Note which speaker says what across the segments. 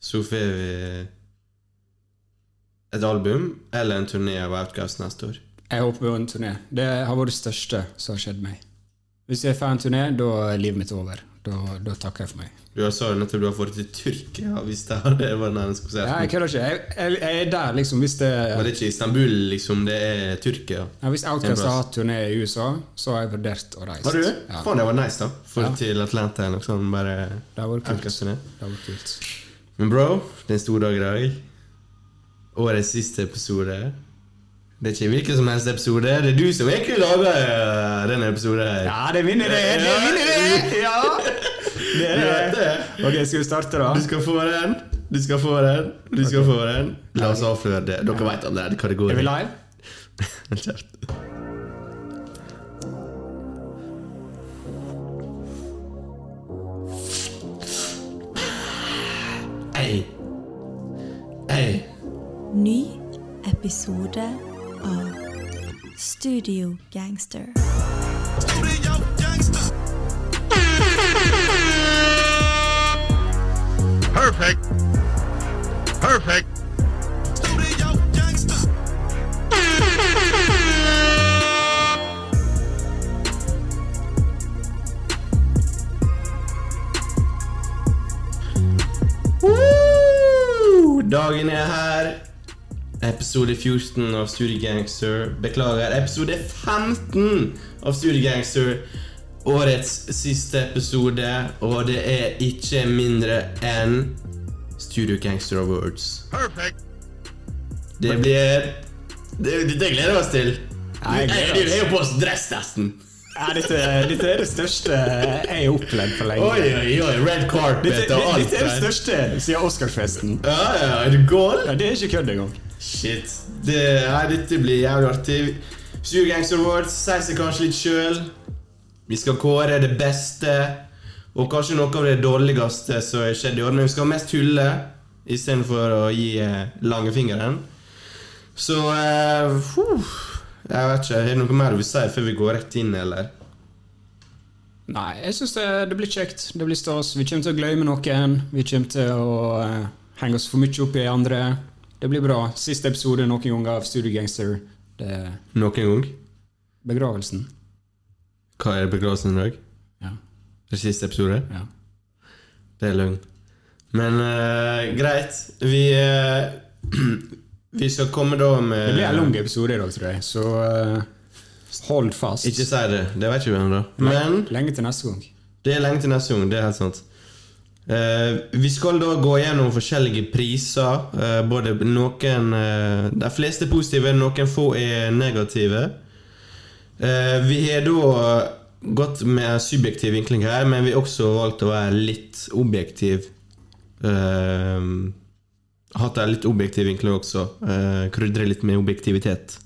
Speaker 1: så får vi et album eller en turné av Outcast neste år.
Speaker 2: Jeg håper på en turné. Det har vært det største som har skjedd meg. Hvis jeg får en turné, da er livet mitt over. Da, da takker jeg for meg.
Speaker 1: Du har sa jo nettopp du har fått til Tyrkia, hvis det hadde vært nærmeste
Speaker 2: Ja,
Speaker 1: konserten.
Speaker 2: jeg kødder ikke. Jeg, jeg, jeg er der, liksom. Hvis, det,
Speaker 1: Men det er ikke Istanbul, liksom. Det er Tyrkia.
Speaker 2: ja, hvis Outcast har hatt turné i USA, så har jeg vurdert å reise.
Speaker 1: Har du det?
Speaker 2: Ja,
Speaker 1: Faen, det var nice, da. For til Atlanta eller noe sånt. Bare
Speaker 2: det har vært kult.
Speaker 1: Outcast-turné.
Speaker 2: Det har vært kult.
Speaker 1: Men bro, det er en stor dag i dag. Årets siste episode. Det er ikke hvilken som helst episode. Det er du som egentlig lager øh, denne episoden. her.
Speaker 2: Ja, det vinner det! Det vinner det! Ja!
Speaker 1: Du
Speaker 2: Det er
Speaker 1: vet
Speaker 2: det.
Speaker 1: det.
Speaker 2: Ok, skal vi starte, da?
Speaker 1: Du skal få den. Du skal få den. Du skal få den. La oss avsløre det. Dere vet allerede hva det går
Speaker 2: Er vi
Speaker 1: i.
Speaker 2: live?
Speaker 1: Hold kjeft. Ei. Ei.
Speaker 3: Ny episode av Studio Gangster.
Speaker 4: Perfect. Perfect.
Speaker 1: Woo! Dagen er her. Episode 14 av Studio Gangster. Beklager, episode 15 av Studio Gangster. Årets siste episode, og det er ikke mindre enn Studio Gangster Awards.
Speaker 4: Perfect.
Speaker 1: Det blir Det, det gleder vi oss til.
Speaker 2: Ja, jeg gleder
Speaker 1: Vi har jo på oss dress, nesten.
Speaker 2: Ja, dette, dette er det største jeg har opplevd på lenge.
Speaker 1: Oi, oi, oi. Red
Speaker 2: Dette,
Speaker 1: carpet
Speaker 2: dette
Speaker 1: og alt.
Speaker 2: er det
Speaker 1: der.
Speaker 2: største siden Oscarfesten.
Speaker 1: Ja, ja, er det gold?
Speaker 2: Ja, det er ikke kødd engang.
Speaker 1: Shit. Det, nei, dette blir jævlig artig. Sur Gangster Awards sier seg kanskje litt sjøl. Vi skal kåre det beste og kanskje noe av det dårligste som har skjedd i år. Men vi skal ha mest hylle istedenfor å gi eh, langfingeren. Så eh, huh. Jeg vet ikke. Er det noe mer du vil si før vi går rett inn, eller?
Speaker 2: Nei, jeg syns det, det blir kjekt. Det blir stas. Vi kommer til å glemme noen. Vi kommer til å eh, henge oss for mye opp i andre. Det blir bra. Siste episode noen ganger av Studio Gangster. Det er
Speaker 1: Noen gang?
Speaker 2: begravelsen.
Speaker 1: Hva er begravelsen i dag?
Speaker 2: Ja.
Speaker 1: Det er siste episode?
Speaker 2: Ja.
Speaker 1: Det er løgn. Men eh, greit. Vi eh, Vi skal komme da med
Speaker 2: Det blir en lang episode i dag, tror jeg, så eh, hold fast.
Speaker 1: Ikke si det. Det vet ikke vi ennå. Men
Speaker 2: Lenge til neste gang.
Speaker 1: det er lenge til neste gang. Det er helt sant. Eh, vi skal da gå gjennom forskjellige priser. eh, både noen eh, De fleste er positive, noen få er negative. Eh, vi har da gått med subjektiv vinkling her, men vi har også valgt å være litt objektiv. Eh, hatt en litt objektiv vinkling også. Uh, Krydre litt med objektivitet.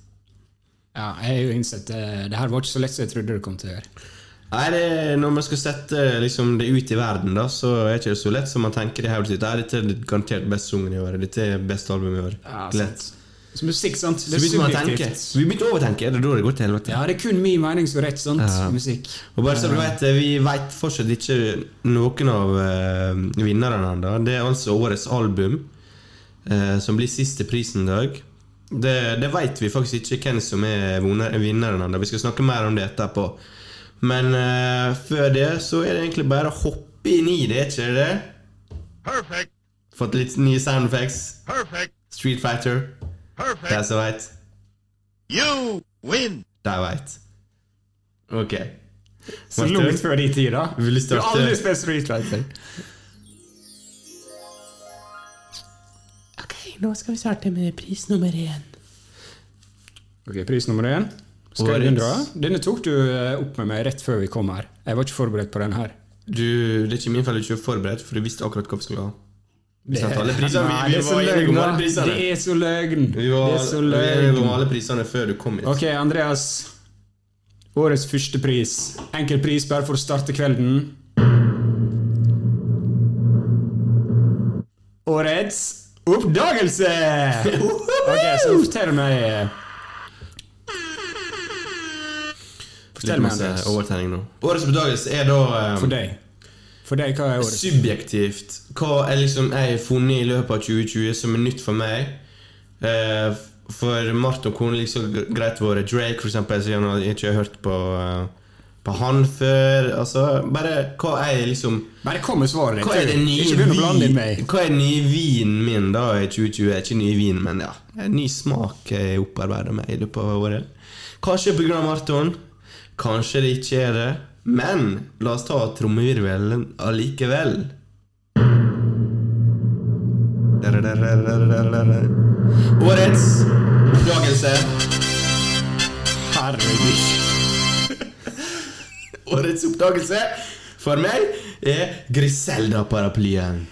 Speaker 2: Ja, jeg har jo innsett det. Det her var ikke så lett som jeg trodde det kom til å gjøre.
Speaker 1: Nei, det er Når man skal sette liksom, det ut i verden, da, så er det ikke så lett som man tenker. det her sitt. Nei, Dette er garantert best sungen i år. Dette er best album i år.
Speaker 2: Ja,
Speaker 1: Lett.
Speaker 2: sant. Så musikk, sant?
Speaker 1: Så
Speaker 2: Det er
Speaker 1: begynte man å tenke.
Speaker 2: subjektivt.
Speaker 1: Vi begynte å overtenke. Det er da det går til helvete.
Speaker 2: Ja, det er kun min mening som er rett, sant? Musikk.
Speaker 1: Og bare så du vet, eh, Vi vet fortsatt ikke noen av eh, vinnerne ennå. Det er altså årets album, eh, som blir siste prisen i dag. Det, det vet vi faktisk ikke hvem som er voner- vinneren ennå. Vi skal snakke mer om det etterpå. Men eh, før det så er det egentlig bare å hoppe inn i det, ikke det?
Speaker 4: Perfect.
Speaker 1: Fått litt nye sound effects.
Speaker 4: Perfect.
Speaker 1: Street Fighter. De
Speaker 4: Perfect.
Speaker 1: som veit,
Speaker 4: You win.
Speaker 1: de veit. Ok.
Speaker 2: Så langt før de tid, da.
Speaker 1: Vil du
Speaker 2: Du har
Speaker 1: starte?
Speaker 2: aldri spilt Street Fighter.
Speaker 1: Nå skal vi starte med pris nummer én.
Speaker 2: Ok, pris nummer én. Skal
Speaker 1: Årets.
Speaker 2: jeg dra? Denne tok du eh, opp med meg rett før vi kom her. Jeg var ikke forberedt på den her.
Speaker 1: Du, det er ikke min feil at du ikke var forberedt, for du visste akkurat hva vi skulle ha. Vi
Speaker 2: Det-
Speaker 1: satte alle prisene.
Speaker 2: Nei,
Speaker 1: Altså, Vi, vi
Speaker 2: det er så
Speaker 1: var enige
Speaker 2: løgn,
Speaker 1: om
Speaker 2: da.
Speaker 1: alle prisene.
Speaker 2: Det er så løgn.
Speaker 1: Vi
Speaker 2: det
Speaker 1: var,
Speaker 2: er så
Speaker 1: vi var enige om
Speaker 2: løgn.
Speaker 1: alle prisene før du kom hit.
Speaker 2: Ok, Andreas. Årets første pris. Enkel pris bare for å starte kvelden. Årets oppdagelse! Ok, så fortell meg
Speaker 1: Litt
Speaker 2: Fortell meg,
Speaker 1: masse
Speaker 2: Andreas.
Speaker 1: overtenning nå. Årets bedagelse er da eh,
Speaker 2: For deg. For deg, hva er årets?
Speaker 1: Subjektivt. Hva er liksom jeg har funnet i løpet av 2020 som er nytt for meg? Eh, for Martin kunne liksom gre- greit vært Drake, for eksempel, siden han ikke har hørt på, eh, på han før. Altså, bare hva er liksom
Speaker 2: Bare kom med svaret ditt.
Speaker 1: Hva er det
Speaker 2: du.
Speaker 1: nye
Speaker 2: Ikke begynn å blande inn meg.
Speaker 1: vin- hva er den nye vinen min da i 2020? Ikke ny vin, men ja. En ny smak jeg opparbeider meg i løpet av året. Kanskje pga. Marton. Kanskje det ikke er det. Men la oss ta trommevirvelen allikevel. Årets oppdagelse.
Speaker 2: Herregud.
Speaker 1: Årets oppdagelse for meg er Griselda-paraplyen.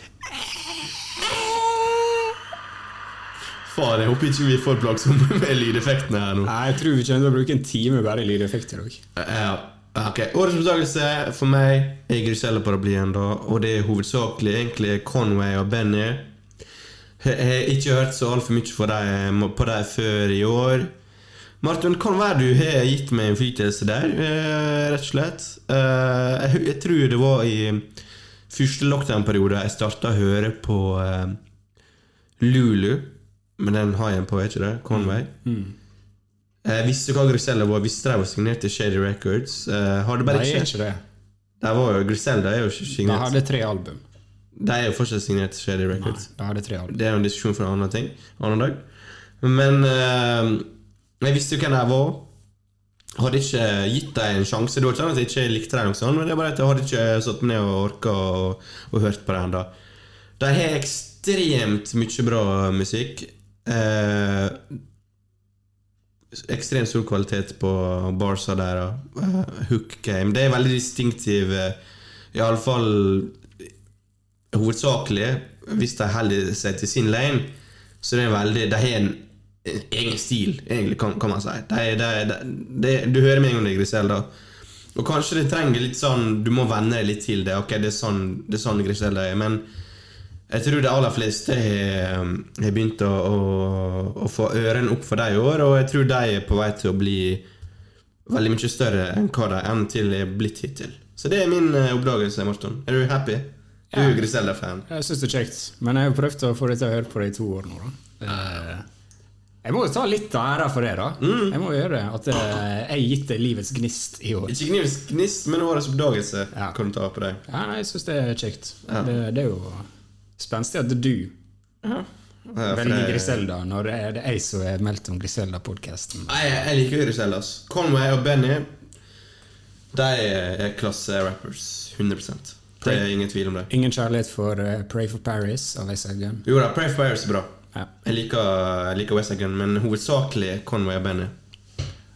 Speaker 1: Faen, jeg håper ikke vi får plagsomme med lydeffektene her nå.
Speaker 2: Nei, jeg tror vi kommer til å bruke en time bare i lydeffekter òg.
Speaker 1: Ja, ok. Årets oppdagelse for meg er Griselda-paraplyen, da. Og det er hovedsakelig egentlig Conway og Benny. Jeg har ikke hørt så altfor mye for dem, på dem før i år. Martin, kan være du har gitt meg innflytelse der, eh, rett og slett. Eh, jeg, hu- jeg tror det var i første lockdown-periode jeg starta å høre på eh, Lulu. Men den har jeg på, er ikke det? Conway.
Speaker 2: Mm,
Speaker 1: Jeg visste hva Griselda var, visste de var signert til Shady Records. Eh, har det
Speaker 2: Nei,
Speaker 1: bare
Speaker 2: jeg er
Speaker 1: ikke
Speaker 2: ikke det.
Speaker 1: De var jo Griselda er jo ikke
Speaker 2: Da
Speaker 1: signert.
Speaker 2: hadde jeg tre album.
Speaker 1: De er jo fortsatt signert til Shady
Speaker 2: Nei,
Speaker 1: Records.
Speaker 2: da hadde jeg tre album.
Speaker 1: Det er jo en diskusjon for en annen ting annen dag. Men eh, jeg visste jo hvem de var. Hadde ikke gitt dem en sjanse. Det var ikke sånn at jeg ikke likte dem, eller noe sånt, men det er bare at jeg hadde ikke satt meg ned og orka og, og hørt på dem ennå. De har ekstremt mye bra musikk. Eh, ekstremt stor kvalitet på barsa der. og, eh, hook game. Det er veldig distinktiv, eh, iallfall hovedsakelig, hvis de holder seg til sin lane, så det er veldig De har en, en egen stil, egentlig, kan, kan man si. De, de, de, det- du hører med en gang det er Griselda. Og kanskje det trenger litt sånn Du må venne deg litt til det. Ok, det er sånn, det er sånn Griselda er. Men jeg tror de aller fleste har har begynt å, å, å få ørene opp for dem i år, og jeg tror de er på vei til å bli veldig mye større enn hva de enn til er blitt hittil. Så det er min eh, oppdagelse, Morten. Er du happy? Du er jo Griselda-fan.
Speaker 2: Jeg syns det er kjekt, men jeg har jo prøvd å få deg til å høre på det i to år nå. da. Eh, Jeg må jo ta litt av æra for det, da.
Speaker 1: Mm.
Speaker 2: Jeg må jo gjøre det. At eh, jeg har gitt deg livets gnist i år.
Speaker 1: Ikke gnivs gnist, men årets oppdagelse
Speaker 2: Ja.
Speaker 1: kan du ta på deg.
Speaker 2: Ja, nei, jeg syns det er kjekt. Det, det er jo spenstig at du
Speaker 1: Ja, for
Speaker 2: velger
Speaker 1: det-
Speaker 2: Griselda når det er det er jeg som er meldt om Griselda-podkasten.
Speaker 1: Nei, jeg, jeg liker Griselda. ass. Conway og Benny De er klasse-rappers. 100 Det er ingen tvil om det.
Speaker 2: Ingen kjærlighet for eh, Pray for Paris av West Side Gun.
Speaker 1: Jo da, Pray for Fires er bra.
Speaker 2: Ja.
Speaker 1: Jeg liker, jeg liker West Side Gun, men hovedsakelig Conway og Benny.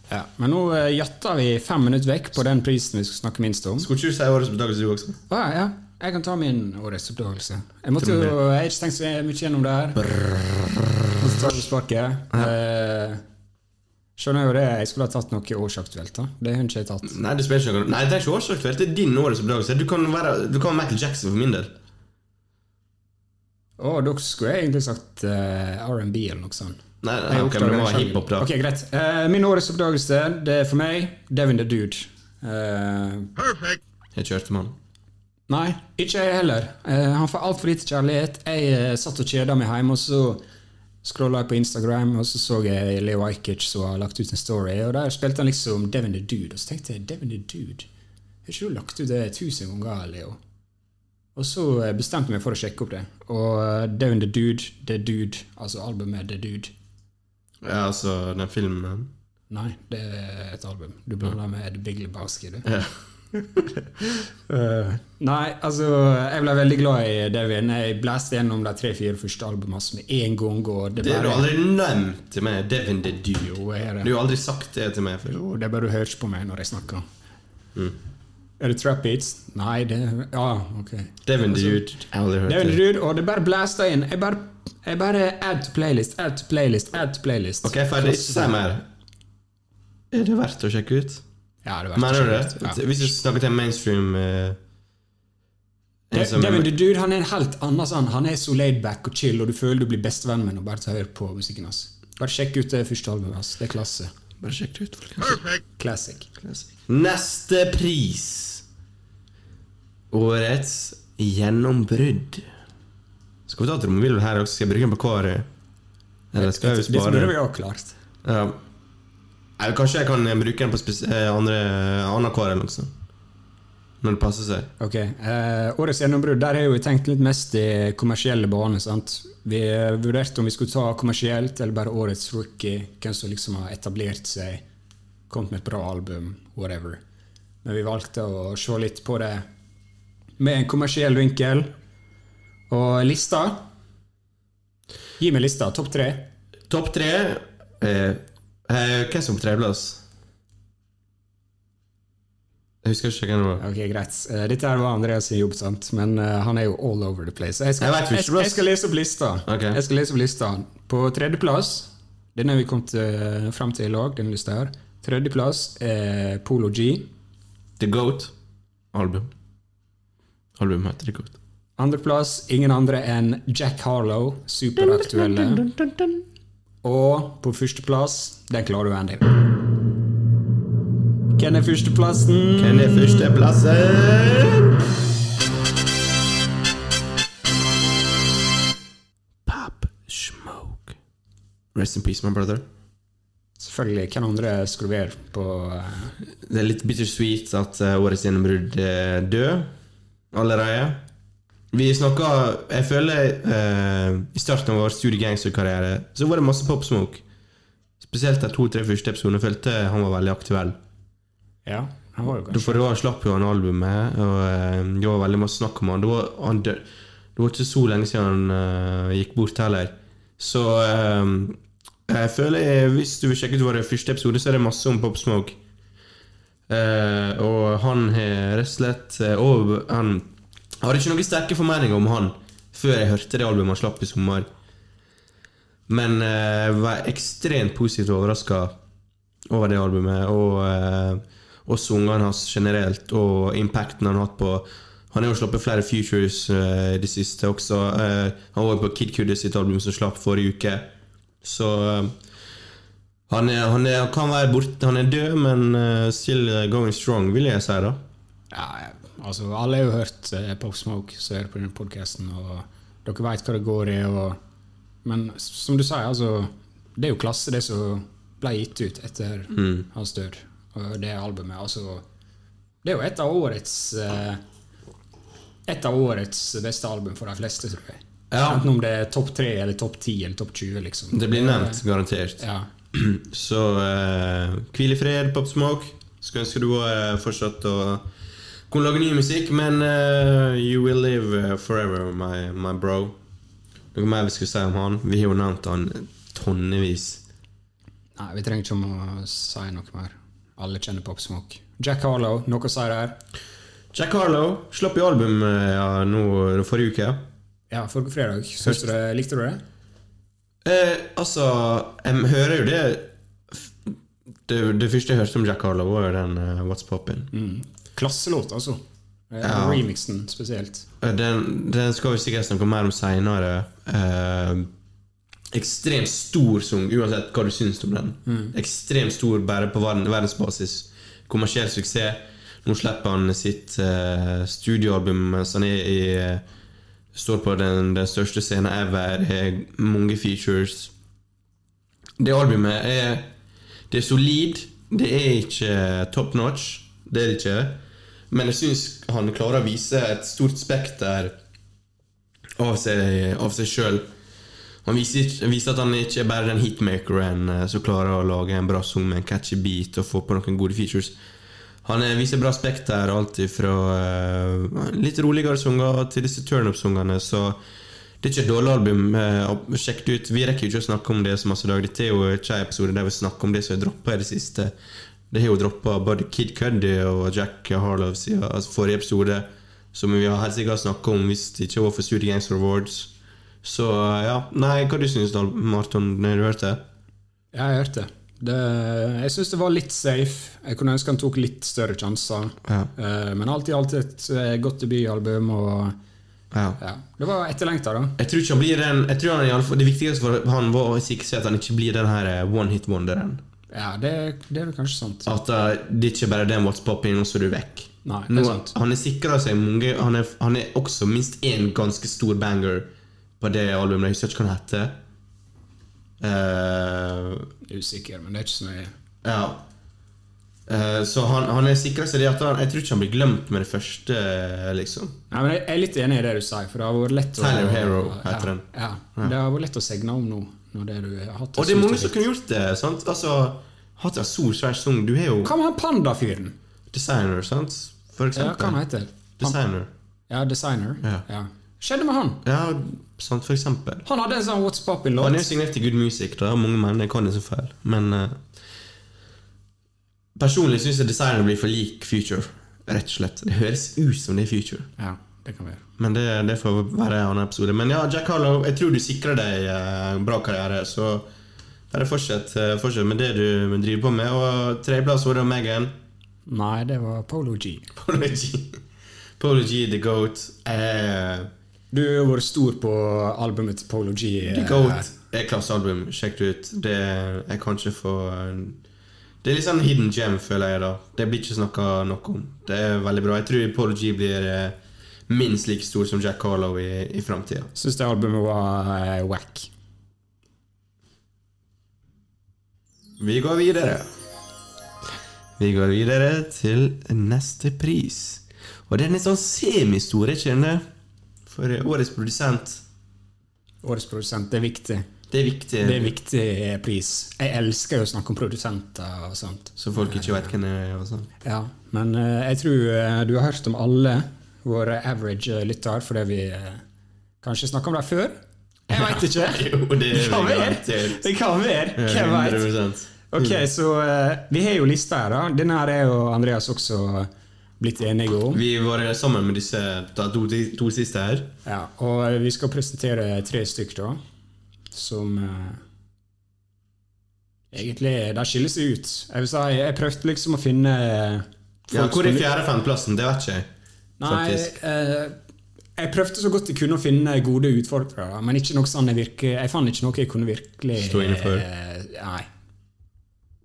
Speaker 2: Ja. Men nå eh, jatter vi fem minutter vekk på den prisen vi skal snakke minst om.
Speaker 1: Skulle ikke du si årets oppdagelse, du også?
Speaker 2: Å, ja, ja. Jeg kan ta min årets oppdagelse. Jeg måtte jo, jeg har ikke tenkt så mye gjennom det her. Og så tar vi sparket. Eh, skjønner jo det, jeg skulle ha tatt noe årsaktuelt. da. Det har ikke jeg tatt.
Speaker 1: Nei, det spiller ikke noen Nei, det er ikke årsaksaktuelt. Det er din årets oppdagelse. Du kan være, du kan være Michael Jackson for min del.
Speaker 2: Å, da skulle jeg egentlig sagt eh, R&B eller noe sånt.
Speaker 1: Nei, nei
Speaker 2: Jeg
Speaker 1: ok, men det må
Speaker 2: oppdager den
Speaker 1: være
Speaker 2: sjangeren.
Speaker 1: hiphop, da.
Speaker 2: Ok, greit. Eh, min årets oppdagelse, det er for meg Devin the Dude. Eh,
Speaker 4: Perfect.
Speaker 1: Jeg kjørte med han.
Speaker 2: Nei, ikke jeg heller. Eh, han får altfor lite kjærlighet. Jeg eh, satt og kjeda meg hjemme, og så scrolla jeg på Instagram, og så så jeg Leo Ajkic som har lagt ut en story, og der spilte han liksom Devin the Dude, og så tenkte jeg Devin the Dude, har ikke du lagt ut det tusen ganger, Leo? Og så eh, bestemte jeg meg for å sjekke opp det, og eh, Devin the Dude, The Dude, altså albumet The Dude
Speaker 1: Ja, altså, den filmen
Speaker 2: Nei, det er et album. Du blander med The Big Lebowski, du.
Speaker 1: ja.
Speaker 2: Eh, nei, altså Jeg ble veldig glad i Devin. Jeg blæste gjennom de tre-fire første albumene hans med en gang. Og det,
Speaker 1: Det har du
Speaker 2: bare,
Speaker 1: aldri nevnt til meg. Devin the Dude.
Speaker 2: Jo, jeg er
Speaker 1: Du
Speaker 2: det.
Speaker 1: har aldri sagt det til meg før.
Speaker 2: Jo, det bare høres på meg når jeg snakker.
Speaker 1: Mm.
Speaker 2: Er det trap beats? Nei, det Ja, ok.
Speaker 1: Devin the Dude. Jeg har aldri hørt
Speaker 2: Devin
Speaker 1: det.
Speaker 2: Ruud, og Altså, det bare blæsta inn. Jeg bare, jeg bare add to playlist, add to playlist, add to playlist.
Speaker 1: Ok, ferdig. Ikke si mer. Er det verdt å sjekke ut?
Speaker 2: Ja, det var
Speaker 1: Mener du
Speaker 2: skikkelig. Ja.
Speaker 1: det? Hvis du snakker til en mainstream eh, en
Speaker 2: De-
Speaker 1: som-
Speaker 2: Devin the Dude han er en helt annen sånn. Han er så laid back og chill, og du føler du blir bestevenn med ham bare til å høre på musikken hans. Bare sjekk ut det første albumet hans. Det er klasse.
Speaker 1: Bare sjekk det ut, folkens.
Speaker 4: Perfect.
Speaker 2: Classic.
Speaker 1: Neste pris Årets gjennombrudd. Skal vi ta til mobilen her også? Skal jeg bruke den på hver? eh? Eller skal jeg jo
Speaker 2: Dette burde vi
Speaker 1: spare?
Speaker 2: ha klart.
Speaker 1: Ja. Eller kanskje jeg kan eh, bruke den på spes eh, andre, annen hver eller noe sånt. Når det passer seg.
Speaker 2: Ok, eh, Årets gjennombrudd, der har jo vi tenkt litt mest i kommersielle baner. sant? Vi eh, vurderte om vi skulle ta kommersielt eller bare årets rookie. Hvem som liksom har etablert seg, kommet med et bra album, whatever. Men vi valgte å se litt på det med en kommersiell vinkel. Og lista Gi meg lista. Topp tre.
Speaker 1: Topp tre eh, eh, Hvem som på tredjeplass? Jeg husker ikke hvem det var.
Speaker 2: Ok, greit. Eh, Dette her var Andreas sin jobb, sant? men eh, han er jo all over the place. Jeg skal,
Speaker 1: Jeg vet ikke,
Speaker 2: jeg, jeg,
Speaker 1: Ross.
Speaker 2: skal lese opp lista.
Speaker 1: Ok.
Speaker 2: Jeg skal lese opp lista. På tredjeplass, den har vi kommet eh, fram til i lag, denne lista her. Tredjeplass er Polo G.
Speaker 1: The Goat. Album. Album heter The Goat.
Speaker 2: Andreplass ingen andre enn Jack Harlow, superaktuelle. Og på førsteplass, den klarer du, Andy. Hvem er førsteplassen?
Speaker 1: Den er førsteplassen Pop Smoke. Rest in peace, my brother.
Speaker 2: Selvfølgelig. Hvem andre skulle være på eh,
Speaker 1: Det er litt bittersweet at eh, årets gjennombrudd er død allerede. Vi snakka Jeg føler eh, i starten av vår studiegangsterkarriere så var det masse Pop Smoke. Spesielt de to-tre første episodene følte jeg han var veldig aktuell.
Speaker 2: Ja, han var jo
Speaker 1: Da-
Speaker 2: kanskje
Speaker 1: For da slapp jo han albumet, og eh, det var veldig masse snakk om han. Det var, han dø det var ikke så lenge siden han eh, gikk bort heller. Så eh, jeg føler eh, Hvis du vil sjekke ut vår første episode, så er det masse om Pop Smoke. Eh, og han har rett og slett eh, over, han, Jeg hadde ikke noen sterke formeninger om han før jeg hørte det albumet han slapp i sommer. Men eh, jeg var ekstremt positivt overraska over det albumet, og, eh, og sangene hans generelt, og impacten han har hatt på Han har jo sluppet flere features eh, i det siste også. Eh, han var jo på Kid Cudi sitt album som slapp forrige uke. Så eh, han, er, han, er, han kan være borte, han er død, men eh, still going strong, vil jeg si, da.
Speaker 2: Ja, altså alle har jo hørt eh, Pop Smoke som er på denne podkasten, og dere veit hva det går i. Og, men s- som du sier, altså Det er jo klasse, det som ble gitt ut etter
Speaker 1: Mm.
Speaker 2: hans død, og det albumet. Altså Det er jo et av årets eh, Et av årets beste album for de fleste, tror jeg.
Speaker 1: Ja.
Speaker 2: Enten om det er topp tre eller topp ti eller topp 20, liksom.
Speaker 1: Det blir nevnt, garantert.
Speaker 2: Ja.
Speaker 1: Så eh, hvil i fred, Pop Smoke. Skulle ønske du uh, fortsatt å kunne lage ny musikk, men eh, you will live eh, forever, my, my bro. Noe mer vi skulle si om han? Vi har jo nevnt han tonnevis.
Speaker 2: Nei, vi trenger ikke om å si noe mer. Alle kjenner Pop Smoke. Jack Harlow, noe å si der?
Speaker 1: Jack Harlow slapp jo album eh, ja, nå forrige uke.
Speaker 2: Ja, forrige fredag. Syns du det, likte du det?
Speaker 1: Eh, altså, jeg hører jo det det, det første jeg hørte om Jack Harlow, var jo den eh, What's Poppin'.
Speaker 2: Klasselåt, altså. Eh,
Speaker 1: Ja.
Speaker 2: Remixen spesielt.
Speaker 1: Eh, Den, den skal vi sikkert snakke mer om seinere. ekstremt Eh, stor sang, uansett hva du syns om den. Ekstremt stor bare på verden, verdensbasis. Kommersiell suksess. Nå slipper han sitt eh, studioalbum mens han er i Står på den, den største scenen ever. Har mange features. Det albumet er Det er solid. Det er ikke eh, top notch. Det er det ikke. Men jeg syns han klarer å vise et stort spekter av seg av seg sjøl. Han viser, ikke- han viser at han ikke er bare den hitmakeren eh, som klarer å lage en bra sang med en catchy beat og få på noen gode features. Han eh, viser bra spekter, alt ifra eh, litt roligere sanger til disse turnup-sangene. Så det er ikke et dårlig album. eh, og Sjekk det ut. Vi rekker jo ikke å snakke om det så masse i dag. Dette er jo ikke en episode der vi snakker om det som er droppa i det siste. Det har jo droppa både Kid Cuddy og Jack Harlow siden altså forrige episode, som vi har helt sikkert snakka om hvis det ikke var for Studio Gangster Awards. Så eh, ja. Nei, hva du syns du, Marton, når du hørte det?
Speaker 2: Ja, jeg hørte det. det. Jeg syns det var litt safe. Jeg kunne ønske han tok litt større sjanser.
Speaker 1: Ja.
Speaker 2: Eh, Men alt i alt et eh, godt debutalbum, og
Speaker 1: Ja.
Speaker 2: ja. Det var etterlengta, da.
Speaker 1: Jeg tror ikke han blir den Jeg tror han i alle fall, Det viktigste for han var å sikre seg at han ikke blir den her eh, one-hit-wonderen.
Speaker 2: Ja, det, det er vel kanskje sant.
Speaker 1: At eh, det ikke bare er den what's popping, og så er du vekk.
Speaker 2: Nei, det
Speaker 1: Nå,
Speaker 2: er sant.
Speaker 1: han har sikra seg mange han er, han er også minst én ganske stor banger på det albumet. Jeg husker ikke hva den heter. Eh,
Speaker 2: Usikker, men det er ikke så nøye.
Speaker 1: Ja. Eh, Så han, han er sikra seg det at han, jeg tror ikke han blir glemt med det første, liksom.
Speaker 2: Nei, men jeg jeg er litt enig i det du sier, for det har vært lett å
Speaker 1: Tyler Hero heter
Speaker 2: ja,
Speaker 1: den.
Speaker 2: Ja, det har vært lett å segne om nå. Når det du har hatt
Speaker 1: Og det er mange som
Speaker 2: så uttrykk.
Speaker 1: kunne gjort det. sant? Altså, Hatta Solskjær sang Du er jo
Speaker 2: Hva med han pandafyren?
Speaker 1: designer, sant? For
Speaker 2: Ja, hva han
Speaker 1: eksempel.
Speaker 2: heter han?
Speaker 1: designer.
Speaker 2: Ja, designer.
Speaker 1: Ja.
Speaker 2: Skjedde med han?
Speaker 1: Ja, sant, for eksempel.
Speaker 2: Han hadde en sånn What's
Speaker 1: Han er jo
Speaker 2: Poppin-låt.
Speaker 1: signert til Good Music, da. mange menn jeg kan det så feil, men eh, Personlig syns jeg designer blir for lik Future, rett og slett. Det høres ut som det er Future.
Speaker 2: Ja, det kan være.
Speaker 1: Men det, det får være en annen episode. Men ja, Jack Harlow, jeg tror du sikrer deg eh, en bra karriere, så bare fortsett, eh, fortsett med det du driver på med. Og tredjeplass var det Megan.
Speaker 2: Nei, det var Polo G.
Speaker 1: Polo G. Polo G, The Goat. Eh,
Speaker 2: Du har jo vært stor på albumet til Polo G.
Speaker 1: The
Speaker 2: eh,
Speaker 1: Goat er klassealbum. Sjekk det ut. Det er kanskje for en- Det er litt sånn hidden gem, føler jeg. da Det blir ikke snakka nok om. Det er veldig bra. Jeg tror Polo G blir eh, minst like stor som Jack Harlow i, i framtida.
Speaker 2: Syns det albumet var eh, wack.
Speaker 1: Vi går videre. Vi går videre til neste pris. Og den er sånn semistore, kjenner jeg. For årets produsent.
Speaker 2: Årets produsent, det er viktig.
Speaker 1: Det er viktig,
Speaker 2: Det er viktig eh, pris. Jeg elsker jo å snakke om produsenter og sånt.
Speaker 1: så folk ikke vet hvem det er. og sånn.
Speaker 2: Ja, men eh, jeg tror eh, du har hørt om alle våre average eh, lyttere, fordi vi eh, kanskje snakka om dem før? Jeg veit ikke.
Speaker 1: Jo, det er
Speaker 2: kan
Speaker 1: vi
Speaker 2: være.
Speaker 1: garantert.
Speaker 2: Det kan være. Hvem veit?
Speaker 1: 100%.
Speaker 2: Ok, så eh, vi har jo lista her, da. Denne her er jo Andreas også blitt enige om.
Speaker 1: Vi var sammen med disse da, to, to siste her.
Speaker 2: Ja, og eh, vi skal presentere tre stykker, da, som eh, Egentlig, de skiller seg ut. Jeg vil si, jeg prøvde liksom å finne eh,
Speaker 1: Ja,
Speaker 2: folk
Speaker 1: hvor
Speaker 2: som-
Speaker 1: er fjerde-femteplassen? Det vet ikke jeg.
Speaker 2: Nei,
Speaker 1: faktisk.
Speaker 2: eh, jeg prøvde så godt jeg kunne å finne gode utfordrere, men ikke noe sånn jeg virke, jeg fant ikke noe jeg kunne virkelig
Speaker 1: Stå inne for.
Speaker 2: eh, nei.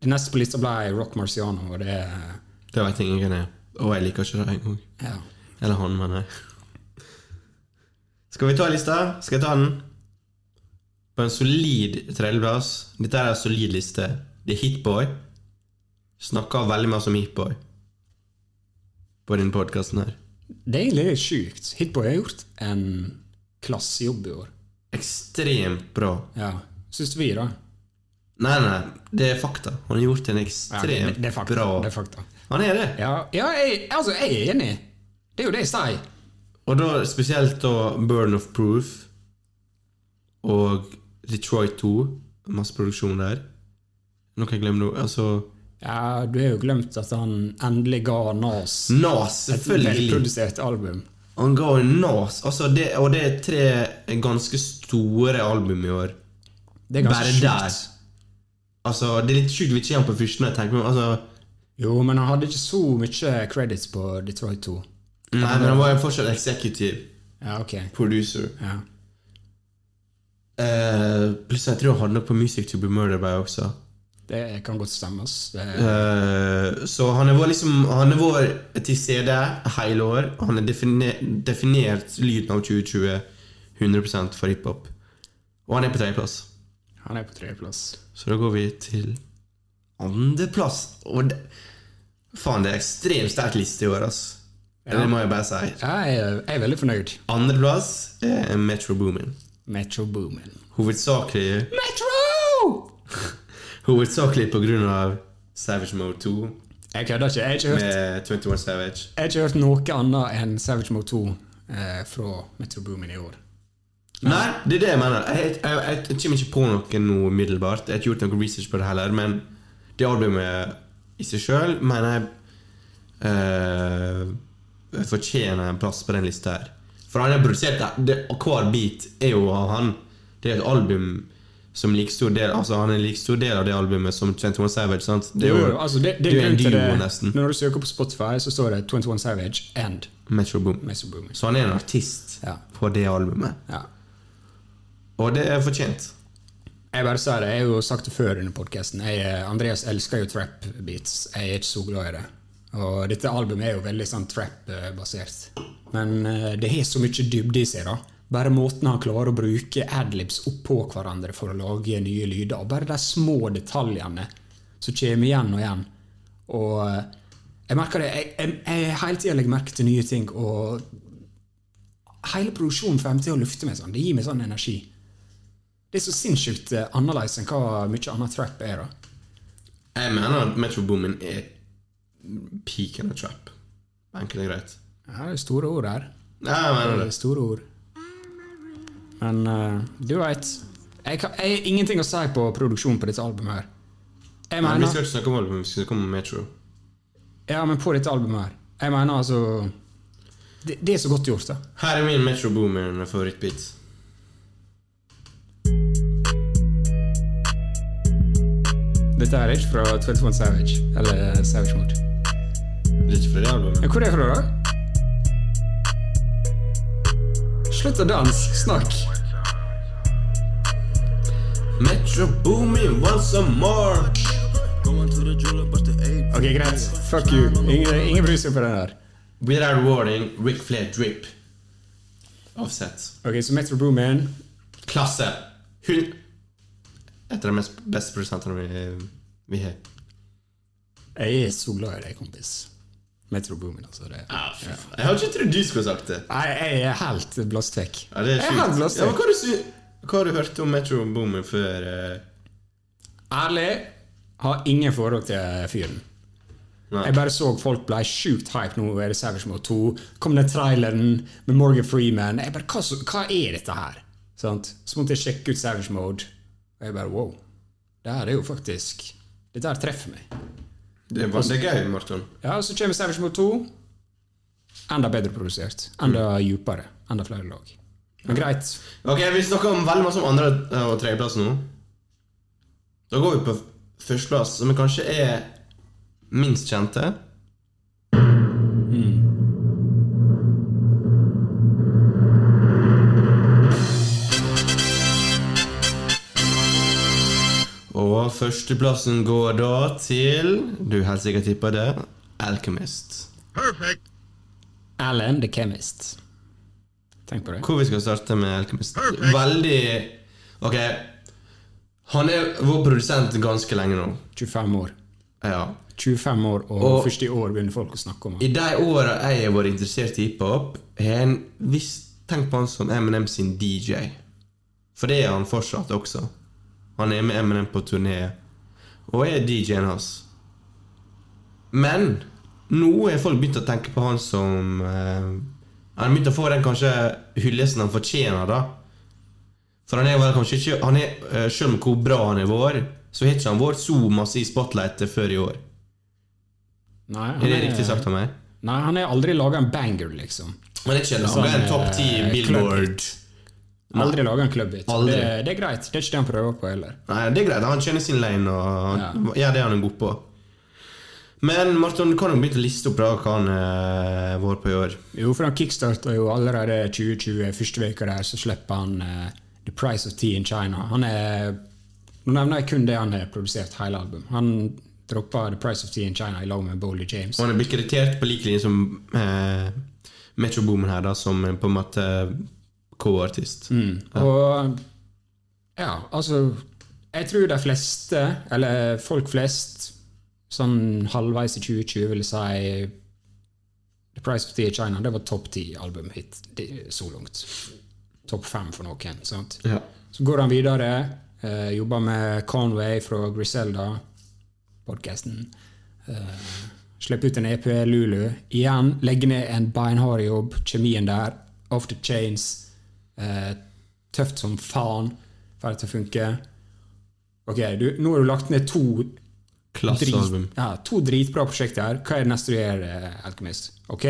Speaker 2: Det neste på lista ble Rock Marciano, og det eh,
Speaker 1: Det vet ingen hvem er. Og jeg liker ikke det engang.
Speaker 2: ja.
Speaker 1: Eller han, mener jeg. Skal vi ta lista? Skal jeg ta den? På en solid tredjeplass. Dette er en solid liste. Det er Hitboy. Snakker veldig mye som Hitboy på denne podkasten her.
Speaker 2: Det er egentlig litt sjukt. Hitboy har gjort en klassejobb i år.
Speaker 1: Ekstremt bra.
Speaker 2: Ja, Syns vi, da.
Speaker 1: Nei, nei, det er fakta. Han har gjort en
Speaker 2: Ja, det,
Speaker 1: ekstremt
Speaker 2: det er fakta.
Speaker 1: bra
Speaker 2: Det er fakta.
Speaker 1: Han er det.
Speaker 2: Ja, ja jeg, altså, jeg er enig. Det er jo det jeg sier.
Speaker 1: Og da spesielt da Burn of Proof og Detroit 2. Masse produksjon der. Noe jeg glemmer nå. Altså
Speaker 2: Ja, Du har jo glemt at han endelig ga Nas
Speaker 1: Nas, Mm,
Speaker 2: et
Speaker 1: selvfølgelig.
Speaker 2: velprodusert album.
Speaker 1: Han ga jo Nas. Altså det, og det er tre ganske store album i år.
Speaker 2: Det er ganske
Speaker 1: Bare der.
Speaker 2: sjukt.
Speaker 1: Altså, Det er litt sjukt vi ikke er på første når jeg tenker meg om. Altså,
Speaker 2: Jo, men han hadde ikke så mye credits på Detroit 2.
Speaker 1: nei, men han var jo fortsatt executive
Speaker 2: Ja, ok.
Speaker 1: producer.
Speaker 2: Ja.
Speaker 1: Eh, pluss jeg tror han hadde noe på Music to be murdered by også.
Speaker 2: Det kan godt stemme. ass. Det-
Speaker 1: Eh, så han er vår liksom Han er vår til CD hele år. Han har definer, definert lyden av 2020 100 for hiphop. Og han er på tredjeplass.
Speaker 2: Han er på tredjeplass.
Speaker 1: Så da går vi til andreplass. Og det, faen, det er ekstremt sterk liste i år, ass. Det må jeg bare si.
Speaker 2: Jeg er, jeg er veldig fornøyd.
Speaker 1: Andreplass er Metro Boomin.
Speaker 2: Metro Boomin.
Speaker 1: Hovedsakelig
Speaker 2: Metro!
Speaker 1: Hovedsakelig på grunn av Savage Mode 2
Speaker 2: Jeg kødder ikke. Jeg har ikke, hørt,
Speaker 1: med 21 Savage.
Speaker 2: jeg har ikke hørt noe annet enn Savage Mode 2 eh, fra Metro Boomin i år.
Speaker 1: Nei, det er det jeg mener. Jeg, jeg, jeg, jeg kommer ikke på noe nå umiddelbart. Jeg har ikke gjort noe research på det heller, men det albumet i seg sjøl mener jeg eh, fortjener en plass på den lista her. For han har produsert det, det, og hver bit er jo av han. Det er et album som like stor del Altså Han er en like stor del av det albumet som 21 Savage. sant? Det er jo,
Speaker 2: altså, det, det
Speaker 1: det er
Speaker 2: er
Speaker 1: en
Speaker 2: grunnen til
Speaker 1: duo,
Speaker 2: det.
Speaker 1: nesten.
Speaker 2: Når du søker på Spotify, så står det 21 Savage and
Speaker 1: Metro Boom.
Speaker 2: Metro Boomin.
Speaker 1: Så han er en artist
Speaker 2: Ja.
Speaker 1: på det albumet.
Speaker 2: Ja.
Speaker 1: Og det er fortjent.
Speaker 2: Jeg bare sier det, eh, jeg har jo sagt det før under podkasten. Andreas elsker jo trap beats. Jeg er ikke så glad i det. Og dette albumet er jo veldig sånn trap-basert. Men eh, det har så mye dybde i seg. da. Bare måten han klarer å bruke adlibs oppå hverandre for å lage nye lyder, og bare de små detaljene som kommer igjen og igjen. Og eh, jeg merker det, jeg, jeg, jeg hele tida legger merke til nye ting, og hele produksjonen får meg til å lufte meg sånn. Det gir meg sånn energi. Det er så sinnssykt eh, annerledes enn hva mye annet trap er. da.
Speaker 1: Jeg mener at Metro Boomin er peaken av trap. Enkelt og greit.
Speaker 2: Ja, det er store ord her.
Speaker 1: Ja, jeg mener
Speaker 2: Det
Speaker 1: det.
Speaker 2: er store ord. Men eh, du veit. Jeg, kan- jeg har ingenting å si på produksjonen på dette albumet. her. Jeg
Speaker 1: Men vi
Speaker 2: mener,
Speaker 1: skal ikke snakke om albumet, vi skal snakke om Metro.
Speaker 2: ja, men på dette albumet her. Jeg mener altså Det, det er så godt gjort, da.
Speaker 1: Her er min Metro Boomin favorittbit.
Speaker 2: Dette her er ikke fra 21 Savage eller eh, Savage Mode.
Speaker 1: Det er ikke fra det
Speaker 2: Ja,
Speaker 1: albumet.
Speaker 2: hvor er det fra, da? Slutt å danse! Snakk!
Speaker 1: Metro Boomin want some more!
Speaker 2: Ok, greit. Fuck you. Ingen, ingen bryr seg på den der.
Speaker 1: Without warning, Rick Flair drip. Offset.
Speaker 2: Ok, så Metro Boomin
Speaker 1: Klasse. Hun Et av de mest beste produsentene vi, vi har.
Speaker 2: Jeg er så glad i deg, kompis. Metro Boomin, altså. Det.
Speaker 1: Jeg hadde ikke trodd du skulle sagt det.
Speaker 2: Nei, jeg er helt blåst vekk.
Speaker 1: Ja, det er
Speaker 2: Jeg
Speaker 1: sjukt.
Speaker 2: hadde lyst til.
Speaker 1: Ja, men hva, har du, sy- hva har du hørt om Metro Boomin før? eh?
Speaker 2: Ærlig, har ingen forhold til fyren.
Speaker 1: Nei.
Speaker 2: Jeg bare så folk ble sjukt hype nå. Er det Savage Mode 2? Kom den traileren med Morgan Freeman? Jeg bare, hva, så, hva er dette her? Sant? Så måtte jeg sjekke ut Savage Mode. Og jeg bare wow. Det her er jo faktisk Dette her treffer meg.
Speaker 1: Det var det er gøy, Morten.
Speaker 2: Ja, og Så kommer Savage Mode 2. Enda bedre produsert. Enda
Speaker 1: Mm.
Speaker 2: djupere. Enda flere lag. Men greit.
Speaker 1: Ok, vi snakker om veldig masse om andre eh, og tredjeplass nå. Da går vi på f- førsteplass, som kanskje er minst kjente. Og førsteplassen går da til Du helt sikkert tipper det Alchemist.
Speaker 4: Perfect.
Speaker 2: Alan the Chemist. Tenk på det.
Speaker 1: Hvor vi skal starte med Alchemist.
Speaker 4: Perfekt.
Speaker 1: Veldig Ok. Han er vår produsent ganske lenge nå.
Speaker 2: 25 år.
Speaker 1: Ja.
Speaker 2: 25 år, og,
Speaker 1: Og-
Speaker 2: først i år begynner folk å snakke om
Speaker 1: I
Speaker 2: det.
Speaker 1: de åra jeg har vært interessert i hiphop, har jeg en viss tenkt på han som Eminem sin DJ. For det er han fortsatt også. Han er med Eminem på turné og er DJ-en hans. Men nå har folk begynt å tenke på han som eh, Han har begynt å få den kanskje hyllesten han fortjener, da. For han er vel kanskje ikke han er, eh, Selv om hvor bra han har vært, så har ikke han vært så masse i spotlightet før i år.
Speaker 2: Nei, han
Speaker 1: Er det riktig sagt av meg?
Speaker 2: Nei, han har aldri laga en banger, liksom.
Speaker 1: Men det er ikke laget
Speaker 2: Sånn,
Speaker 1: en topp 10
Speaker 2: eh,
Speaker 1: Billboard.
Speaker 2: Aldri laga en clubhit.
Speaker 1: Aldri.
Speaker 2: Det, det er greit. Det er ikke det han prøver på heller.
Speaker 1: Nei, det er greit. Han kjenner sin lane og han gjør det han er god på. Men Martin, du kan jo begynne å liste opp da hva han eh, var på i år.
Speaker 2: Jo, for han kickstarta jo allerede 2020. Første veka der så slipper han eh, The Price of Tea in China. Han er Nå nevner jeg kun det han har produsert hele album. Han droppa The Price of Tea in China i lag med Bowley James.
Speaker 1: Og han er blitt kreditert på lik linje som eh, Metro Boomin her, da, som eh, på en måte co-artist.
Speaker 2: Mm. Og ja, altså Jeg tror de fleste, eller folk flest, sånn halvveis i 2020 ville si The Price of Tea i China, det var topp ti albumhit det- så langt. Topp fem for noen. sant?
Speaker 1: Ja.
Speaker 2: Så går han videre, eh, jobber med Conway fra Griselda, podkasten. Eh, slipper ut en EP, Lulu. Igjen, legger ned en beinhard jobb. Kjemien der. Off the chains. Eh, tøft som faen for at det funker. Ok, du, nå har du lagt ned to,
Speaker 1: Klassealbum.
Speaker 2: drit, ja, to dritbra prosjekter her. Hva er det neste du gjør, eh, Alchemist? Ok,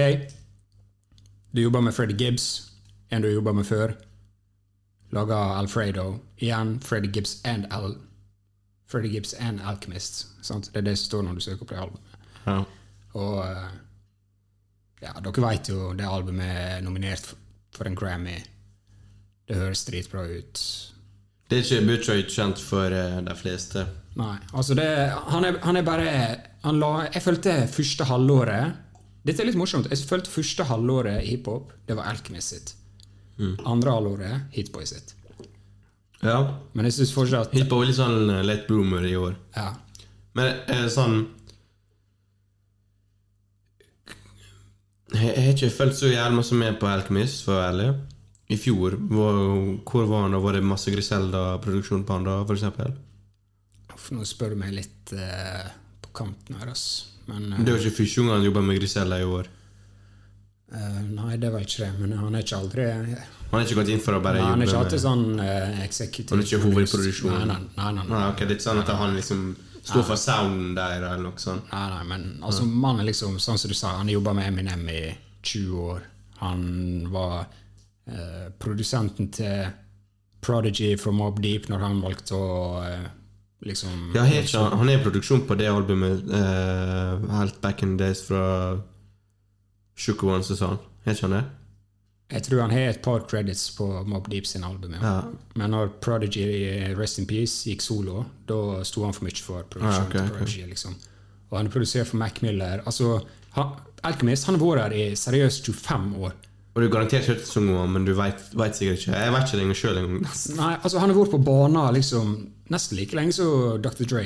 Speaker 2: du jobber med Freddy Gibbs, en du jobba med før. Laga Alfredo. Igjen Freddy Gibbs and Al... Freddy Gibbs and Alchemist. Sant? Det er det som står når du søker på det albumet.
Speaker 1: Ja.
Speaker 2: Og eh, ja, dere veit jo det albumet er nominert f- for en Grammy. Det høres dritbra ut.
Speaker 1: Det er ikke Butcher ikke kjent for eh, de fleste.
Speaker 2: Nei, altså det Han er, han er bare han la, jeg følte første halvåret Dette er litt morsomt. Jeg følte første halvåret i hiphop, det var Alchemist sitt.
Speaker 1: Mm.
Speaker 2: Andre halvåret Hitboy sitt.
Speaker 1: Ja.
Speaker 2: Men jeg syns fortsatt at
Speaker 1: Hiphop er litt sånn eh, late bloomer i år.
Speaker 2: ja,
Speaker 1: Men eh, sånn Jeg jeg har ikke fulgt så jævlig masse med på Alchemist, for å være ærlig. I fjor, hvor, hvor var han da? Var det masse Griselda-produksjon på han da, for eksempel?
Speaker 2: uff, Nå spør du meg litt eh, på kanten her, ass. Men eh,
Speaker 1: Det var ikke første gang han jobba med Griselda i år.
Speaker 2: eh, Nei, det var ikke det. Men han er ikke aldri Nei,
Speaker 1: Han har ikke gått inn for å bare
Speaker 2: Han er ikke
Speaker 1: jobbe
Speaker 2: alltid sånn uh, executive.
Speaker 1: Han er ikke hovedproduksjon.
Speaker 2: Nei, nei, nei, nei, nei.
Speaker 1: Nei, ok, det er ikke sånn at han liksom står for sounden der, eller noe sånt.
Speaker 2: Nei, nei, men altså, mannen liksom, sånn som du sa, han jobba med Eminem i 20 år. Han var eh, produsenten til Prodigy fra Mob Deep når han valgte å eh, liksom
Speaker 1: Ja, helt, sant. han er i produksjon på det albumet eh, helt back in the days fra Shook Ones og sånn. Helt sånn det?
Speaker 2: Jeg tror han har et par credits på Mob Deep sin album. Ja.
Speaker 1: Ja.
Speaker 2: Men når Prodigy, eh, Rest in Peace, gikk solo, da sto han for mye for produksjonen
Speaker 1: Ah, ok,
Speaker 2: til
Speaker 1: ok.
Speaker 2: Prodigy. liksom. Og han produserer for Mac Miller. Altså, han, Alchemist han har vært her i seriøst 25 år.
Speaker 1: Og du garantert hørt sangen om men du vet, vet sikkert ikke. Jeg vet ikke det engang sjøl engang.
Speaker 2: Nei, altså han har vært på banen liksom, nesten like lenge som Dr. Dre.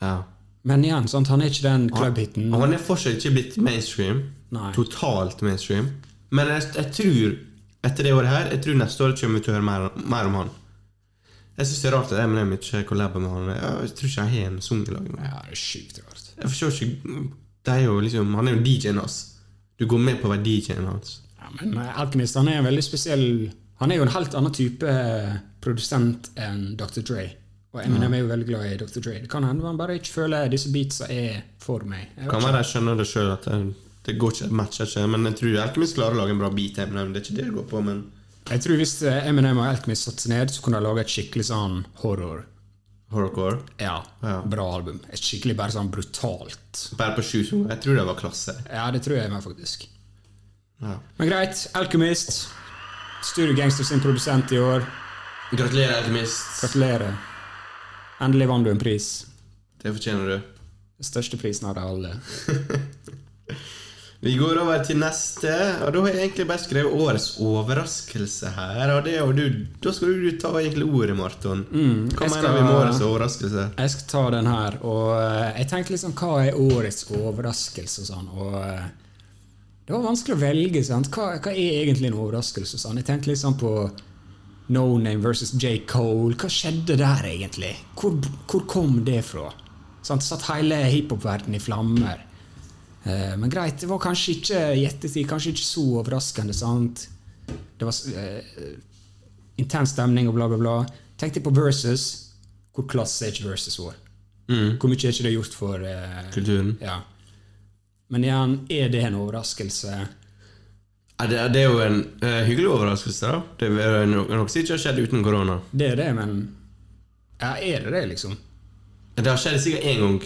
Speaker 1: Ja.
Speaker 2: Men igjen, sant? han er ikke den clubhiten.
Speaker 1: Og han er fortsatt ikke blitt mainstream.
Speaker 2: Nei.
Speaker 1: Totalt mainstream. Men jeg, jeg tror, etter det året her, jeg tror neste år kommer vi til å høre mer, mer om han. Jeg syns det er rart at Eminem ikke kollaber med han. Jeg, jeg tror ikke jeg har en sang i lag med han.
Speaker 2: Ja, det er sjukt rart.
Speaker 1: Jeg forstår ikke det er jo liksom, Han er jo DJ-en hans. Du går med på å være DJ-en hans.
Speaker 2: Ja, men eh, Alchemist han er en veldig spesiell Han er jo en helt annen type eh, produsent enn Dr. Dre. Og Eminem er jo veldig glad i Dr. Dre. Det kan hende han bare ikke føler disse beatsa er for meg. Jeg vet
Speaker 1: Kan
Speaker 2: ikke.
Speaker 1: være jeg skjønner det sjøl, at det, det går ikke, matcher ikke. Men jeg tror Alkemist klarer å lage en bra beat. Eminem. Det er ikke det det går på, men
Speaker 2: Jeg tror hvis eh, Eminem og Alchemist satte seg ned, så kunne de lage et skikkelig sånn horror.
Speaker 1: horrorcore.
Speaker 2: Ja,
Speaker 1: Ja.
Speaker 2: bra album. Et skikkelig bare sånn brutalt.
Speaker 1: Bare på sju sanger. Jeg tror det var klasse.
Speaker 2: Ja, det tror jeg meg faktisk.
Speaker 1: Ja.
Speaker 2: Men greit, Alchemist. Studio Gangster sin produsent i år.
Speaker 1: Gratulerer, Alkemist.
Speaker 2: Gratulerer. Endelig vant du en pris.
Speaker 1: Det fortjener du.
Speaker 2: Den største prisen av de alle.
Speaker 1: Vi går over til neste, og da har jeg egentlig bare skrevet årets overraskelse her. Og det er jo du, da skal jo du ta egentlig ordet, Marton. Hva
Speaker 2: jeg
Speaker 1: mener
Speaker 2: skal-
Speaker 1: vi med årets overraskelse?
Speaker 2: Jeg skal ta den her, og eh, jeg tenkte liksom hva er årets overraskelse og sånn, og eh, det var vanskelig å velge, sant? Hva, hva er egentlig en overraskelse og sånn? Jeg tenkte liksom på No Name versus J. Cole. Hva skjedde der egentlig? Hvor, hvor kom det fra? Sant? Satt hele hiphop-verdenen i flammer. Eh, Men greit, det var kanskje ikke i ettertid, kanskje ikke så overraskende, sant? Det var s- eh, intens stemning og bla, bla, bla. Tenk deg på Versus. Hvor klasse er ikke Versus vår? Hvor mye er ikke det gjort for eh,
Speaker 1: Kulturen.
Speaker 2: Ja. Men igjen, er det en overraskelse?
Speaker 1: Ja, det, det er jo en eh, hyggelig overraskelse, da. Det er jo no- noe som ikke har skjedd uten korona.
Speaker 2: Det er det, men Ja, er det det, liksom?
Speaker 1: Det har skjedd sikkert én gang.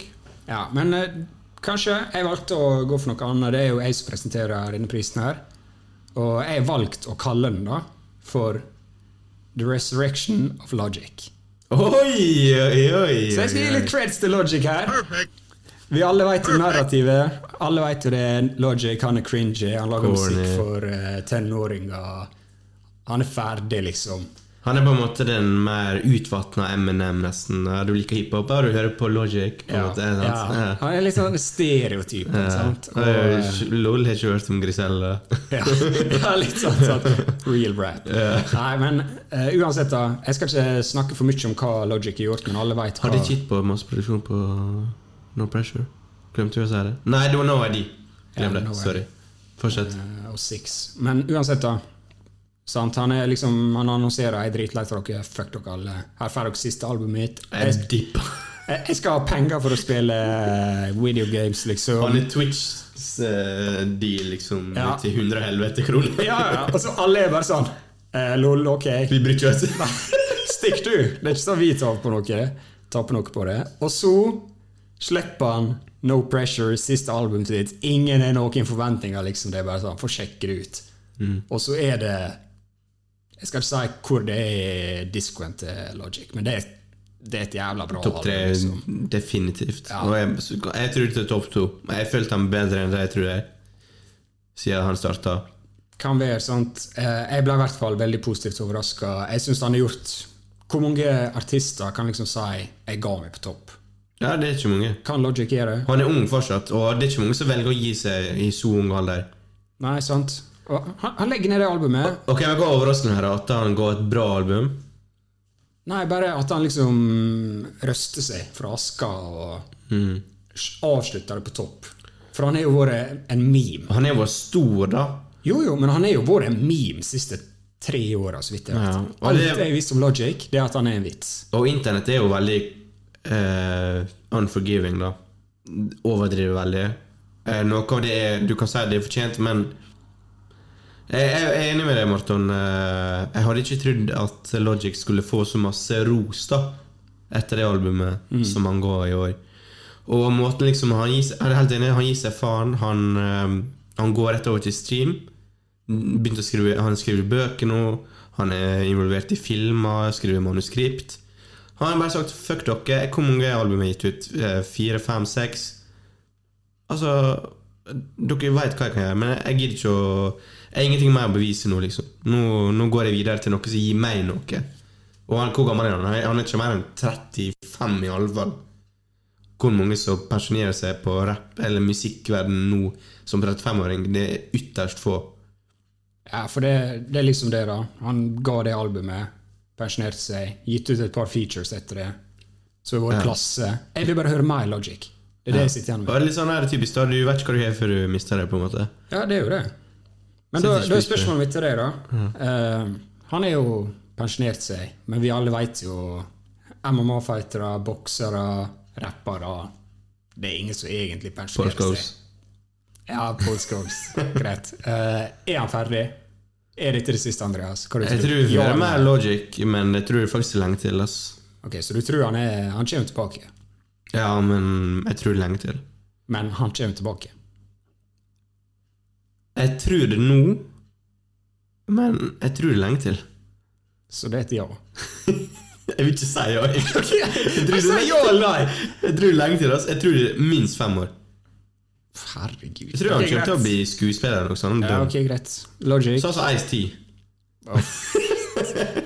Speaker 2: Ja, men eh, kanskje. Jeg valgte å gå for noe annet. Det er jo jeg som presenterer denne prisen her. Og jeg har valgt å kalle den da for The Resurrection of Logic.
Speaker 1: Oi, oi, oi!
Speaker 2: Så jeg skal gi litt creds til Logic her.
Speaker 4: Perfect.
Speaker 2: Vi alle vet jo narrativet. Alle vet jo det er Logic. Han er cringy. Han lager
Speaker 1: Corny.
Speaker 2: musikk for eh, tenåringer. Han er ferdig, liksom.
Speaker 1: Han er på en måte den mer utvatna Eminem, nesten. Ja, Du liker hiphop, og du hører på Logic. på en
Speaker 2: Ja.
Speaker 1: måte, sant?
Speaker 2: Ja.
Speaker 1: Ja.
Speaker 2: Han er litt sånn stereotypen, sant? Og, eh,
Speaker 1: Og, Lol har ikke hørt om Griselda.
Speaker 2: Ja, ja litt sånn, sånn real rap. Nei, men eh, uansett, da. Jeg skal ikke snakke for mye om hva Logic har gjort, men alle vet hva
Speaker 1: Har de ikke gitt på masse produksjon på eh, No Pressure? Glemte jeg å si det? Nei, det var No ID.
Speaker 2: Ja,
Speaker 1: Glem det.
Speaker 2: No ID.
Speaker 1: Sorry. Fortsett.
Speaker 2: eh, og Six. Men uansett, da. Sant? Han, er liksom, han annonserer 'Jeg er dritlei for dere. Fuck dere alle. Her får dere siste albumet mitt.'
Speaker 1: Jeg
Speaker 2: Jeg,
Speaker 1: dipper.
Speaker 2: jeg, jeg skal ha penger for å spille eh, video games,
Speaker 1: Han
Speaker 2: liksom.
Speaker 1: er Twitchs eh, deal, liksom,
Speaker 2: Ja.
Speaker 1: til 100 helvete kroner.
Speaker 2: Ja, ja. Og så alle er bare sånn eh, Lol, ok.
Speaker 1: Vi bryr ikke oss.
Speaker 2: Stikk du! Det er ikke sånn vi tar på noe. Tar på noe på det. Og så slipper han No Pressure, siste albumet sitt. Ingen er noen forventninger, liksom. Det er bare sånn, får sjekke det ut.
Speaker 1: Mm.
Speaker 2: Og så er det Jeg skal ikke si hvor det er discoen til Logic, men det er det er et jævla bra
Speaker 1: Topp tre,
Speaker 2: album, liksom.
Speaker 1: definitivt.
Speaker 2: Ja.
Speaker 1: Og jeg, jeg tror det er topp to. Men Jeg følte han bedre enn det jeg tror jeg, siden han starta.
Speaker 2: Kan være, sant. Eh, Jeg ble i hvert fall veldig positivt overraska. Jeg syns han har gjort Hvor mange artister kan liksom si 'jeg ga meg på topp'?
Speaker 1: Ja, det er ikke mange.
Speaker 2: Kan Logic gjøre det?
Speaker 1: Han er ung fortsatt, og det er ikke mange som velger å gi seg i så ung alder.
Speaker 2: Nei, sant? Og han, han legger ned det albumet.
Speaker 1: Ok, men Hva er overraskelsen her? da? At han ga et bra album?
Speaker 2: Nei, bare at han liksom røster seg fra aska og
Speaker 1: Mm.
Speaker 2: s- avslutter det på topp. For han har jo vært en meme.
Speaker 1: Han er jo stor, da.
Speaker 2: Jo, jo, men han har jo vært en meme de siste tre åra, så vidt jeg vet.
Speaker 1: Ja, og
Speaker 2: Alt
Speaker 1: det-
Speaker 2: jeg visste om Logic, det er at han er en vits.
Speaker 1: Og internett er jo veldig eh, unforgiving, da. Overdriver veldig. Eh, noe av det er Du kan si at det er fortjent, men jeg, jeg er enig med deg, Morten. Eh, jeg hadde ikke trodd at Logic skulle få så masse ros da etter det albumet som han ga i år. Og måten liksom Han gir seg, jeg er helt enig, han gir seg faen. Han, eh, han går rett over til stream. Begynte å skrive, han skriver bøker nå. Han er involvert i filmer, skriver manuskript. Han har bare sagt 'fuck dere'. Hvor mange album er gitt ut? Eh, Fire, fem, seks? Altså Dere veit hva jeg kan gjøre, men jeg gidder ikke å Jeg har ingenting mer å bevise nå, liksom. Nå, nå går jeg videre til noe som gir meg noe. Og han, hvor gammel er han? Han er ikke mer enn 35, i alle fall. Hvor mange som pensjonerer seg på rapp eller musikkverden nå som 35-åring, det er ytterst få.
Speaker 2: Ja, for det, det er liksom det, da. Han ga det albumet, pensjonerte seg, gitt ut et par features etter det. Så det var klasse. Jeg vil bare høre mer Logic. Det er det jeg sitter
Speaker 1: Og
Speaker 2: igjen med.
Speaker 1: det er litt sånn her typisk, da. Du vet ikke hva du har før du mister det, på en måte.
Speaker 2: Ja, det er jo det. Men da,
Speaker 1: Setter ikke
Speaker 2: da er
Speaker 1: pris på det.
Speaker 2: spørsmålet mitt til deg, da. Eh, han er jo pensjonert seg, men vi alle vet jo MMA-fightere, boksere, rappere Det er ingen som egentlig
Speaker 1: Paul
Speaker 2: pensjonerer
Speaker 1: Scholes.
Speaker 2: seg. Ja, Paul Scholes. Greit. Eh, er han ferdig? Er dette det siste, Andreas? Hva du
Speaker 1: Jeg tror vi
Speaker 2: Ja
Speaker 1: hører
Speaker 2: eller nei?
Speaker 1: mer Logic, men jeg tror faktisk det er lenge til. ass.
Speaker 2: Ok, Så du tror han, er, han kommer tilbake?
Speaker 1: Ja, men jeg tror det er lenge til.
Speaker 2: Men han kommer tilbake.
Speaker 1: Jeg tror det nå, men jeg tror det er lenge til.
Speaker 2: Så det er et ja.
Speaker 1: Jeg vil ikke si ja. Jeg tror
Speaker 2: Jeg
Speaker 1: det er ja eller nei. Jeg tror det er lenge til. ass. Jeg tror det er minst fem år.
Speaker 2: Herregud.
Speaker 1: Jeg tror han
Speaker 2: Ok,
Speaker 1: kommer til å
Speaker 2: greit.
Speaker 1: bli skuespiller eller noe sånt.
Speaker 2: ja, Ok, greit. Logic.
Speaker 1: Sånn som Ice-T.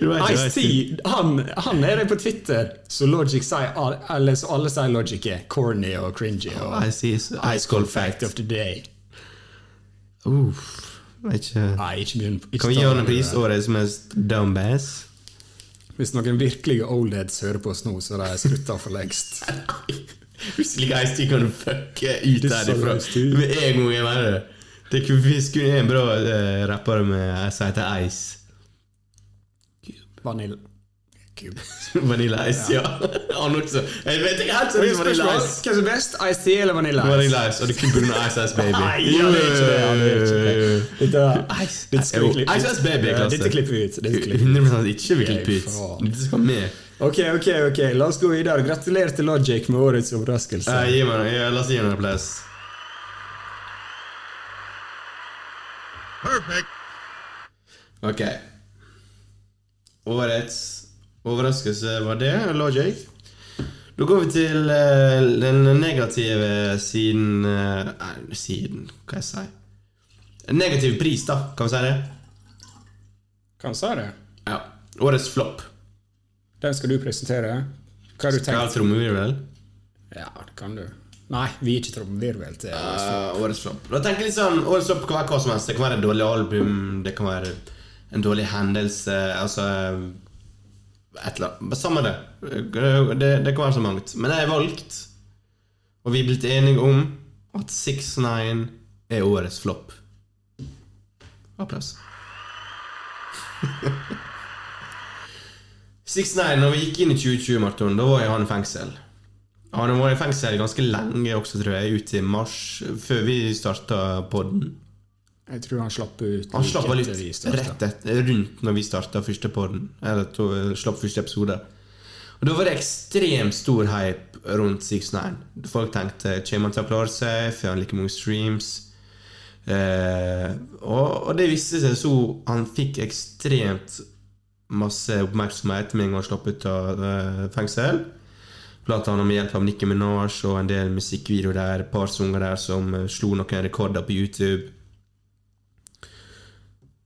Speaker 2: Ice-T, han, han er det på Twitter. Så Logic sier al- Eller så alle sier Logic er corny og cringy. Og
Speaker 1: Ice-T is Ice Cold Fact.
Speaker 2: of the day.
Speaker 1: Uff, jeg er ikke...
Speaker 2: Nei, ikke begynn. ikke
Speaker 1: Kan vi gi
Speaker 2: ta
Speaker 1: han en
Speaker 2: den
Speaker 1: pris
Speaker 2: der.
Speaker 1: årets mest dumbass?
Speaker 2: Hvis noen virkelige oldheads hører på oss nå, så har de slutta for lengst.
Speaker 1: Plutselig Ice-T kan du fucke ut
Speaker 2: Det sa
Speaker 1: derifra
Speaker 2: Ice-T.
Speaker 1: med en gang jeg mener det. Det kunne- vi skulle en bra eh, rapper med som heter Ice.
Speaker 2: Vanilla. Kub.
Speaker 1: Vanilla Ice, ja. Han også. Jeg vet ikke helt seriøst Vanilla
Speaker 2: Spørsmål, Hvem
Speaker 1: Ice.
Speaker 2: som er best? Ice-T eller Vanilla Ice?
Speaker 1: Vanilla Ice, og det er kun på grunn av Ice Ice Baby.
Speaker 2: Nei, ja, det er ikke det, ja, det er ikke det. Dette-
Speaker 1: Ice
Speaker 2: dette skal vi
Speaker 1: Jo,
Speaker 2: klippe ut.
Speaker 1: Ice Ice Baby er
Speaker 2: Ja,
Speaker 1: klasse.
Speaker 2: Dette klipper vi ut. Dette klipper vi ut.
Speaker 1: 100 Eh, ikke vil klippe ut.
Speaker 2: Ok, faen.
Speaker 1: Dette skal med.
Speaker 2: Ok, ok, ok. La oss gå videre. Gratulerer til Logic med årets overraskelse.
Speaker 1: Eh, gi meg, ja, la oss gi ham en applaus.
Speaker 4: Perfect.
Speaker 1: Ok. Årets overraskelse var det, Logic. Da går vi til eh, den negative siden eh, Nei, siden, hva jeg sier Negativ pris, da, kan vi si det?
Speaker 2: Kan si det.
Speaker 1: Ja. Årets flopp.
Speaker 2: Den skal du presentere. Hva har
Speaker 1: Hva
Speaker 2: du
Speaker 1: er
Speaker 2: tenkt?
Speaker 1: trommevirvel?
Speaker 2: Ja, det kan du. Nei, vi er ikke trommevirvel til
Speaker 1: Eh, årets flopp. Da tenker jeg litt sånn, Årets flopp kan være hva som helst. Det kan være et dårlig album, det kan være en dårlig hendelse Altså Et eller annet. Samme det. det. Det kan være så mangt. Men jeg har valgt, og vi er blitt enige om, at 6-9 er årets flopp. Applaus. 6-9, når vi gikk inn i 2020, Marton, da var jo han i fengsel. Ja, han var i fengsel ganske lenge også, tror jeg, ut til mars, før vi starta podden.
Speaker 2: Jeg tror han slapp ut
Speaker 1: Han slapp av
Speaker 2: like
Speaker 1: litt
Speaker 2: etter vi startet.
Speaker 1: rett etter, rundt når vi starta første podden, eller to, slapp første episode. Og Da var det ekstremt stor hype rundt 6ix9ine. Folk tenkte kommer han til å klare seg, får han eh, like mange streams? Eh, og, og det viste seg så han fikk ekstremt masse oppmerksomhet med en gang han slapp ut av eh, fengsel. Blant annet med hjelp av Nicki Minaj og en del musikkvideoer der, et par sanger der som eh, slo noen rekorder på YouTube.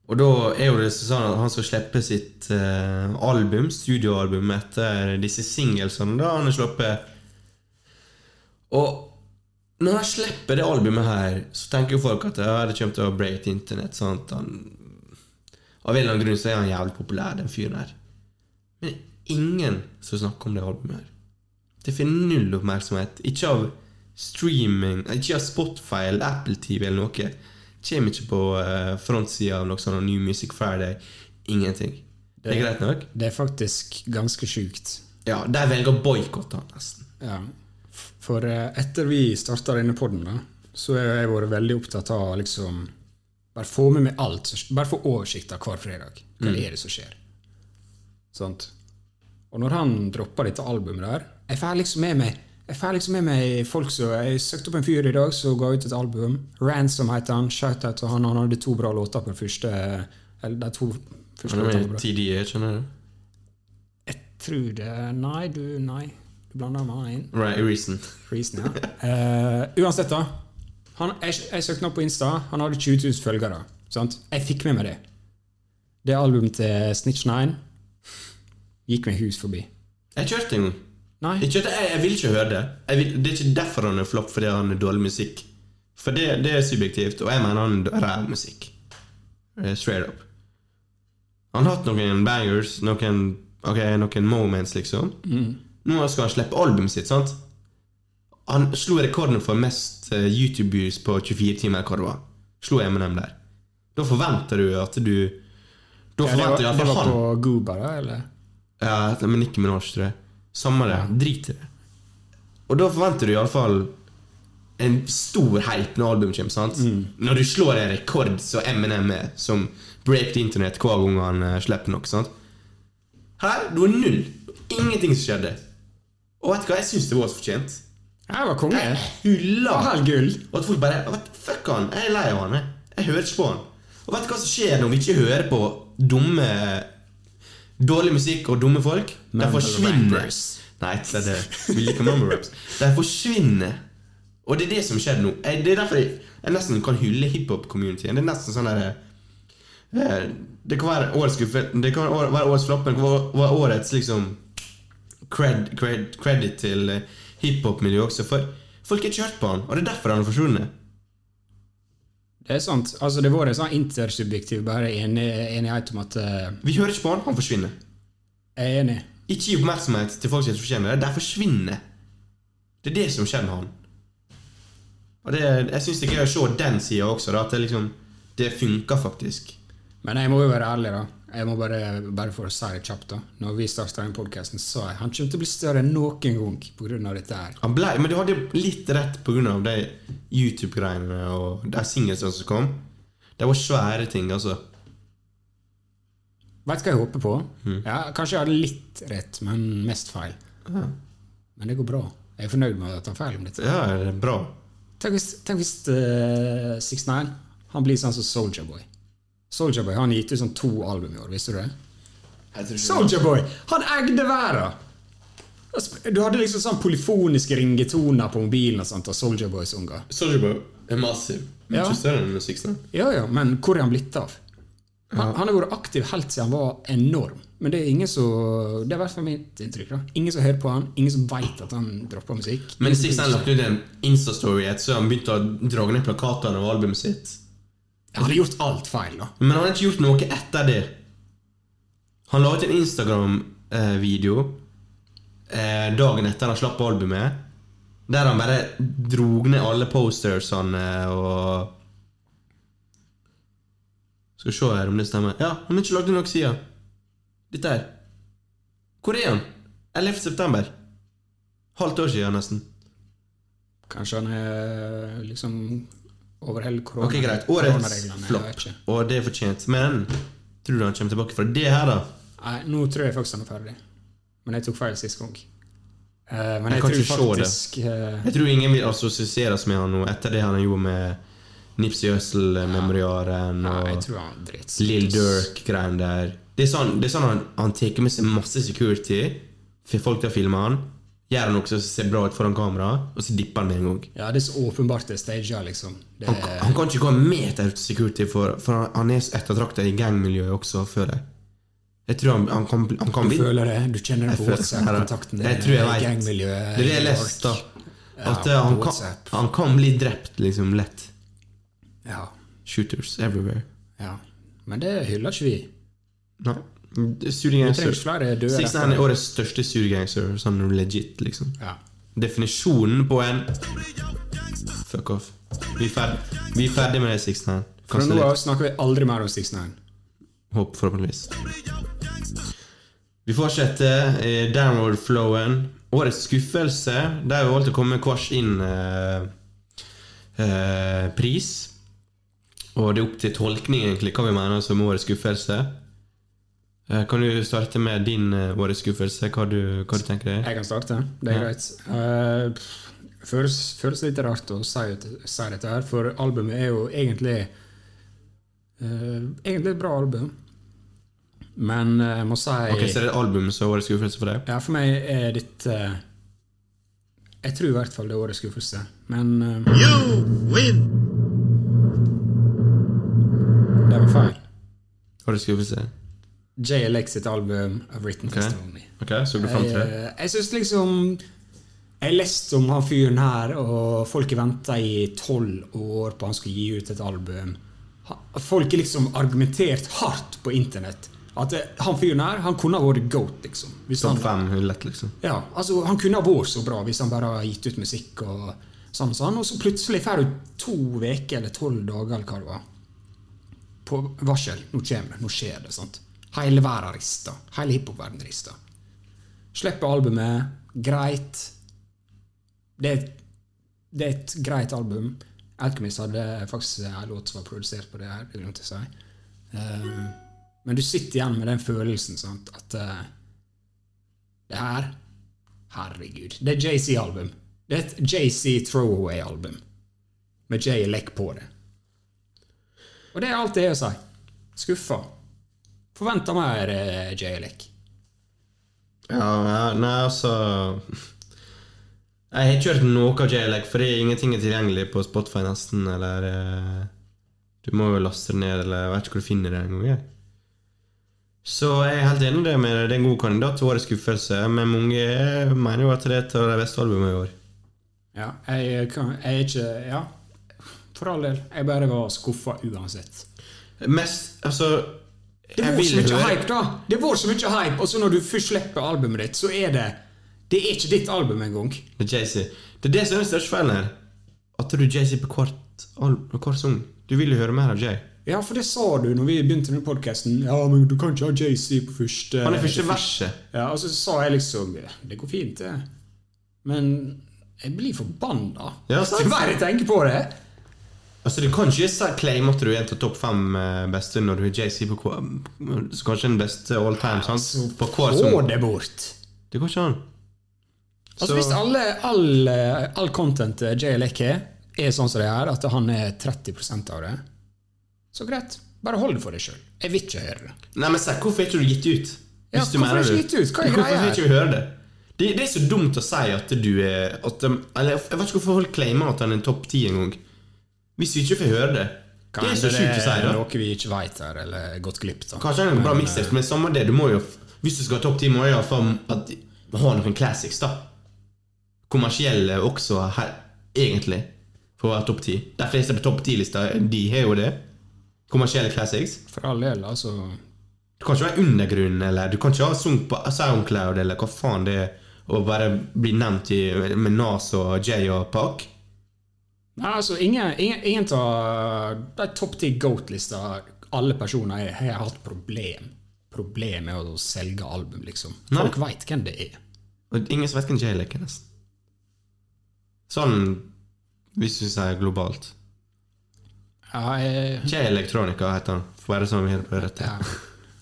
Speaker 1: Og da er jo det sånn at han skal slippe sitt eh, album, studioalbum, etter disse singlesene da han har sluppet. Og når han slipper det albumet her, så tenker jo folk at ja, det kommer til å breake til internett. sant? Han, av en eller annen grunn så er han jævlig populær, den fyren her. Men ingen som snakker om det albumet her. Det får null oppmerksomhet. Ikke av streaming, eh, ikke av Spotify eller Apple TV eller noe. Kjem ikke på uh, frontsida av noe sånn New Music Friday. Ingenting. Det er greit nok?
Speaker 2: Det er faktisk ganske sjukt.
Speaker 1: Ja, de velger å boikotte han, nesten.
Speaker 2: Ja. For eh, etter vi starta denne podden, da, så har jeg vært veldig opptatt av å liksom Bare få med meg alt. som- Bare få oversikta hver fredag. Hva er det som skjer? Sant? Og når han droppa dette albumet der Jeg får liksom med meg jeg får liksom med meg folk som Jeg søkte opp en fyr i dag som ga ut et album. Ransom heter han. Shout-out til han. Han hadde to bra låter på den første Eller de to første
Speaker 1: Han er
Speaker 2: låtene. var
Speaker 1: med
Speaker 2: bra.
Speaker 1: TDE, E, skjønner du?
Speaker 2: Jeg tror det Nei, du, nei. Du blander meg inn.
Speaker 1: Right, reason.
Speaker 2: Reason, ja. Eh, uansett, da. Han, jeg, jeg søkte han opp på Insta. Han hadde 20 000 følgere. Sant? Jeg fikk med meg det. Det albumet til Snitch9 gikk meg hus forbi.
Speaker 1: Jeg kjørte en gang.
Speaker 2: Nei.
Speaker 1: Jeg, kjørte, jeg, jeg vil ikke høre det. Jeg vil, det er ikke derfor han er flopp, fordi han er dårlig musikk. For det, det er subjektivt, og jeg mener han er ræv musikk. Eh, Straight up. Han har hatt noen bangers, noen, ok, noen moments, liksom.
Speaker 2: Mm.
Speaker 1: Nå skal han slippe albumet sitt, sant? Han slo rekorden for mest eh, YouTube-views på 24 timer, eller hva det var. Slo Eminem der. Da forventer du at du Da
Speaker 2: Ja, det var,
Speaker 1: forventer
Speaker 2: det
Speaker 1: iallfall
Speaker 2: var
Speaker 1: han
Speaker 2: på Gooba, da? Eller?
Speaker 1: ja, et eller annet med Nicki Minaj, tror jeg. Samme det. Drit i det. Og da forventer du iallfall en stor hype når albumet kommer. sant? Når du slår en rekord som Eminem er, som break the internet hver gang han eh, slipper noe. sant? Her du har null. Ingenting som skjedde. Og vet du hva, jeg syns det var så fortjent.
Speaker 2: Jeg var konge.
Speaker 1: Jeg hylla
Speaker 2: Det var gull.
Speaker 1: og at folk bare vet, du, Fuck han, jeg er lei av han. jeg. Jeg hører ikke på han. Og vet du hva som skjer når vi ikke hører på dumme Dårlig musikk og dumme folk? De
Speaker 2: Mumble
Speaker 1: forsvinner.
Speaker 2: rappers.
Speaker 1: Nei, det er det. Vi liker mumble raps. De forsvinner. Og det er det som skjer nå. Jeg, det er derfor jeg, jeg nesten kan hylle hiphop-communityen. Det er nesten sånn der eh, Det kan være årets skuffe, Det kan være år- være årets flopp, men det kan være- være årets liksom cred, cred, credit til eh, hiphop-miljøet også, for folk har ikke hørt på han, og det er derfor han har forsvunnet.
Speaker 2: Det er sant. Altså, det var en sånn intersubjektiv bare enig, enighet om at eh,
Speaker 1: Vi hører ikke på han, han forsvinner.
Speaker 2: Jeg er enig.
Speaker 1: Ikke gi oppmerksomhet til folk som ikke fortjener det. De forsvinner. Det er det som skjer med han. Og det, jeg syns det er gøy å se den sida også, da, at det liksom Det funker faktisk.
Speaker 2: Men jeg må jo være ærlig, da. Jeg må bare, bare for å si det kjapt, da. Når vi starta den podkasten, sa jeg han kommer til å bli større enn noen gang pga. dette her.
Speaker 1: Han ble, men du hadde litt rett pga. de YouTube-greiene og de singlene som kom. Det var svære ting, altså.
Speaker 2: Vet du hva jeg håper på? Ja, kanskje jeg hadde litt rett, men mest feil. Men det går bra. Jeg er fornøyd med å ta feil om dette.
Speaker 1: Ja, det er bra.
Speaker 2: Tenk hvis, tenk hvis eh, 6ix9ine han blir sånn som Soldier Boy. Soldier Boy han har gitt ut sånn to album i år, visste du det? Soldier Boy! Han eide verden! Altså, Du hadde liksom sånn polyfoniske ringetoner på mobilen og sånt, og Soldier Boy-sanger.
Speaker 1: Soldier Boy er massiv.
Speaker 2: Ja.
Speaker 1: Ikke større enn Six Nine.
Speaker 2: Ja, ja, men hvor er han blitt av? Han, han har vært aktiv helt siden han var enorm. Men det er ingen som Det er i hvert fall mitt inntrykk. da. Ingen som hører på han, ingen som veit at han dropper musikk.
Speaker 1: Men Six Nine lagt ut en Insta-story etter så han begynte å dra ned plakatene av albumet sitt.
Speaker 2: Han har gjort alt feil, da.
Speaker 1: Men han har ikke gjort noe etter det. Han la ut en Instagram-video eh, dagen etter han slapp albumet, der han bare drog ned alle postersene og Skal vi se her om det stemmer. Ja, han har ikke lagd noe siden. Dette her. Hvor er han? 11. september. Halvt år siden, nesten.
Speaker 2: Kanskje han er liksom overholder korona.
Speaker 1: Ok, greit. Årets
Speaker 2: koronareglene, jeg vet
Speaker 1: flopp.
Speaker 2: ikke.
Speaker 1: Og det er fortjent. Men tror du han kommer tilbake fra det her, da?
Speaker 2: Nei, nå tror jeg faktisk han er ferdig. Men jeg tok feil sist gang. Eh,
Speaker 1: Jeg
Speaker 2: men jeg,
Speaker 1: kan
Speaker 2: tror
Speaker 1: ikke se det.
Speaker 2: faktisk eh,
Speaker 1: Jeg tror ingen vil assosieres med han nå etter det han gjorde med Nipsey Hussle-memoriaren
Speaker 2: Nei, jeg
Speaker 1: og
Speaker 2: tror han er dritt.
Speaker 1: Lill Durk-greien der. Det er sånn, det er sånn han, han tar med seg masse security, får folk til å filme han, gjør han også så ser bra ut foran kamera, og så dipper han med en gang.
Speaker 2: Ja, det er så åpenbart det er staged, liksom. Det
Speaker 1: Han,
Speaker 2: er,
Speaker 1: han kan ikke gå en meter uten security, for, for han- han er så ettertraktet i gangmiljøet også, føler jeg. Jeg tror han, han kan, bli- han kan
Speaker 2: du
Speaker 1: bli
Speaker 2: føler det, du kjenner det
Speaker 1: Jeg
Speaker 2: på
Speaker 1: føler-
Speaker 2: WhatsApp-kontakten
Speaker 1: Jeg tror jeg vet.
Speaker 2: gangmiljøet
Speaker 1: Det er det jeg
Speaker 2: i New York.
Speaker 1: leste. At
Speaker 2: Ja,
Speaker 1: eh, han,
Speaker 2: på
Speaker 1: kan,
Speaker 2: WhatsApp.
Speaker 1: han kan bli drept, liksom, lett.
Speaker 2: Ja,
Speaker 1: Shooters everywhere.
Speaker 2: ja. Men det hyller ikke vi.
Speaker 1: Nei.
Speaker 2: Vi trenger
Speaker 1: Surgangster.
Speaker 2: ikke flere døde
Speaker 1: Sixten er årets største surgangster, sånn legit, liksom.
Speaker 2: Ja.
Speaker 1: Definisjonen på en Fuck off. Vi er ferdig, vi er ferdig med det, Sixten.
Speaker 2: Fra nå av
Speaker 1: Kansellert.
Speaker 2: snakker vi aldri mer om 69.
Speaker 1: Håper forhåpentligvis. Vi fortsetter eh, downward flowen. Årets skuffelse. Der har vi valgt å komme med hver sin eh, eh, pris. Og det er opp til tolkning egentlig hva vi mener som årets skuffelse. Eh, kan du starte med din eh, årets skuffelse? Hva du, hva du tenker deg?
Speaker 2: Jeg kan starte. Det er
Speaker 1: Ja.
Speaker 2: greit. Eh, pff, føles, føles litt rart å si, si dette her, for albumet er jo egentlig eh, Egentlig et bra album, men eh, jeg må si
Speaker 1: Ok, Så det er albumet som er årets skuffelse for deg?
Speaker 2: Ja, for meg er dette Jeg tror i hvert fall det er årets skuffelse, men eh,
Speaker 4: You win.
Speaker 2: det
Speaker 1: Mhm.
Speaker 2: var feil.
Speaker 1: Årets skuffelse?
Speaker 2: JLX sitt album 'I've Written
Speaker 1: Ok.
Speaker 2: okay. Testimony'.
Speaker 1: Ok, så du fram til det?
Speaker 2: Eh, Jeg syns liksom Jeg leste om han fyren her, og folk venta i tolv år på han skulle gi ut et album. Ha- Folk har liksom argumentert hardt på internett. At eh, han fyren her, han kunne ha vært goat, liksom. Hvis
Speaker 1: Topp
Speaker 2: han-
Speaker 1: fem, lett, liksom.
Speaker 2: Ja, altså Han kunne ha vært så bra hvis han bare har gitt ut musikk og sånn. sånn. Og så plutselig får du to uker eller tolv dager eller hva det var, på varsel. Nå kommer det. Nå skjer det. sant? Hele verden rister. Hele hiphop-verden rister. Slipper albumet. Greit. Det er, det er et greit album. Alchemist hadde faktisk en låt som var produsert på det her. Det glemte jeg å si. Eh, men du sitter igjen med den følelsen sant? at eh, det her Herregud. Det er JC-album. Det er et JC throwaway-album. Med J Leck på det. Og det er alt det er å si. Skuffa. Forventa mer eh, J Leck.
Speaker 1: Ja, ja, nei, altså Jeg har ikke hørt noe av JLEC, fordi ingenting er tilgjengelig på Spotify nesten, eller eh, Du må jo laste det ned, eller jeg vet ikke hvor du finner det engang. jeg. Så jeg er helt enig i det med deg. Det er en god kandidat til årets skuffelse, men mange mener jo at det er et av de beste albumene i år.
Speaker 2: Ja, jeg, eh, kan, jeg er ikke Ja, for all del. Jeg bare var skuffa uansett.
Speaker 1: Mest Altså
Speaker 2: Det
Speaker 1: jeg
Speaker 2: var så
Speaker 1: vil
Speaker 2: mye
Speaker 1: høre-
Speaker 2: hype, da! Det var så mye hype, og så når du først slipper albumet ditt, så er det Det er ikke ditt album engang.
Speaker 1: Med Jay-Z. Det er det som er den største feilen her. At du Jay-Z på hvert al- på hver sang. Du vil jo høre mer av Jay.
Speaker 2: Ja, for det sa du når vi begynte med podkasten. Ja, men du kan ikke ha JC på første
Speaker 1: Han er første verset.
Speaker 2: Ja, og så sa jeg liksom Det går fint, det. Men jeg blir forbanna
Speaker 1: Ja, sant.
Speaker 2: hver jeg tenker på det.
Speaker 1: Altså, du kan ikke si- claim at du er en av topp fem eh, beste når du er Jay-Z på hver så Kanskje den beste all time, sant? På hver
Speaker 2: Få
Speaker 1: sang.
Speaker 2: det bort.
Speaker 1: Det går ikke an.
Speaker 2: Altså
Speaker 1: Så-
Speaker 2: Hvis alle, all, eh, all content eh, JLK er sånn som det er, at han er 30 av det, så greit. Bare hold det for deg sjøl. Jeg vil ikke høre det.
Speaker 1: Nei, men se, hvorfor er ikke du gitt ut?
Speaker 2: Ja,
Speaker 1: Hvis du
Speaker 2: hvorfor
Speaker 1: mener
Speaker 2: er ikke
Speaker 1: det.
Speaker 2: gitt ut? Hva er
Speaker 1: Hvorfor
Speaker 2: greia
Speaker 1: får
Speaker 2: her?
Speaker 1: ikke vi høre det? det? Det er så dumt å si at du er at, de- Eller jeg vet ikke hvorfor folk claimer at han er topp ti engang. Hvis vi ikke får høre det. Det er så sjukt å si,
Speaker 2: er
Speaker 1: da.
Speaker 2: noe vi ikke veit her, eller gått glipp av.
Speaker 1: Kanskje en bra mixtape, men samme det, du må jo Hvis du skal ha topp 10, må du iallfall ha noen classics, da. Kommersielle også, her, egentlig, for å være topp 10. De fleste på topp 10-lista, de har jo det. Kommersielle classics.
Speaker 2: For all del, altså.
Speaker 1: Du kan ikke være undergrunn, eller du kan ikke ha sunget på Soundcloud, eller hva faen det er, og bare bli nevnt i, med Nas og Jay og Park.
Speaker 2: Nei, altså, ingen, ingen, ingen av de topp ti goat-lista alle personer jeg har hatt problem Problem med å selge album, liksom. Folk veit hvem det er.
Speaker 1: Og ingen som vet hvem Jay leker, nesten. Sånn hvis du sier globalt.
Speaker 2: Ja, jeg,
Speaker 1: Jay Electronica heter han, for å være sånn vi holder på rett her.
Speaker 2: ja.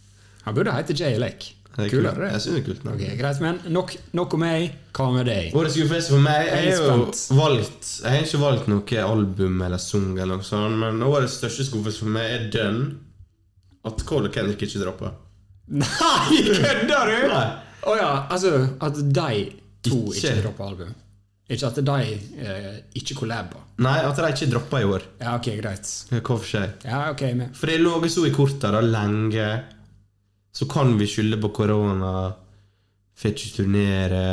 Speaker 2: Han burde hete Jay Lake.
Speaker 1: Det er
Speaker 2: Kulere,
Speaker 1: kult.
Speaker 2: det.
Speaker 1: Jeg synes det er kult navn.
Speaker 2: Ok, Greit, men nok, nok om meg. Hva med deg?
Speaker 1: Årets gullfest for meg
Speaker 2: Jeg er
Speaker 1: Jeg har jo
Speaker 2: spent.
Speaker 1: valgt Jeg har ikke valgt noe album eller sang eller noe sånt, men årets største skuffelse for meg er den at Cole og Kendrick ikke drar på.
Speaker 2: Nei, kødder du?! Å
Speaker 1: Nei.
Speaker 2: ja, altså At de to ikke,
Speaker 1: Ikke.
Speaker 2: dropper album. Ikke at de eh, ikke collaber.
Speaker 1: Nei, at de ikke droppa i år.
Speaker 2: Ja, ok, greit.
Speaker 1: Hva for seg?
Speaker 2: Ja, ok, men
Speaker 1: For det lå jo så i korta da lenge. Så kan vi skylde på korona, får ikke turnere,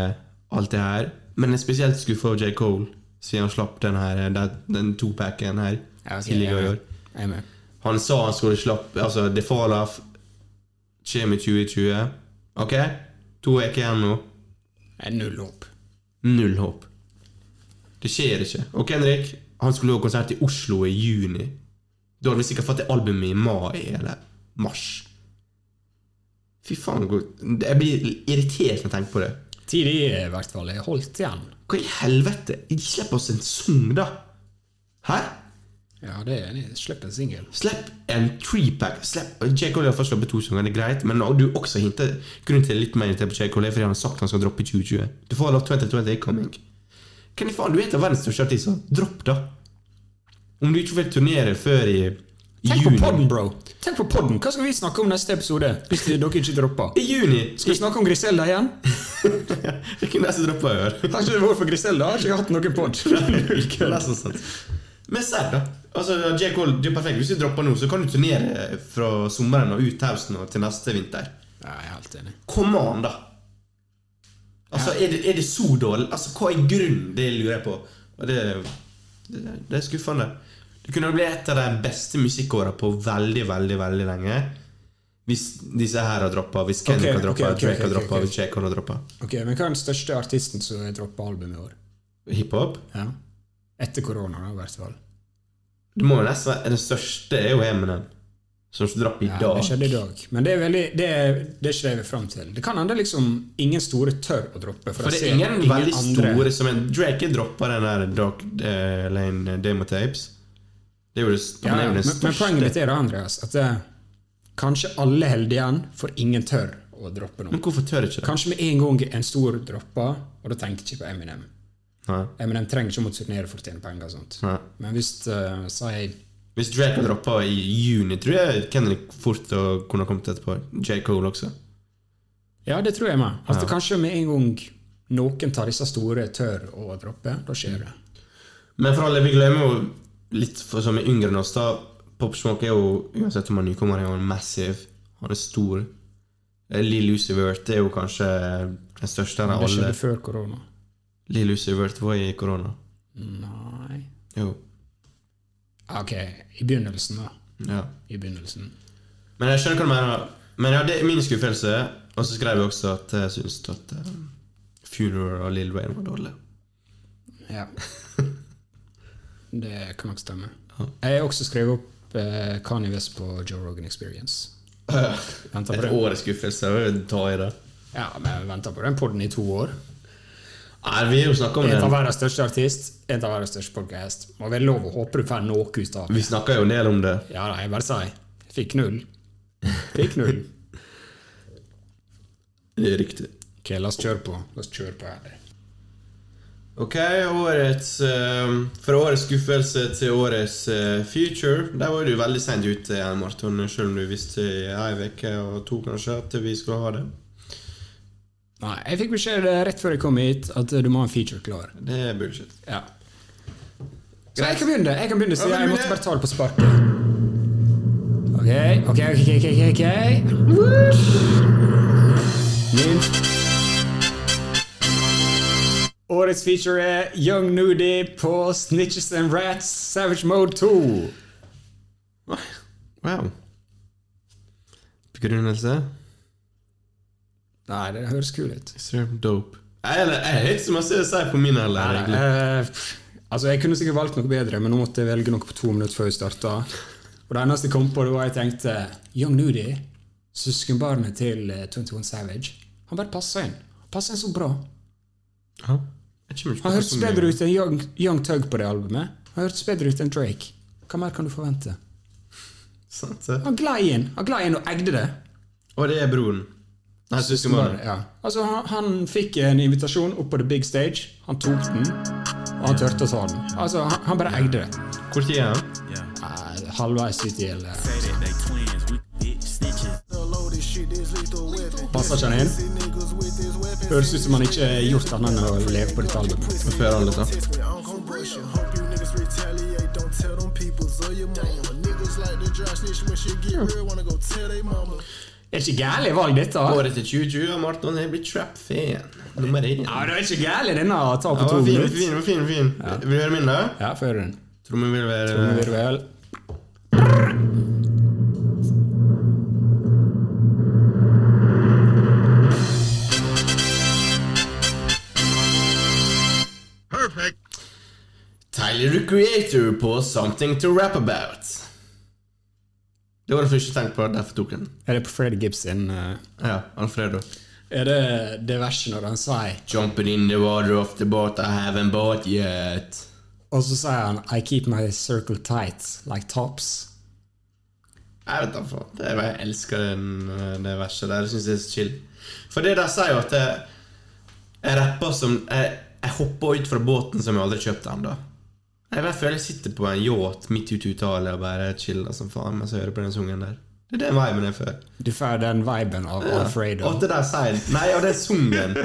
Speaker 1: alt det her. Men jeg er spesielt skuffa over J. Cole, siden han slapp den her den- den topacken her
Speaker 2: Ja, ok,
Speaker 1: tidligere i
Speaker 2: ja.
Speaker 1: år.
Speaker 2: jeg er med.
Speaker 1: Han sa han skulle slappe Altså, The Fall Off kommer i 2020. Ok? To uker igjen nå.
Speaker 2: Jeg er null opp.
Speaker 1: Null håp. Det skjer ikke. Og Henrik, han skulle ha konsert i Oslo i juni. Da hadde vi sikkert fått det albumet i mai eller mars. Fy faen, god- jeg blir irritert når jeg tenker på det.
Speaker 2: Tidlig i hvert fall. Jeg holdt igjen.
Speaker 1: Hva i helvete? Slipp oss en sang, da! Hæ?
Speaker 2: Ja, det er enig. Slipp en singel.
Speaker 1: Slipp en treepack. Slipp J. Cole har først sluppet to sanger, det er greit, men du har også hintet grunnen til litt mer irritert på J. Cole, er fordi han har sagt han skal droppe i 2020. Du får lov 2020 er coming. Hvem i faen, du er en av verdens største artister. Dropp, da. Om du ikke vil turnere før i i
Speaker 2: Tenk på
Speaker 1: juni
Speaker 2: podden, bro! Tenk på podden. Hva skal vi snakke om neste episode? Hvis dere ikke dropper.
Speaker 1: I juni!
Speaker 2: Skal vi snakke om Griselda igjen?
Speaker 1: Jeg kunne nesten droppa i år.
Speaker 2: Har ikke det vært for Griselda? Har ikke jeg hatt noen
Speaker 1: Det er
Speaker 2: pod?
Speaker 1: nesten sant. Men serr, da. Altså, J. Cole, det er perfekt. Hvis du dropper nå, så kan du turnere fra sommeren og ut høsten og til neste vinter.
Speaker 2: Ja, jeg er helt enig.
Speaker 1: Come on, da! Altså, er det, er det så dårlig? Altså, Hva er grunnen? Det lurer jeg på. Og det, det, det er skuffende. Det kunne bli et av de beste musikkåra på veldig, veldig veldig lenge. Hvis disse her har droppa, hvis Kendrick
Speaker 2: Ok,
Speaker 1: har droppa,
Speaker 2: ok, ok,
Speaker 1: Drake
Speaker 2: ok,
Speaker 1: har droppa,
Speaker 2: ok.
Speaker 1: hvis Jake har droppa.
Speaker 2: Ok, Men hva er den største artisten som har droppa album i år?
Speaker 1: Hiphop?
Speaker 2: Ja. Etter korona, da, i hvert fall.
Speaker 1: Det må jo nesten være Den største er jo Eminem, som dropp i
Speaker 2: Ja,
Speaker 1: dag.
Speaker 2: det skjedde i dag. Men det er veldig, det er det er ikke det vi er fram til. Det kan hende liksom ingen store tør å droppe.
Speaker 1: For
Speaker 2: jeg
Speaker 1: det
Speaker 2: ser
Speaker 1: er ingen, veldig
Speaker 2: andre-
Speaker 1: store som er Drake droppa den der Dark eh, Lane Demotapes. Det er jo det,
Speaker 2: Ja,
Speaker 1: han er jo
Speaker 2: men,
Speaker 1: den
Speaker 2: men
Speaker 1: største.
Speaker 2: poenget mitt er da, Andreas, at eh, kanskje alle holder igjen, for ingen tør å droppe noe.
Speaker 1: Men hvorfor tør ikke det?
Speaker 2: Kanskje med en gang en stor dropper, og da tenker jeg ikke på Eminem.
Speaker 1: Nei.
Speaker 2: Eminem trenger ikke å måtte turnere for å tjene penger og sånt.
Speaker 1: Nei.
Speaker 2: Men hvis uh, sier
Speaker 1: Hvis Drake hadde droppa i juni, tror jeg Kendrick fort å kunne ha kommet etterpå. J. Cole også.
Speaker 2: Ja, det tror jeg meg. At kanskje med en gang noen tar disse store tør å droppe, da skjer det.
Speaker 1: Men for alle, vi glemmer jo litt for, som er yngre enn oss, da. Pop Smoke er jo, uansett om han nykommer, er jo massive. Han er stor. Lill Uzi Vert er jo kanskje den største av
Speaker 2: Det
Speaker 1: alle.
Speaker 2: skjedde før korona.
Speaker 1: Lill Uzi Vert var i korona.
Speaker 2: Nei
Speaker 1: Jo.
Speaker 2: Ok, i begynnelsen, da.
Speaker 1: Ja.
Speaker 2: I begynnelsen.
Speaker 1: Men jeg skjønner hva du mener. Men ja, det er min skuffelse. Og så skrev jeg også at jeg syns at uh, Funeral og Lill Wayne var dårlige.
Speaker 2: Ja. Det kan nok stemme. Jeg har også skrevet opp eh, Kanye West på Joe Rogan Experience. Venter på
Speaker 1: Et
Speaker 2: det.
Speaker 1: årets skuffelse. Jeg vil ta i det.
Speaker 2: Ja, men jeg venter på den podden i to år.
Speaker 1: Nei, vi har jo snakka om
Speaker 2: En av
Speaker 1: det.
Speaker 2: verdens største artist, en av verdens største podcast. Må vel lov å håpe du får noe ut av det.
Speaker 1: Vi snakka jo en del om det.
Speaker 2: Ja, nei, jeg bare sier. Fikk null. Fikk null.
Speaker 1: Det er riktig.
Speaker 2: Ok, la oss kjøre på. La oss kjøre på her.
Speaker 1: Ok, årets eh, Fra årets skuffelse til årets eh, future. Der var du veldig seint ute, eh, Jan Marton, selv om du visste i ei uke og to kanskje at vi skulle ha det.
Speaker 2: Nei, jeg fikk beskjed eh, rett før jeg kom hit at eh, du må ha en feature klar.
Speaker 1: Det er bullshit.
Speaker 2: Ja. Så jeg kan begynne. Jeg kan begynne, så
Speaker 1: Ja, men begynn,
Speaker 2: jeg måtte
Speaker 1: ja.
Speaker 2: bare ta det på sparket. Ok, ok, ok, ok, ok, ok. Min. Årets feature er Young Nudie på Snitches and Rats Savage Mode 2.
Speaker 1: Wow. Begrunnelse?
Speaker 2: Nei, det høres kul ut.
Speaker 1: Sir, dope. Jeg, eller, jeg har ikke så mye å si på min heller,
Speaker 2: Nei,
Speaker 1: egentlig.
Speaker 2: eh, pff, altså Jeg kunne sikkert valgt noe bedre, men nå måtte jeg velge noe på to minutter før vi starta. Og det eneste jeg kom på, det var jeg tenkte Young Nudie, søskenbarnet til eh, 21 Savage, han bare passa inn. Passa inn så bra.
Speaker 1: Ja. Jeg kommer ikke på
Speaker 2: Han
Speaker 1: hva
Speaker 2: hørtes
Speaker 1: som er-
Speaker 2: bedre ut enn Young, young Tug på det albumet. Han hørtes bedre ut enn Drake. Hva mer kan du forvente?
Speaker 1: Sant, eh? det.
Speaker 2: Han glei inn Han glei inn og egde det.
Speaker 1: Og det er broren. Nei, Sysken var det.
Speaker 2: Ja. Altså, han, han fikk en invitasjon opp på the big stage. Han tok den, og han turte å ta den. Altså, han, han bare eide det.
Speaker 1: Hvor tid er han?
Speaker 5: Yeah.
Speaker 2: Nei, Halvveis ut i hele
Speaker 5: Say that they twins, we bitch snitches.
Speaker 2: Passer ikke han inn? Høres ut som han ikke har gjort annet enn å leve på dette albumet.
Speaker 1: Hva fører han liksom. litt, da?
Speaker 2: Det er ikke gærent valg, dette.
Speaker 1: Året til 2020 har Marton blitt trap-fan. Nummer én.
Speaker 2: Ja, det er ikke gærent, denne ta
Speaker 1: Ja,
Speaker 2: på to
Speaker 1: fin, fin, fin,
Speaker 2: minutter.
Speaker 1: fin, fin. Vil du høre min, da?
Speaker 2: Ja, få høre den.
Speaker 1: Trommen vil være
Speaker 2: Trommevirvel.
Speaker 4: Perfect.
Speaker 1: Tyler the Creator på Something to Rap About. Det var det første jeg tenkte på, derfor tok jeg den.
Speaker 2: Er det på Fred Gibson? eh,
Speaker 1: Ja, Alfredo.
Speaker 2: Er det det verset når han sier
Speaker 1: Jumping in the water off the boat I haven't bought yet.
Speaker 2: Og så sier han I keep my circle tight like tops.
Speaker 1: Jeg vet da faen. Det er bare- Jeg elsker den, eh, det verset der. Det syns jeg er så chill. For det der sier jo at jeg, jeg rapper som jeg, jeg hopper ut fra båten som jeg aldri kjøpte ennå. Jeg bare føler jeg sitter på en yacht midt ute i Italia og bare chiller som faen mens jeg hører på den sangen der. Det er den viben jeg føler.
Speaker 2: Du får den viben av
Speaker 1: Og
Speaker 2: Alfredo.
Speaker 1: at det der sier Nei, og det er sangen.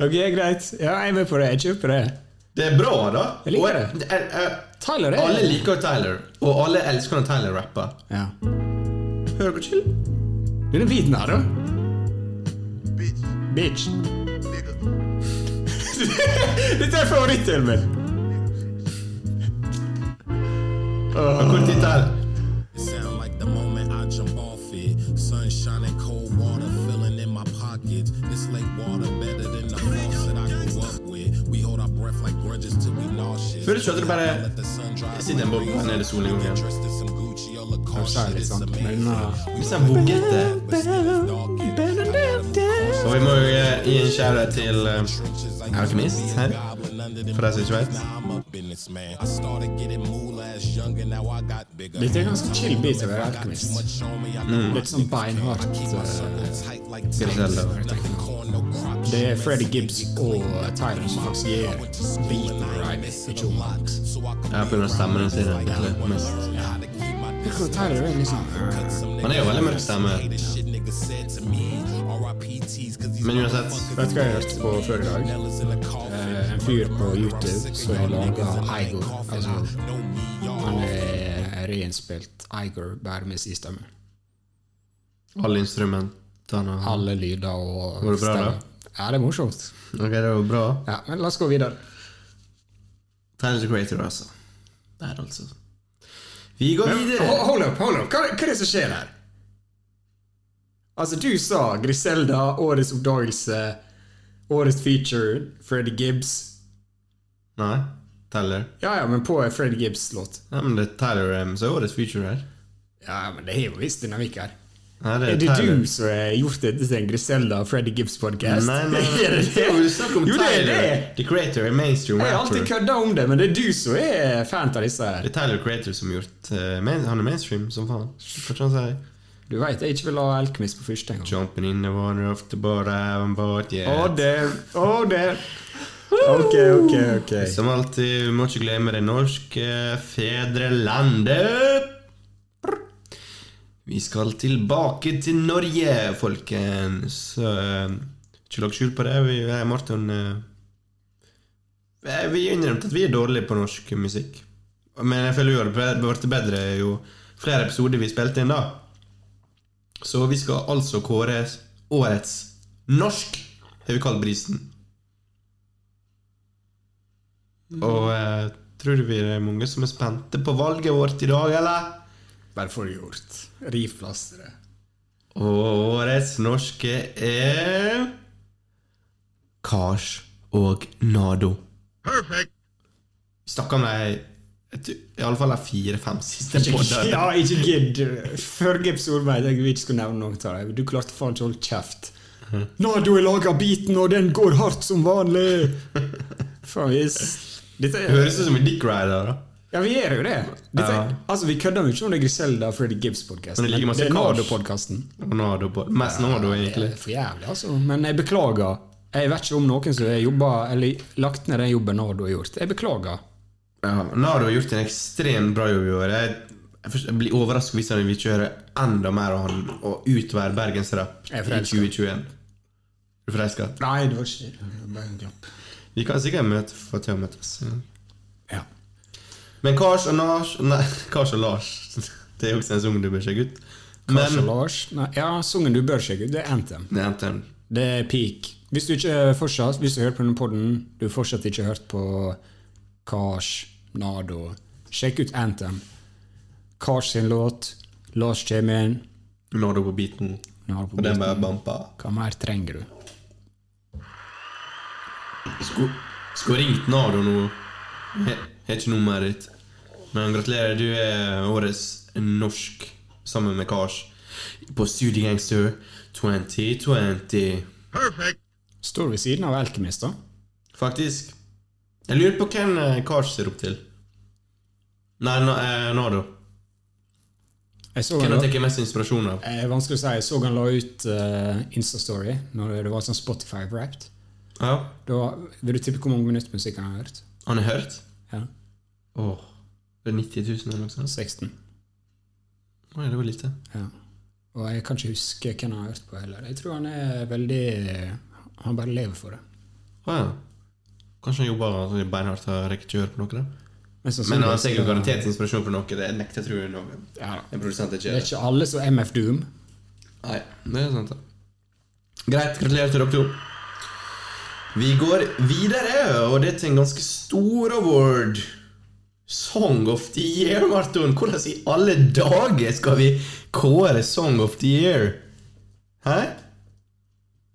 Speaker 2: Ok, greit. Ja, jeg er med på det. Jeg kjøper det.
Speaker 1: Det er bra, da.
Speaker 2: Jeg liker
Speaker 1: Og jeg- jeg- jeg-
Speaker 2: Tyler er
Speaker 1: alle liker jo Tyler, og alle elsker når Tyler rapper.
Speaker 2: Ja.
Speaker 1: Hører dere chill?
Speaker 2: Du er viten her, da.
Speaker 4: Bitch,
Speaker 2: Bitch.
Speaker 4: nigga,
Speaker 2: Dette er favorittdelen min.
Speaker 1: Men Hvor tid Tyler?
Speaker 5: It sound like the moment I jump off it. Sunshine and cold water feeling in my pockets. This lake water better than the faucet I grew up with. We hold our breath like grudges till we nauseous.
Speaker 1: Føler du ikke at det bare
Speaker 5: Let the sun dry.
Speaker 1: Jeg sitter i en boble her nede i solen
Speaker 5: Get
Speaker 1: igjen.
Speaker 5: dressed in some Gucci or Lacoste.
Speaker 2: Sorry,
Speaker 5: It's
Speaker 2: sant,
Speaker 5: amazing.
Speaker 2: men uh,
Speaker 1: Hvis jeg vugget det
Speaker 5: But still it's dark in
Speaker 1: Og vi må jo eh, gi en shout-out til eh,
Speaker 5: trenches. I
Speaker 1: Alchemist her. For deg som ikke vet.
Speaker 5: Now I'm a businessman. I started getting moolah as young and now I got bigger.
Speaker 2: Dette er ganske chill beat å være alkymist.
Speaker 5: Much on me, I know
Speaker 2: Litt sånn beinhardt. eh,
Speaker 5: tight like
Speaker 1: Skal jeg fortelle deg.
Speaker 5: nothing corn, no crop.
Speaker 2: Det er Freddy Gibbs og eh, Tyler som faktisk gir beaten right ikke omvendt.
Speaker 1: Jeg begynner å stemme den sin egentlig mest.
Speaker 2: Tyler er liksom eh,
Speaker 1: Han er jo veldig mørk stemme. Men uansett
Speaker 2: Vet du hva jeg hørte på før i dag? Eh, En fyr på YouTube som har laga Iger. Altså, han er eh, reinnspilt Iger bare med sistemme.
Speaker 1: Alle instrumentene og-
Speaker 2: Alle lyder og
Speaker 1: Var det bra, da?
Speaker 2: Ja, det er morsomt.
Speaker 1: Ok, det var bra.
Speaker 2: Ja, men la oss gå videre.
Speaker 1: Tyler the Creator, altså. Der, altså. Vi går
Speaker 2: Ho-
Speaker 1: videre.
Speaker 2: Hold up, hold up. Hva, hva er det som skjer her? Altså, du sa Griselda, årets oppdagelse, årets feature, Freddy Gibbs.
Speaker 1: Nei, Tyler.
Speaker 2: Ja, ja, men på en Freddy Gibbs-låt.
Speaker 1: Nei, men det er Tyler um, som er årets feature her.
Speaker 2: Ja, men det er jo visst dynamikk her.
Speaker 1: Nei,
Speaker 2: Er det
Speaker 1: Tyler.
Speaker 2: du som har gjort dette til en Griselda og Freddy Gibbs-podkast?
Speaker 1: Nei, nei, nei.
Speaker 2: er det det?
Speaker 1: Jo, vi snakker om
Speaker 2: jo, det er
Speaker 1: Tyler.
Speaker 2: det.
Speaker 1: The Creator, en mainstream
Speaker 2: Jeg har
Speaker 1: rapper.
Speaker 2: alltid kødda om det, men det er du som er fan av disse her.
Speaker 1: Det er Tyler Creator som har gjort eh, main, Han er mainstream som faen. Hva kan han si?
Speaker 2: Du veit jeg ikke vil ha Elkmis på første engang.
Speaker 1: Jumping in the water off the boat, I haven't bought yet.
Speaker 2: Å, damn. Å, damn. Ok, ok, ok.
Speaker 1: Som alltid, vi må ikke glemme det norske fedrelandet. Vi skal tilbake til Norge, folkens. Så, eh, Ikke lag skjul på det. Vi, jeg og Martin eh, eh, Vi innrømte at vi er dårlige på norsk musikk. Men jeg føler vi har be- blitt bedre jo flere episoder vi spilte inn, da. Så vi skal altså kåre årets norsk, har vi kalt prisen. Og eh, tror du vi er mange som er spente på valget vårt i dag, eller?
Speaker 2: Bare få det gjort. Riv plasteret.
Speaker 1: Og årets norske er Kars og Nado.
Speaker 4: perfect,
Speaker 1: Vi snakka om de iallfall de fire-fem siste podene.
Speaker 2: Ja, ikke gidd. Førre episode vet jeg vi ikke skulle nevne noe av det. Du klarte faen ikke å holde kjeft. Nå har du laga biten, og den går hardt som vanlig! Faen, vi s- Dette er
Speaker 1: Høres ut som en dick rider. da
Speaker 2: Ja, vi gjør jo det. Dette,
Speaker 1: Ja.
Speaker 2: altså, Vi kødder jo ikke om det er Griselda og Freddy Gibbs-podkasten.
Speaker 1: Men det ligger masse
Speaker 2: Det er
Speaker 1: cash.
Speaker 2: Nardo-podkasten.
Speaker 1: Og Nardo på. Mest Nardo, egentlig.
Speaker 2: For jævlig, altså. Men jeg beklager. Jeg vet ikke om noen som har jobba eller lagt ned den jobben Nardo har gjort. Jeg beklager.
Speaker 1: Ja, Nardo har gjort en ekstremt bra jobb i år. Jeg, jeg, forst- jeg blir overrasket hvis han vil kjøre enda mer av han og utvær bergensrapp i
Speaker 2: Jeg er forelsket.
Speaker 1: 2021. Er du forelska?
Speaker 2: Nei, det var ikke det var bare en glapp.
Speaker 1: Vi kan sikkert møte, få til å møtes.
Speaker 2: Ja.
Speaker 1: Men Kars og Lars Nei, Kars og Lars. Det er jo også en sang du bør sjekke ut.
Speaker 2: Men,
Speaker 1: Men
Speaker 2: Lars, nei, ja, sangen du bør sjekke ut, det er Anthem.
Speaker 1: Nei, Anthem.
Speaker 2: Det er peak. Hvis du ikke fortsatt, hvis du hører på denne podden, du fortsatt ikke har hørt på Kars, Nardo, sjekk ut Anthem. Kars sin låt, Lars kommer inn,
Speaker 1: Nardo på beaten.
Speaker 2: Nardo på
Speaker 1: Og den bare
Speaker 2: beaten.
Speaker 1: bampa.
Speaker 2: Hva mer trenger du?
Speaker 1: Skulle skulle ringt Nardo nå. Jeg har ikke nummeret ditt. Men gratulerer, du er årets norsk sammen med Kars på Studiegangster 2020.
Speaker 4: Perfect.
Speaker 2: Står ved siden av Alkymist, da.
Speaker 1: Faktisk. Jeg lurer på hvem eh, Kars ser opp til. Nei, na, eh, Nardo.
Speaker 2: Jeg så
Speaker 1: Hvem
Speaker 2: han
Speaker 1: har
Speaker 2: la,
Speaker 1: tatt mest inspirasjon av?
Speaker 2: eh, vanskelig å si, jeg så han la ut eh, Insta-story når det var sånn Spotify-wrapped.
Speaker 1: Ja,
Speaker 2: Da Vil du tippe hvor mange minutter musikk han har hørt?
Speaker 1: Han har hørt?
Speaker 2: Ja,
Speaker 1: Åh, det er 90 000 eller noe sånt?
Speaker 2: 16.
Speaker 1: Nei, det var lite.
Speaker 2: Ja. Og jeg kan ikke huske hvem han har hørt på heller. Jeg tror han er veldig Han bare lever for det.
Speaker 1: Å ja. Kanskje han jobber altså, beinhardt og rekker ikke å høre på noe? da?
Speaker 2: Men, sannsynligvis-
Speaker 1: Men han har sikkert garantert inspirasjon fra noe. Det nekter jeg tror noe.
Speaker 2: Ja, da.
Speaker 1: en produsent ikke
Speaker 2: det er ikke alle som er MF Doom.
Speaker 1: Nei, det er sant. da. Greit, gratulerer til dere to. Vi går videre, og det er til en ganske stor award. Song of the Year, Marton. Hvordan i alle dager skal vi kåre Song of the Year? Hæ?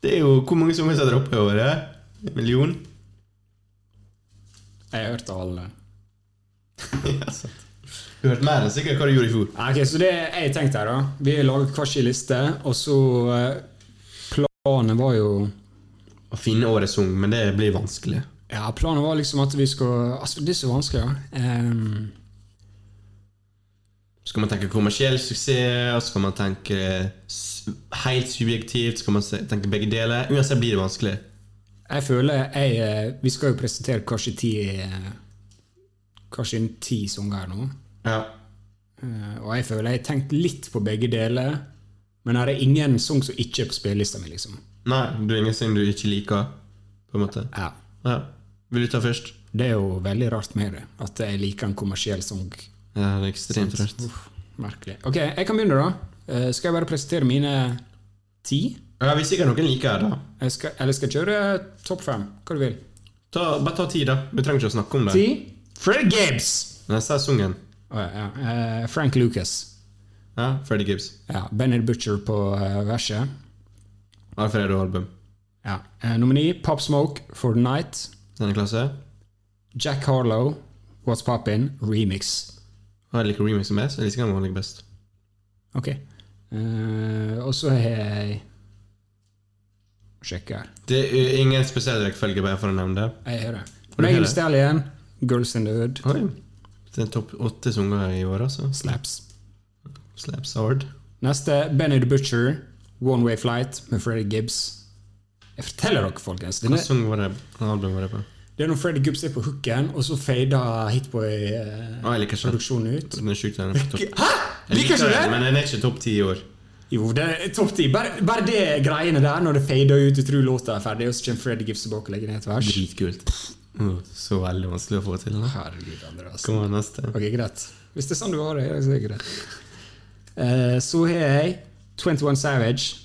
Speaker 1: Det er jo Hvor mange sanger som er oppe i året? En million?
Speaker 2: Jeg har hørt av alle.
Speaker 1: ja, sant. Du har hørt mer enn sikkert hva du gjorde i fjor.
Speaker 2: Ja, Ok, Så det jeg tenkte her, da Vi har laget hver sin liste, og så eh, Planen var jo
Speaker 1: Å finne årets sang, men det blir vanskelig.
Speaker 2: Ja, planen var liksom at vi skal Altså, det er så vanskelig, da. Ehm,
Speaker 1: Så kan man tenke kommersiell suksess, og så kan man tenke s- helt subjektivt, så kan man se- tenke begge deler. Uansett blir det vanskelig.
Speaker 2: jeg føler jeg eh, Vi skal jo presentere kanskje ti eh, Kanskje en ti sanger her nå.
Speaker 1: Ja.
Speaker 2: Eh, Og jeg føler jeg har tenkt litt på begge deler, men her er ingen sang som ikke er på spillelista mi, liksom.
Speaker 1: Nei, det er ingenting du ikke liker, på en måte.
Speaker 2: Ja.
Speaker 1: Ja. Vil du ta først?
Speaker 2: Det er jo veldig rart med det, at jeg liker en kommersiell sang.
Speaker 1: Ja, det er ekstremt rart.
Speaker 2: Uff, merkelig. Ok, jeg kan begynne, da. Eh, Skal jeg bare presentere mine ti?
Speaker 1: Ja, hvis sikkert noen liker det, da.
Speaker 2: Jeg skal, eller skal jeg kjøre topp fem? Hva du vil.
Speaker 1: Ta, bare ta ti, da. Vi trenger ikke å snakke om det.
Speaker 2: Ti? Fred Gibbs!
Speaker 1: Neste er sungen.
Speaker 2: Å, ja, ja. Eh, Frank Lucas.
Speaker 1: Ja, Freddy Gibbs.
Speaker 2: Ja, Benny the Butcher på eh, verset.
Speaker 1: Alfredo Album.
Speaker 2: Ja. Eh, Nummer ni, Pop Smoke, For the Night.
Speaker 1: Denne klasse.
Speaker 2: Jack Harlow, What's Poppin', remix.
Speaker 1: Og jeg liker remixen best. Jeg liker den vanlige best.
Speaker 2: Ok. Eh, og så har jeg Sjekk her.
Speaker 1: Det er ingen spesiell rekkefølge, bare for å nevne det.
Speaker 2: Jeg hører.
Speaker 1: du
Speaker 2: Megan
Speaker 1: hører?
Speaker 2: Thee Stallion, Girls in the Hood,
Speaker 1: Oi. Det er topp åtte sanger i år, altså.
Speaker 2: Slaps.
Speaker 1: Slaps hard.
Speaker 2: Neste, Benny the Butcher, One Way Flight med Freddy Gibbs. Jeg forteller dere, folkens.
Speaker 1: Hva
Speaker 2: Denne,
Speaker 1: sang var det? Hva album var det på?
Speaker 2: det er når Freddy Gibbs er på hooken, og så fader
Speaker 1: Å,
Speaker 2: Hitboy-produksjonen
Speaker 1: jeg liker ikke den.
Speaker 2: ut.
Speaker 1: Den er sjukt, den er på topp.
Speaker 2: Hæ?! Liker ikke du det?!
Speaker 1: Men den er ikke topp ti i år.
Speaker 2: Jo, det er topp ti. Bare, bare det greiene der, når det fader ut, du tror låta er ferdig, og så kommer Freddy Gibbs tilbake og legger ned et vers.
Speaker 1: Dritkult. Åh, Så veldig vanskelig å få til. da.
Speaker 2: Herregud, Andreas.
Speaker 1: Kom an, neste.
Speaker 2: Ok, greit. Hvis det er sånn du har det, så er det greit. Eh, så har jeg 21 Savage,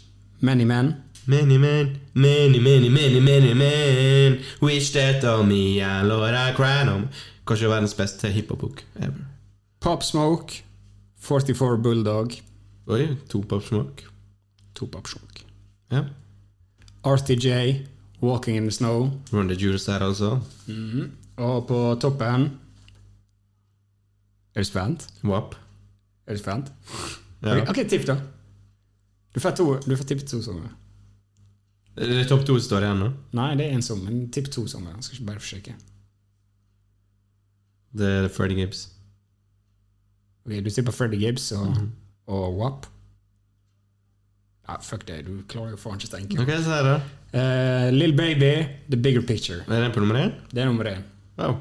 Speaker 2: Many Men.
Speaker 1: Many men, many, many, many, many men Wish that on me, I lord I cried on Kanskje verdens beste hiphop-bok ever.
Speaker 2: Pop Smoke, 44 Bulldog.
Speaker 1: Oi, to pop smoke.
Speaker 2: To Pop Smoke.
Speaker 1: Ja.
Speaker 2: RTJ, Walking in the Snow.
Speaker 1: Run the Judas der, altså.
Speaker 2: Og på toppen Er du spent?
Speaker 1: WAP.
Speaker 2: Er du spent?
Speaker 1: Ja.
Speaker 2: Ok, ok, tipp, da. Du får, to, du får tippe to sanger.
Speaker 1: Det er topp to som står igjen nå.
Speaker 2: Nei, det er én sang, men tipp to sanger. Jeg Skal ikke bare forsøke.
Speaker 1: Det er Freddy Gibbs.
Speaker 2: Ok, Du tipper Freddy Gibbs og, og WAP? Ja, fuck det. Du klarer jo faen ikke å tenke.
Speaker 1: Ok, si det.
Speaker 2: Eh, Lill Baby, The Bigger Picture.
Speaker 1: Er den på nummer én?
Speaker 2: Det er nummer én.
Speaker 1: Wow.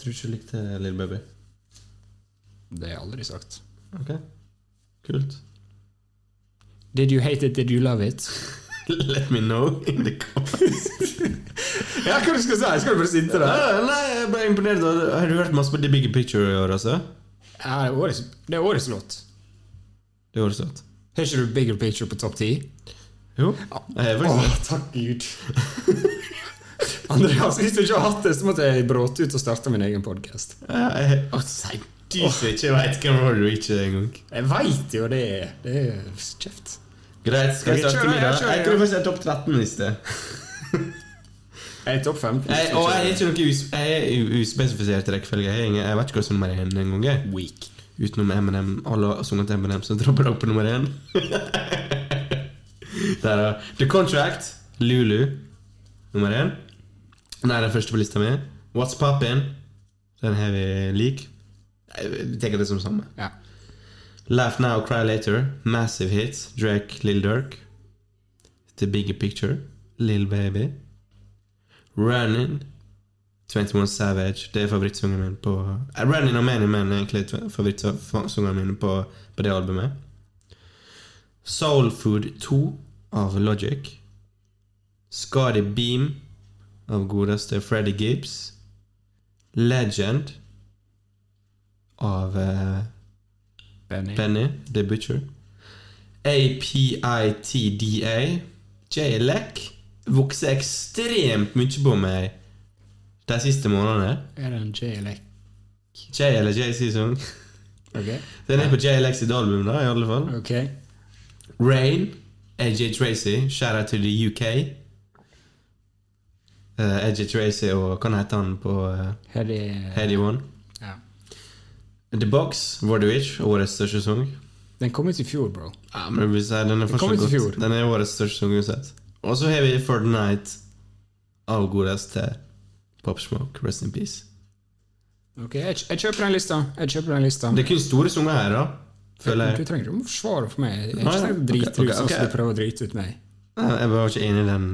Speaker 1: Tror ikke du likte Little Baby.
Speaker 2: Det har jeg aldri sagt.
Speaker 1: Ok. Kult.
Speaker 2: Did you hate it, did you love it?
Speaker 1: Let me know in the comments.
Speaker 2: ja, hva du skal si? Skal du bare sitte
Speaker 1: Ja, Nei, jeg ble imponert. over- Har du hørt masse på The Big Picture i år, altså?
Speaker 2: Ja, det er årets, det er årets låt.
Speaker 1: Det var søtt.
Speaker 2: Har ikke du Bigger Picture på topp ti?
Speaker 1: Jo. Jeg er faktisk det.
Speaker 2: takk Gud. Andreas, hvis du ikke har hatt det, så måtte jeg bråte ut og starte min egen podkast.
Speaker 1: Ja, jeg- Å, si du som ikke veit hvem Rory Rich er engang.
Speaker 2: Jeg veit jo det. Det er kjeft.
Speaker 1: Greit, skal jeg
Speaker 2: Skal vi
Speaker 1: starte
Speaker 2: kjøre,
Speaker 1: med det?
Speaker 2: kjøre,
Speaker 1: Jeg
Speaker 2: ja.
Speaker 1: tror faktisk jeg er topp 13 i sted.
Speaker 2: Jeg er topp fem.
Speaker 1: Jeg- Og jeg er ikke noe us jeg er u- uspesifisert rekkefølge. Jeg, er ingen- jeg vet ikke hva som er nummer én engang. jeg.
Speaker 2: Weak.
Speaker 1: Utenom Eminem. Alle har sunget Eminem, så dropper dere på nummer én. Der, ja. The Contract, Lulu, nummer én. Nei, den første på lista mi. What's Poppin', den har vi lik. Jeg tenker det som samme.
Speaker 2: Ja.
Speaker 1: Laugh Now, Cry Later, Massive Hits, Drake, Lil Durk, The Bigger Picture, Lil Baby, Running, 21 Savage, det er favorittsungen min på eh, Running og Many Men er egentlig tve- favorittsungen min på, på det albumet. Soul Food 2 av Logic. Scotty Beam av godeste Freddy Gibbs. Legend av eh,
Speaker 2: Benny.
Speaker 1: Benny, The Butcher. APITDA. J-Lec vokser ekstremt mye på meg de siste månedene.
Speaker 2: Er det en JLX?
Speaker 1: J eller J-season.
Speaker 2: Ok.
Speaker 1: Den er på J-Lex sitt album, da, i alle fall.
Speaker 2: Ok.
Speaker 1: Rain. AJ Tracy. Shout out to the UK. Eh, AJ Tracy og hva heter han på uh,
Speaker 2: Her er
Speaker 1: Heady One?
Speaker 2: Ja.
Speaker 1: The Box, Word of Witch, årets største sang.
Speaker 2: Den kom ut i fjor, bro.
Speaker 1: Ja, men jeg vil si, den er
Speaker 2: kom ut i
Speaker 1: fortsatt
Speaker 2: fjor.
Speaker 1: godt. Den er årets største sang uansett. Og så har vi Fortnite av godeste Pop Smoke, Rest in Peace.
Speaker 2: Ok, jeg, kj- jeg kjøper den lista. Jeg kjøper den lista.
Speaker 1: Det er kun store sanger her, da. Føler
Speaker 2: Du
Speaker 1: jeg.
Speaker 2: trenger ikke å forsvare for meg. Jeg er
Speaker 1: Nei,
Speaker 2: ikke tenkt å drite
Speaker 1: ok,
Speaker 2: ut sånn
Speaker 1: ok.
Speaker 2: som du prøver å drite ut meg.
Speaker 1: Nei, Jeg var ikke enig i den.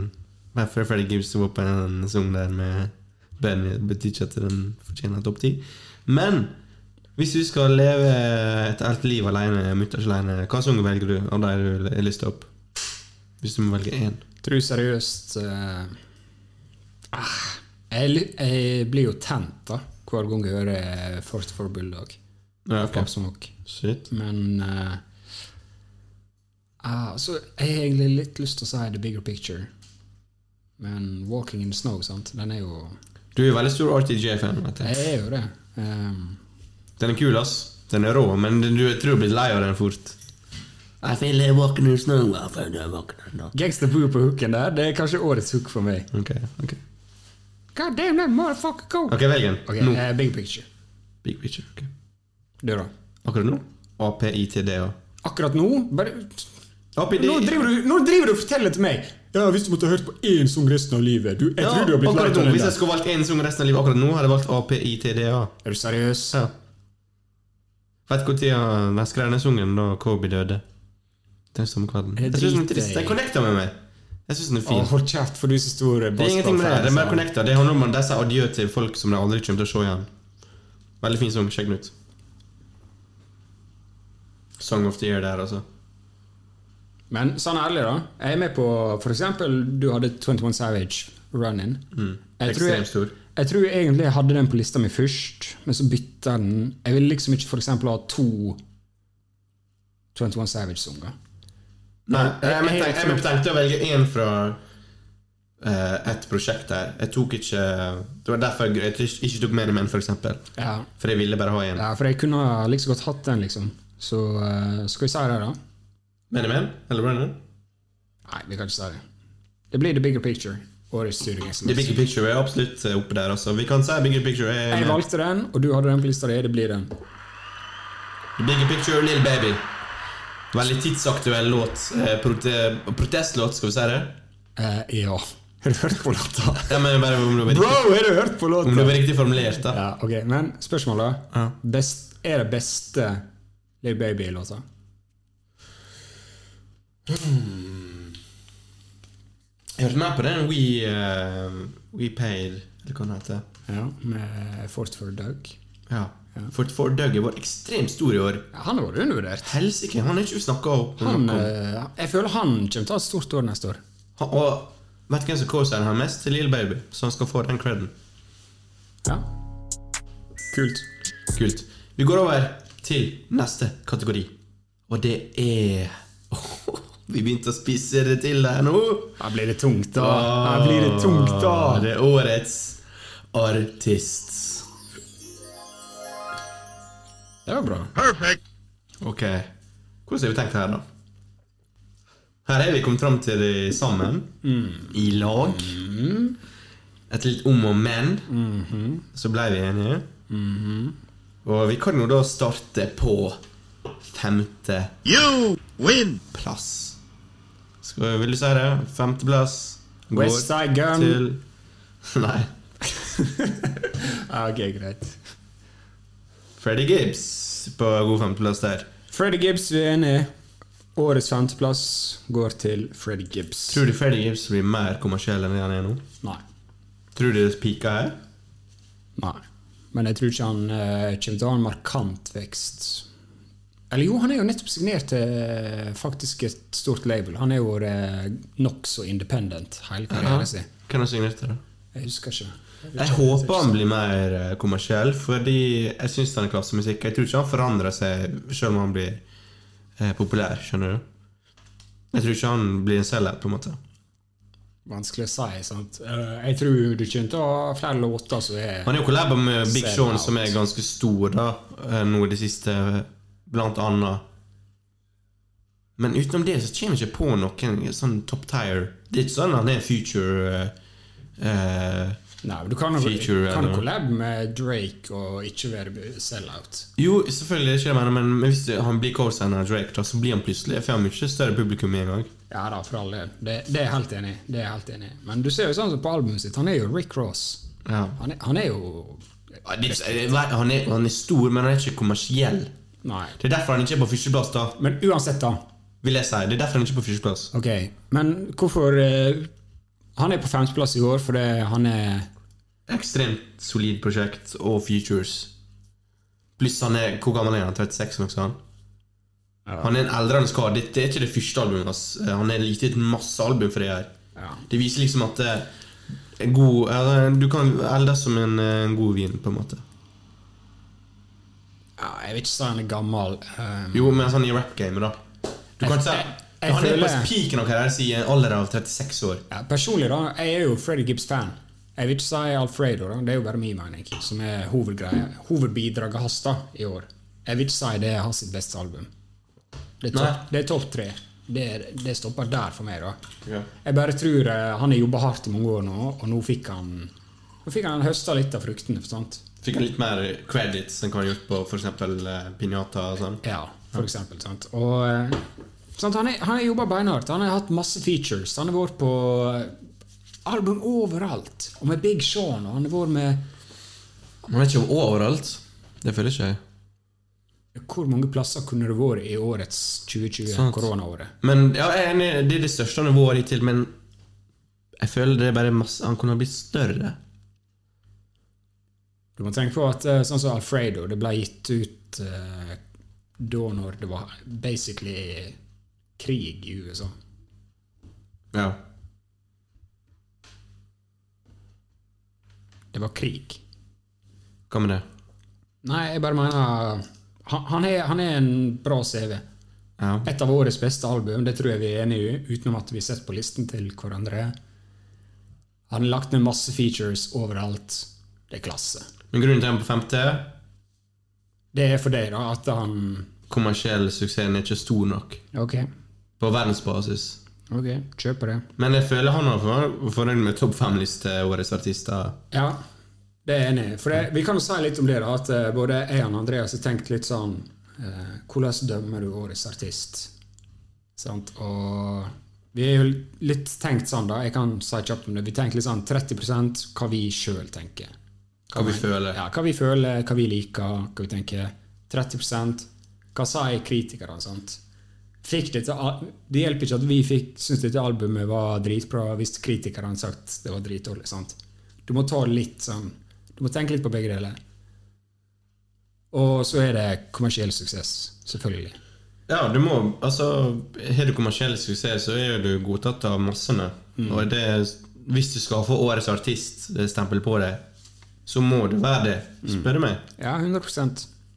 Speaker 1: Men før Freddy Gibbs var på en sang der med Benny, det betyr ikke at den fortjener topp ti. Men hvis du skal leve et helt liv alene, mutters alene, hva sang velger du av de du har lyst til opp? Hvis du må velge én.
Speaker 2: Tror seriøst eh, ah, jeg, li- jeg blir jo tent da hver gang jeg hører Fort for Bulldog.
Speaker 1: Ja, ok.
Speaker 2: Pop Smoke.
Speaker 1: Shit.
Speaker 2: Men eh, ah, Så jeg har egentlig litt lyst til å si The Bigger Picture. Men Walking in the Snow, sant? Den er jo
Speaker 1: Du er jo veldig stor RTJ-fan. vet jeg.
Speaker 2: Jeg er jo det. Um,
Speaker 1: Den er kul, ass. Den er rå, men den- du jeg tror du blir lei av den fort. I feel like walking in snow. I feel like walking in snow.
Speaker 2: Gangster Boo på hooken der, det er kanskje årets hook for meg.
Speaker 1: Ok, ok.
Speaker 2: God damn that motherfucker go!
Speaker 1: Ok, velg den.
Speaker 2: Ok,
Speaker 1: Nå.
Speaker 2: eh, Big Picture.
Speaker 1: Big picture. ok.
Speaker 2: Du, da?
Speaker 1: Akkurat nå? APITDA.
Speaker 2: Akkurat nå bare
Speaker 1: APD.
Speaker 2: Nå driver, du, nå driver du og forteller til meg Ja, hvis du måtte ha hørt på én sang resten av livet du, Jeg
Speaker 1: Ja,
Speaker 2: tror du har blitt lei
Speaker 1: akkurat nå.
Speaker 2: av den
Speaker 1: Hvis jeg
Speaker 2: der.
Speaker 1: skulle valgt én sang resten av livet akkurat nå, hadde jeg valgt APITDA.
Speaker 2: Er du seriøs?
Speaker 1: Ja. Vet du når de skrev den sangen da Kobe døde? Den samme kvelden.
Speaker 2: Jeg
Speaker 1: Jeg synes den er
Speaker 2: driter
Speaker 1: trist.
Speaker 2: i-
Speaker 1: Den connecter med meg. Jeg synes den er
Speaker 2: Å,
Speaker 1: fin.
Speaker 2: hold kjeft, for du er så stor
Speaker 1: Det er ingenting med det. Det er
Speaker 2: altså.
Speaker 1: mer connecta. Det handler om at de sier adjø til folk som de aldri kommer til å se igjen. Veldig fin sang. Sjekk den ut. Song of the year der, altså.
Speaker 2: Men sånn ærlig, da. Jeg er med på for eksempel du hadde 21 Savage, Run In. Jeg, tror
Speaker 1: Ekstremt
Speaker 2: jeg,
Speaker 1: stor.
Speaker 2: jeg tror egentlig jeg hadde den på lista mi først, men så bytta jeg den. Jeg ville liksom ikke for eksempel ha to 21 Savage-sanger.
Speaker 1: Nei,
Speaker 2: jeg-
Speaker 1: jeg, men
Speaker 2: jeg-
Speaker 1: tenkte, jeg men tenkte å velge én fra eh, et prosjekt der. Jeg tok ikke Det var derfor jeg ikke ikke tok med Men, for eksempel.
Speaker 2: Ja.
Speaker 1: For jeg ville bare ha én.
Speaker 2: ja, for jeg kunne ha like så godt hatt den, liksom. Så eh, skal vi si det, da?
Speaker 1: Men Men? Eller Brennan?
Speaker 2: Nei, vi kan ikke si det. Det blir The Bigger Picture. Årets studiegjengselmesse.
Speaker 1: The Bigger Picture er absolutt eh, oppe der, altså. Vi kan si Bigger Picture er
Speaker 2: Jeg
Speaker 1: med.
Speaker 2: valgte den, og du hadde den på lista di. Det blir den.
Speaker 1: The Bigger Picture, Little Baby. eh, Veldig tidsaktuell låt. Eh, prote protestlåt, skal vi si det.
Speaker 2: Eh, ja. Har du hørt på låta?
Speaker 1: Ja, men bare om det var
Speaker 2: Bro,
Speaker 1: riktig,
Speaker 2: har du hørt på låta?
Speaker 1: om det var riktig formulert, da.
Speaker 2: Ja, ok, Men spørsmålet
Speaker 1: Ja.
Speaker 2: best, er det beste Lil Baby-låta?
Speaker 1: Jeg hørte mer på den We, eh, We Paid, eller hva den heter.
Speaker 2: Ja, med Fort for Doug.
Speaker 1: Ja. For, for Doug har vært ekstremt stor i år.
Speaker 2: Ja, han har vært undervurdert.
Speaker 1: Helsike, han er ikke snakka opp. om
Speaker 2: Han,
Speaker 1: noe.
Speaker 2: eh, jeg føler han kommer til å ha et stort år neste år.
Speaker 1: Han- Og vet du hvem som coacher han mest? Lill Baby, så han skal få den creden.
Speaker 2: Ja. Kult.
Speaker 1: Kult. Vi går over til neste kategori, og det er Vi begynte å spise det til der nå.
Speaker 2: Her blir det tungt, da. Her blir det tungt,
Speaker 1: Åh,
Speaker 2: da.
Speaker 1: Det er årets artist.
Speaker 2: Det var bra.
Speaker 4: Perfect.
Speaker 1: Ok. Hvordan har vi tenkt her, da? Her har vi kommet fram til det sammen.
Speaker 2: Mm.
Speaker 1: I lag. Et litt om og men.
Speaker 2: Mm-hmm.
Speaker 1: Så ble vi enige. Og vi kan jo da starte på femte
Speaker 4: You win.
Speaker 1: plass. Skal, vil du si det? Femteplass går
Speaker 2: West Side Gun.
Speaker 1: til Nei.
Speaker 2: Ja, ok, greit.
Speaker 1: Freddy Gibbs på god femteplass der.
Speaker 2: Freddy Gibbs, vi er enige. Årets femteplass går til Freddy Gibbs.
Speaker 1: Tror du Freddy Gibbs blir mer kommersiell enn det han er nå?
Speaker 2: Nei.
Speaker 1: Tror du det peaker her?
Speaker 2: Nei. Men jeg tror ikke han eh, kommer til å ha en markant vekst. Eller jo, han er jo nettopp signert til eh, faktisk et stort label. Han er jo uh, nokså independent hele karrieren sin.
Speaker 1: Kan jeg synge etter det?
Speaker 2: Jeg husker ikke.
Speaker 1: Jeg håper han blir mer eh, kommersiell, fordi jeg syns han er klassemusikk. Jeg tror ikke han forandrer seg selv om han blir eh, populær, skjønner du? Jeg tror ikke han blir en selger, på en måte.
Speaker 2: Vanskelig å si. sant? Eh, jeg tror du kommer til å ha flere låter som er
Speaker 1: Han er jo kollaba med Big
Speaker 2: Sell
Speaker 1: Sean,
Speaker 2: out.
Speaker 1: som er ganske stor da, eh, nå i det siste, blant annet. Men utenom det så kommer jeg ikke på noen sånn top tire. Det er ikke sånn han er future eh, eh,
Speaker 2: Nei, men Du kan jo
Speaker 1: Feature,
Speaker 2: kan
Speaker 1: eller-
Speaker 2: collab med Drake og ikke være sell-out.
Speaker 1: Jo, selvfølgelig, det er ikke det jeg mener, men men hvis han blir co-signer av Drake, da, så blir han plutselig får han mye større publikum med en gang.
Speaker 2: Ja da, for all del. Det, det er jeg helt enig i. Det er jeg helt enig i. Men du ser jo sånn som på albumet sitt, han er jo Rick Ross.
Speaker 1: Ja.
Speaker 2: Han er, han er jo
Speaker 1: Ja, det er ikke- jeg vet- Han er, han er stor, men han er ikke kommersiell.
Speaker 2: Nei.
Speaker 1: Det er derfor han ikke er på førsteplass, da,
Speaker 2: Men uansett, da.
Speaker 1: vil jeg si. Det er derfor han ikke er på førsteplass.
Speaker 2: Ok, Men hvorfor eh, Han er på femteplass i år fordi han er
Speaker 1: ekstremt solid prosjekt og features. Pluss han er Hvor gammel er han? 36, eller noe sånt? Han er en eldrende kar. Dette er ikke det første albumet hans. Eh, Han har gitt ut masse album for det her.
Speaker 2: Ja.
Speaker 1: Det viser liksom at eh, en god, eller, Du kan eldes som en, eh, en god vin, på en måte.
Speaker 2: ja, Jeg vil ikke si han er gammel. eh,
Speaker 1: Jo, men sånn i rap-gamet, da. Du kan ikke si
Speaker 2: Jeg- jeg- jeg
Speaker 1: Han er på
Speaker 2: føler-
Speaker 1: peaken av karrieren sin i en alder av 36 år.
Speaker 2: ja, personlig, da. Jeg er jo Freddy Gibbs-fan. Jeg vil ikke si Alfredo, da. det er jo bare min mening, som er hovedgreia. Hovedbidraget hans da, i år. Jeg vil ikke si det er hans sitt beste album. Det er
Speaker 1: Nei.
Speaker 2: topp- det er topp tre. Det, er- det stopper der for meg, da.
Speaker 1: Ja.
Speaker 2: Jeg bare tror eh, han har jobba hardt i mange år nå, og nå fikk han Nå fikk han høsta litt av fruktene. sant?
Speaker 1: Fikk han litt mer credits enn hva han har gjort på f.eks. Pinjata og sånn.
Speaker 2: Ja, for eksempel. Sant? Og, eh, sant? Han er- han har jobba beinhardt. Han har hatt masse features. Han har vært på eh, album overalt. Og med Big Sean, og han har vært med
Speaker 1: Han er ikke overalt. Det føler ikke jeg.
Speaker 2: Hvor mange plasser kunne det vært i årets 2020,
Speaker 1: Sant.
Speaker 2: koronaåret?
Speaker 1: Men ja, jeg er enig, Det er det største nivået hittil, men jeg føler det er bare masse Han kunne ha blitt større.
Speaker 2: Du må tenke på at eh, sånn som Alfredo, det ble gitt ut eh, da når det var basically krig i USA.
Speaker 1: Ja.
Speaker 2: Det var krig.
Speaker 1: Hva med det?
Speaker 2: Nei, jeg bare mener Han, han, er, han er en bra CV.
Speaker 1: Ja.
Speaker 2: Et av årets beste album, det tror jeg vi er enige i, utenom at vi har sett på listen til hverandre. Han har lagt ned masse features overalt. Det er klasse.
Speaker 1: Men grunnen til at han er på femte
Speaker 2: Det er for deg, da, at han
Speaker 1: Kommersiell suksessen er ikke stor nok
Speaker 2: Ok,
Speaker 1: på verdensbasis.
Speaker 2: ok, kjøper det.
Speaker 1: Men jeg føler han har for- fornøyd med topp fem-liste årets artister.
Speaker 2: Ja, det er jeg enig i. For det, vi kan jo si litt om det, da, at eh, både jeg og Andreas har tenkt litt sånn eh, Hvordan dømmer du årets artist? Sant? Og Vi er jo litt tenkt sånn, da. Jeg kan si kjapt om det. Vi tenker litt sånn 30 hva vi sjøl tenker.
Speaker 1: Hva vi
Speaker 2: men-
Speaker 1: føler.
Speaker 2: Ja, hva vi føler, hva vi liker, hva vi tenker. 30 Hva sier kritikerne, sant? Fikk dette, al- det hjelper ikke at vi fikk, syntes dette albumet var dritbra hvis kritikerne sagt det var dritdårlig. sant? Du må ta litt sånn Du må tenke litt på begge deler. Og så er det kommersiell suksess, selvfølgelig.
Speaker 1: Ja, du må Altså, har du kommersiell suksess, så er jo du godtatt av massene. Og det Hvis du skal få årets artist-stempel på deg, så må du være det, spør du meg.
Speaker 2: Ja, 100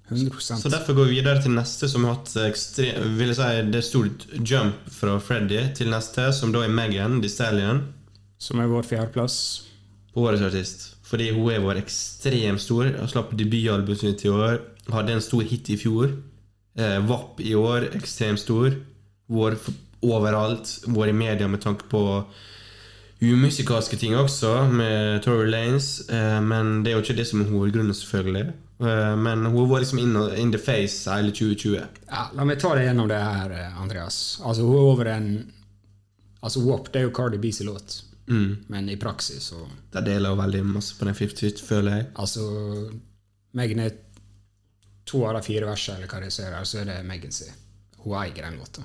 Speaker 2: 100
Speaker 1: Så derfor går vi videre til neste, som har hatt ekstrem Vil jeg si det er stort jump fra Freddy til neste, som da er Megan Thee Stallion,
Speaker 2: Som er vår fjerdeplass.
Speaker 1: på årets artist. Fordi hun er vår ekstremt stor. Hun slapp debutalbumet sitt i år. Hadde en stor hit i fjor. Eh, Vapp i år, ekstremt stor. Vår f- overalt. Vår i media med tanke på umusikalske ting også, med Tory Lanes. Eh, men det er jo ikke det som er hovedgrunnen, selvfølgelig. Eh, men hun var liksom in, in the face hele 2020.
Speaker 2: Ja, la meg ta deg gjennom det her, eh, Andreas. Altså, hun er over en Altså, WAP, det er jo Cardi B sin låt, men i praksis så
Speaker 1: Der deler hun veldig masse på den 50-50, føler jeg.
Speaker 2: Altså, Megan er to av de fire versene, eller hva det ser her, så er det Megan sin. Hun eier den låta.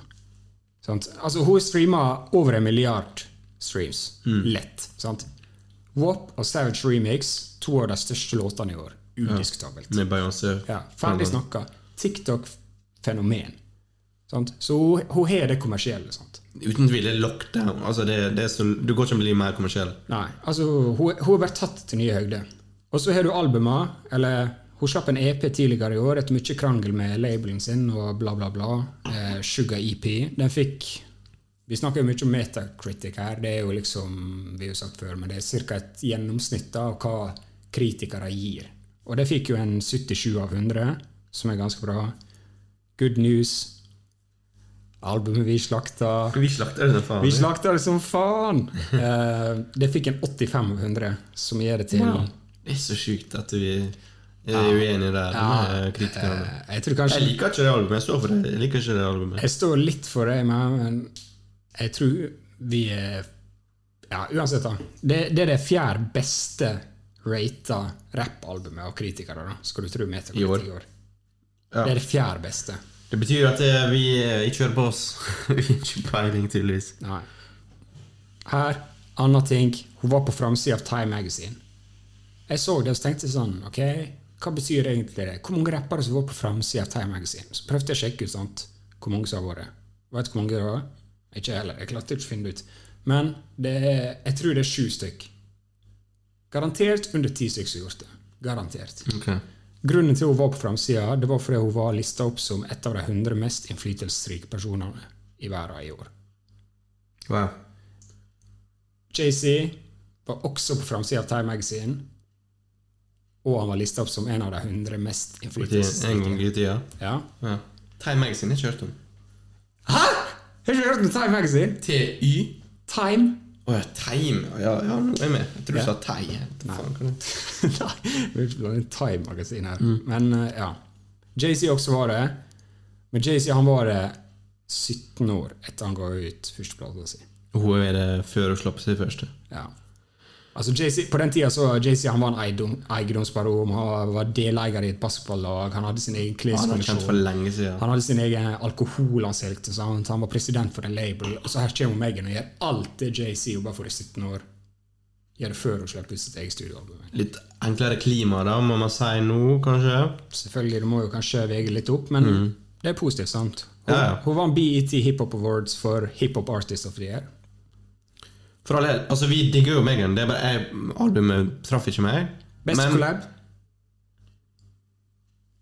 Speaker 2: Sant? Altså, hun streamer over en milliard streams. Lett. Sant? WAP og Savage Remix, to av de største låtene i år. Udiskutabelt.
Speaker 1: Med Beyoncé.
Speaker 2: Ja, ferdig snakka. TikTok-fenomen. Sant? Så hun- hun har det kommersielle. Sant?
Speaker 1: Uten tvil det er lockdown. Altså det, det er så, du går ikke til å bli mer kommersiell.
Speaker 2: Nei, altså, hun, hun har vært tatt til nye høyder. Og så har du albuma, eller Hun slapp en EP tidligere i år etter mye krangel med labelen sin og bla, bla, bla. Eh, Sugar EP. Den fikk Vi snakker jo mye om metacritic her. Det er jo liksom, vi har jo sagt før, men det er ca. et gjennomsnitt da, av hva kritikere gir. Og det fikk jo en 77 av 100, som er ganske bra. Good news. Albumet vi slakta.
Speaker 1: Vi slakter det som faen.
Speaker 2: Vi slakta det som faen! Eh, det fikk en 85 av 100, som gir det til
Speaker 1: Det er så sjukt at vi er uenige der med kritikerne.
Speaker 2: Eh, Jeg tror
Speaker 1: Jeg
Speaker 2: kanskje
Speaker 1: liker ikke det albumet. Jeg står for det. Jeg liker ikke det albumet.
Speaker 2: Jeg står litt for det, men men jeg tror vi er Ja, uansett, da. Det, det er det fjerde beste rata rappalbumet av kritikere, da, skal du tro, Metacritic
Speaker 1: I år.
Speaker 2: i år.
Speaker 1: Ja.
Speaker 2: Det er det fjerde beste.
Speaker 1: Det betyr at eh, vi eh, ikke hører på oss. vi har ikke peiling, tydeligvis.
Speaker 2: Nei. Her, anna ting. Hun var på framsida av Time Magazine. Jeg så det og så tenkte jeg sånn Ok, hva betyr egentlig det? Hvor mange rappere som var på framsida av Time Magazine? Så prøvde jeg å sjekke ut sant? hvor mange som har vært. Vet du hvor mange det var? Ikke jeg heller. Jeg klarte ikke å finne det ut. Men det er, jeg tror det er sju stykk. Garantert under ti stykk som har gjort det. Garantert.
Speaker 1: Okay.
Speaker 2: Grunnen til hun var på framsida, det var fordi hun var lista opp som et av de 100 mest innflytelsesrike personene i verden i år.
Speaker 1: Wow.
Speaker 2: Jay-Z var også på framsida av Time Magazine. Og han var lista opp som en av de 100 mest
Speaker 1: Det er en gang
Speaker 2: innflytelsesrike.
Speaker 1: i tida.
Speaker 2: Ja.
Speaker 1: Ja. Time Magazine har ikke hørt om.
Speaker 2: Hæ?! Har du ikke hørt om Time Magazine?
Speaker 1: TY?
Speaker 2: Time?
Speaker 1: Å ja, Time. Ja, ja, nå er jeg med. Jeg tror du sa Tei. Hva faen kan det-
Speaker 2: Nei, det er ikke blant Time Magazine her.
Speaker 1: Mm.
Speaker 2: Men eh, ja. Jay-Z også var det. Men Jay-Z han var det 17 år etter han ga ut førsteplata si.
Speaker 1: Hun er det før hun slapp sin første.
Speaker 2: Ja. Altså Jay-Z, på den tida så Jay-Z han var en eiendom- eiendomsbaron, han var deleier i et basketballag, han hadde sin egen
Speaker 1: Han har kjent
Speaker 2: kleskolleksjon.
Speaker 1: for lenge siden.
Speaker 2: Han hadde sin egen alkohol han solgte, sant? han var president for en label. Og så her kommer Megan og gjør alt det JC jobber for i 17 år. Gjør det før hun slipper ut sitt eget studioalbum.
Speaker 1: Litt enklere klima, da, må man si nå, kanskje.
Speaker 2: Selvfølgelig, det må jo kanskje vege litt opp, men det er positivt, sant? Hun,
Speaker 1: Mm. Ja, ja.
Speaker 2: hun vant BET Hiphop Awards for Hiphop Artist of the Year.
Speaker 1: For all del, altså Vi digger jo Megan. Det er bare jeg, Albumet traff ikke meg.
Speaker 2: Best collab.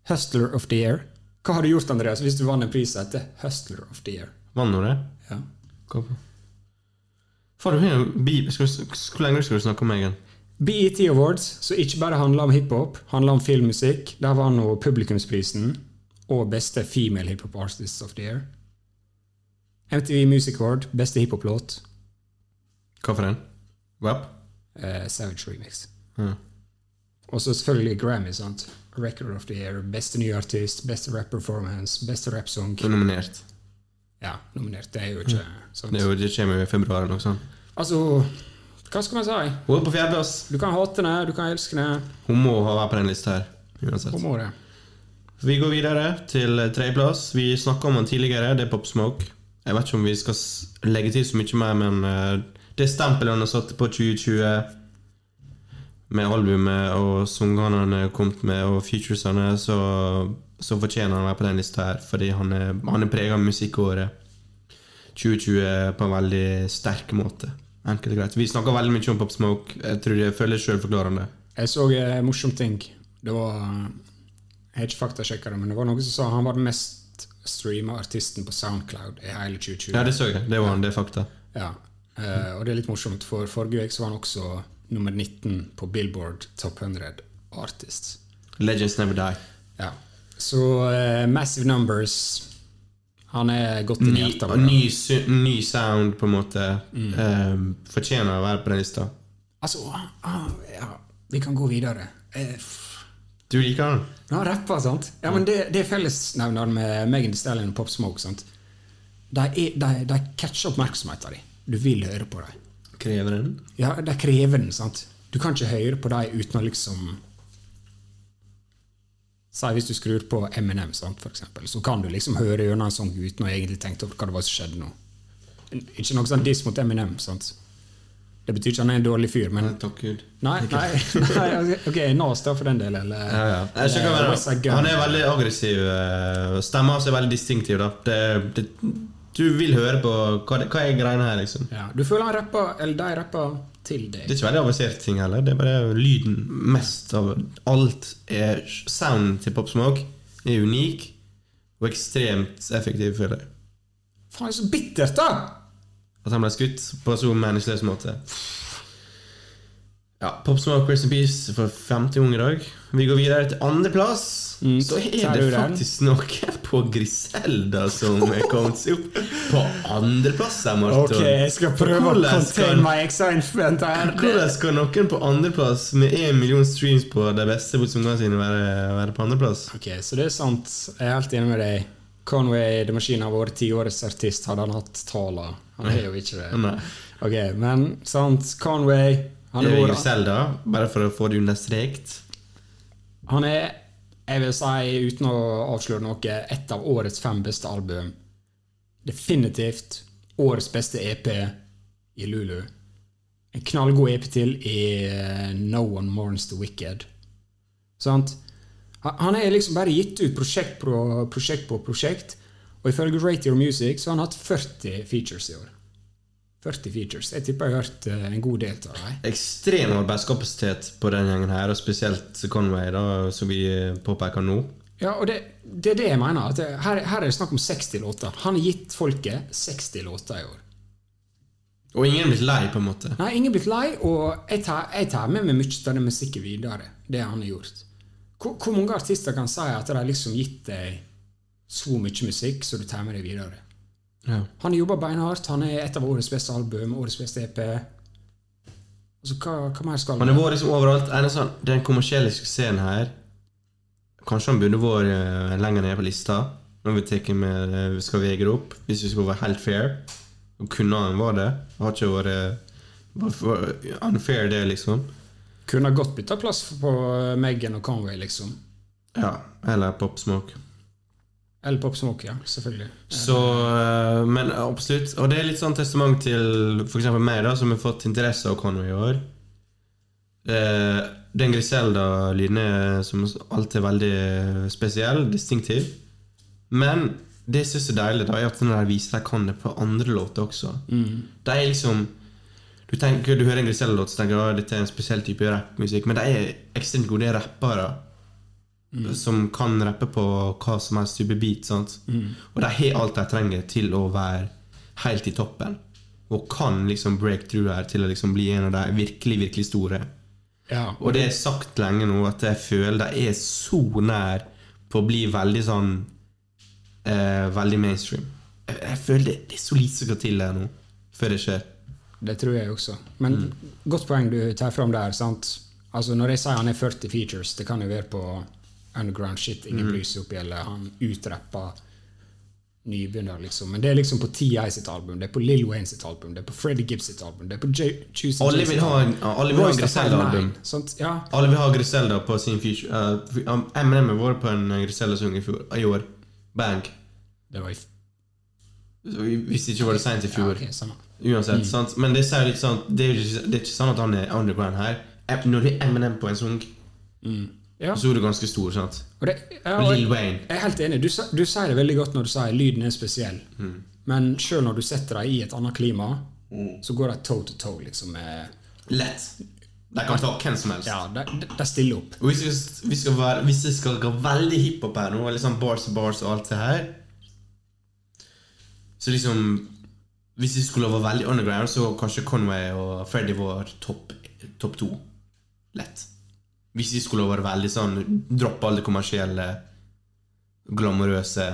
Speaker 2: Hustler of the Year. Hva hadde du gjort, Andreas, hvis du vant en pris etter Hustler of the Year?
Speaker 1: vant hun det?
Speaker 2: Ja.
Speaker 1: Faen, du har jo bi- skal du- Hvor lenge skal du snakke om Megan?
Speaker 2: BET E Awards, som ikke bare handler om hiphop, handler om filmmusikk. Der var nå publikumsprisen og beste female hiphop artist of the year. MTV Music Award, beste hiphop-låt,
Speaker 1: Hva for en? Wap?
Speaker 2: eh, Savage Remix.
Speaker 1: Ja.
Speaker 2: Og så selvfølgelig Grammy, sant. Record of the year, beste nye artist, beste rap performance, beste rap song.
Speaker 1: Du er nominert.
Speaker 2: Ja, nominert. Det er jo ikke
Speaker 1: Mm.
Speaker 2: sant.
Speaker 1: Det er jo- det kommer jo i februar eller noe sånt.
Speaker 2: Altså, hva skal man si?
Speaker 1: Hun er på fjerdeplass.
Speaker 2: Du kan hate henne, du kan elske henne.
Speaker 1: Hun må ha vært på den lista her. Uansett.
Speaker 2: Hva må det?
Speaker 1: Vi går videre til tredjeplass. Vi snakka om den tidligere, det er Pop Smoke. Jeg vet ikke om vi skal s- legge til så mye mer, men eh, det stempelet han har satt på 2020, med albumet og sangene han har kommet med, og featuresene, så, så fortjener han å være på den lista her, fordi han er, han er prega av musikkåret 2020 på en veldig sterk måte. Enkelt og greit. Vi snakker veldig mye om Pop Smoke. Jeg tror det føles sjølforklarende.
Speaker 2: Jeg så en morsom ting. Det var Jeg har ikke faktasjekka det, men det var noen som sa han var den mest streama artisten på Soundcloud i hele 2020.
Speaker 1: Ja, det så jeg. Det var han, det er fakta.
Speaker 2: Ja. Eh, og det er litt morsomt, for forrige uke så var han også nummer 19 på Billboard Top 100 Artists.
Speaker 1: Legends never die.
Speaker 2: Ja. Så eh, Massive Numbers Han er godt inn i
Speaker 1: ny,
Speaker 2: hjertet.
Speaker 1: og
Speaker 2: vårt.
Speaker 1: ny, sy- ny sound, på en måte, eh, fortjener å være på den lista.
Speaker 2: Altså ah, ja, Vi kan gå videre. Eh, f-
Speaker 1: Du liker den?
Speaker 2: Ja, rapper, sant? Ja, men det, det er fellesnevneren med Megan Thee Stallion og Pop Smoke. sant? De, er, de, de catcher oppmerksomheten din. Du vil høre på dem.
Speaker 1: Krever den?
Speaker 2: Ja, de krever den, sant? Du kan ikke høre på dem uten å liksom Si hvis du skrur på Eminem, sant, for eksempel, så kan du liksom høre gjennom en sang uten å egentlig tenke over hva det var som skjedde nå. Ikke noe sånn diss mot Eminem, sant? Det betyr ikke han er en dårlig fyr, men
Speaker 1: Takk Gud.
Speaker 2: Nei, nei, nei ok, Nas da, for den del,
Speaker 1: Ja,
Speaker 2: eller
Speaker 1: ja. Eh, Jeg skjønner hva jeg
Speaker 2: Eller Westside
Speaker 1: mener.
Speaker 2: Gun.
Speaker 1: Han er veldig aggressiv. eh, Stemmen hans er veldig distinktiv. da. eh, Det, det, du vil høre på hva, det- hva er greiene her, liksom.
Speaker 2: Ja, du føler han rapper, eller de rapper til
Speaker 1: Det
Speaker 2: deg.
Speaker 1: er ikke veldig avanserte ting heller. Det er bare lyden mest av alt. er Sounden til Pop Smoke er unik og ekstremt effektiv, føler jeg.
Speaker 2: Faen, det er så bittert, da!
Speaker 1: At han ble skutt på en så meningsløs måte. Ja, Pop Smoke Rest in Peace for 50 unge i dag. Vi går videre til andreplass. så
Speaker 2: Mm. tar
Speaker 1: er
Speaker 2: du
Speaker 1: det
Speaker 2: den.
Speaker 1: faktisk noen på Griselda som er kommet seg opp på andreplass her, Marton. Hvordan skal-
Speaker 2: excitement her.
Speaker 1: Hvordan skal noen på andreplass med én million streams på de beste botsungene sine være, være på andreplass?
Speaker 2: Ok, så det er sant. Jeg er helt enig med deg. Conway The Machine har vært tiårets artist, hadde han hatt tala. Han er jo ikke det.
Speaker 1: Nei.
Speaker 2: Ok, men sant, Conway han
Speaker 1: Det
Speaker 2: er,
Speaker 1: er
Speaker 2: vår-
Speaker 1: Griselda, bare for å få det understreket.
Speaker 2: han er, jeg vil si, uten å avsløre noe, et av årets fem beste album. Definitivt årets beste EP i Lulu. En knallgod EP til i eh, No One Mourns The Wicked. Sant? Han han er liksom bare gitt ut prosjekt på prosjekt, på prosjekt og ifølge Rate Your Music så har han hatt 40 features i år. 40 features. Jeg tipper jeg har hørt eh, en god del av dem.
Speaker 1: ekstrem arbeidskapasitet på den gjengen her, og spesielt Conway, da, som vi påpeker nå.
Speaker 2: Ja, og det, det er det jeg mener. At det, her, her er det snakk om 60 låter. Han har gitt folket 60 låter i år.
Speaker 1: Og ingen er blitt lei, på en måte.
Speaker 2: Nei, ingen er blitt lei, og jeg tar, jeg tar med meg mye av den musikken videre. Det han har gjort. Hvor, hvor mange artister kan si at de har liksom gitt deg så mye musikk så du tar med deg videre?
Speaker 1: Ja.
Speaker 2: Han jobber beinhardt. Han er et av årets beste album, årets beste EP. Altså, hva, hva mer skal
Speaker 1: Han har vært liksom overalt. Eneste han- den kommersielle suksessen her Kanskje han burde vært eh, lenger nede på lista, når vi tar med eh, skal veie det opp, hvis vi skal være helt fair. Og kunne han vært det. Det Har ikke vært eh, vært for unfair, det, liksom.
Speaker 2: Kunne ha godt bytta plass på Megan og Conway, liksom.
Speaker 1: Ja. Eller Pop Smoke.
Speaker 2: Eller Pop Smoke, ja. Selvfølgelig.
Speaker 1: Så, eh, men absolutt. Og det er litt sånn testament til f.eks. meg, da, som har fått interesse av Conway i år. Eh, Den Griselda-lyden er som alltid veldig eh, spesiell, distinktiv. Men det jeg syns er deilig, da, er at når de viser de kan det på andre låter også. De er liksom Du tenker, du hører en Griselda-låt så tenker du at dette er en spesiell type rappmusikk, men de er ekstremt gode rappere som kan rappe på hva som helst type beat. Sant? Og de har alt de trenger til å være helt i toppen. Og kan liksom break through her til å liksom bli en av de virkelig, virkelig store.
Speaker 2: Ja.
Speaker 1: Og det er sagt lenge nå at jeg føler de er så nær på å bli veldig sånn eh, Veldig mainstream. Jeg, jeg føler det, det er så lite som skal til her nå, før det skjer.
Speaker 2: Det tror jeg også. Men
Speaker 1: Mm.
Speaker 2: godt poeng du tar fram der. sant? Altså Når jeg sier han er 40 features,
Speaker 1: Mm.
Speaker 2: det kan jo være på underground shit ingen bryr seg opp i, eller han utrapper nybegynner, liksom. Men det er liksom på TI sitt album, det er på Lil Wayne sitt album, det er på Freddie Gibbs sitt album, det er på J Juicy
Speaker 1: Alle
Speaker 2: J
Speaker 1: vil
Speaker 2: sitt
Speaker 1: ha en-
Speaker 2: album.
Speaker 1: alle vil ha en
Speaker 2: Royce
Speaker 1: Griselda-album.
Speaker 2: 59, Sant? Ja.
Speaker 1: Alle vil ha Griselda på sin feature. Uh, Eminem har vært på en Griselda-sang i, fjor- i år. Bang.
Speaker 2: Det var i f-
Speaker 1: Hvis ikke var det seint i
Speaker 2: ja,
Speaker 1: fjor.
Speaker 2: ok, samme.
Speaker 1: Uansett, sant? Men det sier litt sånn det er, jo ikke, det er ikke sånn at han er underground her. Em- Når du er Eminem på en sang,
Speaker 2: Ja.
Speaker 1: så er du ganske stor, sant?
Speaker 2: Og det, ja,
Speaker 1: Og
Speaker 2: og
Speaker 1: Lil
Speaker 2: jeg,
Speaker 1: Wayne.
Speaker 2: jeg er helt enig. Du, sa- du sier det veldig godt når du sier lyden er spesiell.
Speaker 1: Mm.
Speaker 2: Men sjøl når du setter dem i et annet klima,
Speaker 1: Mm.
Speaker 2: så går de toe to toe. Liksom, med,
Speaker 1: Lett. De kan ta hvem som helst.
Speaker 2: ja, de, de- de stiller opp.
Speaker 1: Og hvis vi, vi skal være, hvis vi skal gå veldig hiphop her nå, og liksom bars og bars og alt det her Så liksom Hvis vi skulle være veldig underground, så kanskje Conway og Freddy var topp topp to. Lett. Hvis vi skulle være veldig sånn Droppe alle det kommersielle, glamorøse,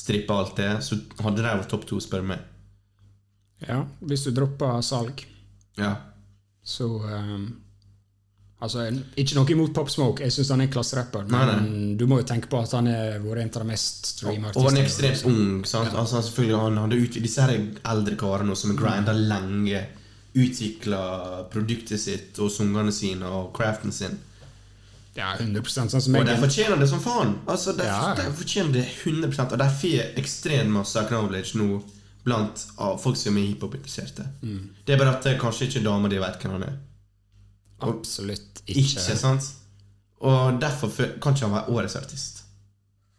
Speaker 1: strippe alt det, så hadde de vært topp to, spør du meg.
Speaker 2: Ja, hvis du dropper salg,
Speaker 1: Ja.
Speaker 2: så ehm, Altså, en- ikke noe imot Pop Smoke, jeg syns han er en klasserapper, men
Speaker 1: Nei,
Speaker 2: du må jo tenke på at han har vært en av de mest streama
Speaker 1: Og han er ekstremt ung. sant? Altså, han selvfølgelig, han hadde ut, Disse her eldre karene som har grinda lenge, utvikla produktet sitt og sungene sine og craften sin.
Speaker 2: Ja, 100 sånn som
Speaker 1: Og
Speaker 2: jeg
Speaker 1: de
Speaker 2: er.
Speaker 1: fortjener det som faen! Altså, De,
Speaker 2: Ja.
Speaker 1: de fortjener det 100 Og de får ekstremt masse acknowledge nå blant av folk som er hiphop-interesserte.
Speaker 2: Mm.
Speaker 1: Det er bare at eh, kanskje ikke dama di vet hvem han er.
Speaker 2: Absolutt
Speaker 1: Ikke,
Speaker 2: ikke.
Speaker 1: sant? Og derfor fø- kan ikke han være årets artist.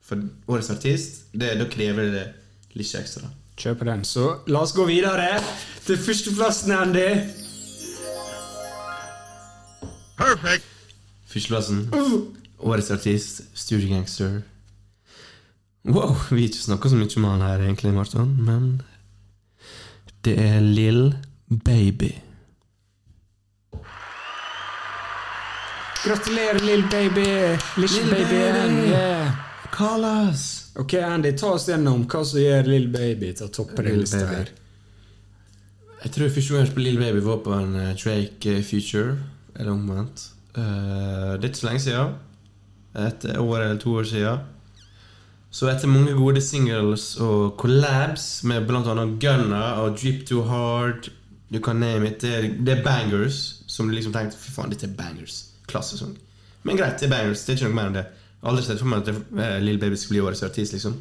Speaker 1: For årets artist, det, da krever det litt ekstra.
Speaker 2: Kjøper den. Så la oss gå videre til førsteplassen, Andy.
Speaker 4: Perfect.
Speaker 1: Førsteplassen. Årets artist, Studio Gangster. Wow, vi har ikke snakka så mye om han her, egentlig, Marton, men Det er Lill Baby.
Speaker 2: Gratulerer, lille baby. Lille
Speaker 1: Lil
Speaker 2: baby.
Speaker 1: baby.
Speaker 2: Yeah.
Speaker 1: Call us!
Speaker 2: Ok, Andy, ta oss gjennom hva som gjør Lill Baby til å toppe den
Speaker 1: Lil
Speaker 2: lista
Speaker 1: Baby.
Speaker 2: her.
Speaker 1: Jeg tror første gang jeg hørte på Lill Baby, var på en eh, Drake eh, Future, eller omvendt. Eh, det er ikke så lenge siden. Et år eller to år siden. Så etter mange gode singles og collabs med bl.a. Gunna og Drip Too Hard You can name it. Det er, det er bangers som du liksom tenkte Fy faen, dette er bangers. Klassesang. Men greit, det er bangers. Det er ikke noe mer enn det. Jeg har Aldri sett for meg at eh, Lill Baby skal bli årets artist, liksom.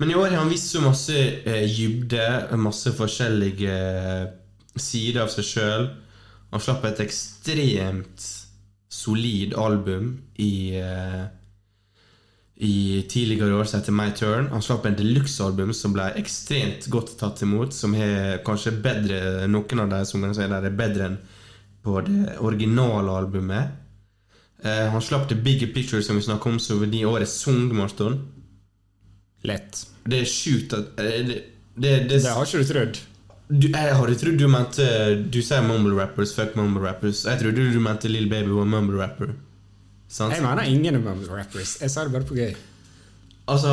Speaker 1: Men i år har han vist så masse eh, dybde, masse forskjellige eh, sider av seg sjøl. Han slapp et ekstremt solid album i eh, i tidligere år som heter My Turn. Han slapp en deluxe-album som ble ekstremt godt tatt imot, som er kanskje bedre noen av de sangene som er der, er bedre enn på det originale albumet. Eh, han slapp The Bigger Picture, som vi snakket om, som var de årets sang, Marston.
Speaker 2: Lett.
Speaker 1: Det er sjukt at eh, det, det, det,
Speaker 2: Det har ikke du trodd.
Speaker 1: du, Jeg hadde trodd du mente Du sier mumble rappers, fuck mumble rappers. Jeg trodde du mente Lill Baby var mumble rapper. Sant?
Speaker 2: Jeg mener ingen av dem er rappers. Jeg sa det bare på gøy.
Speaker 1: Altså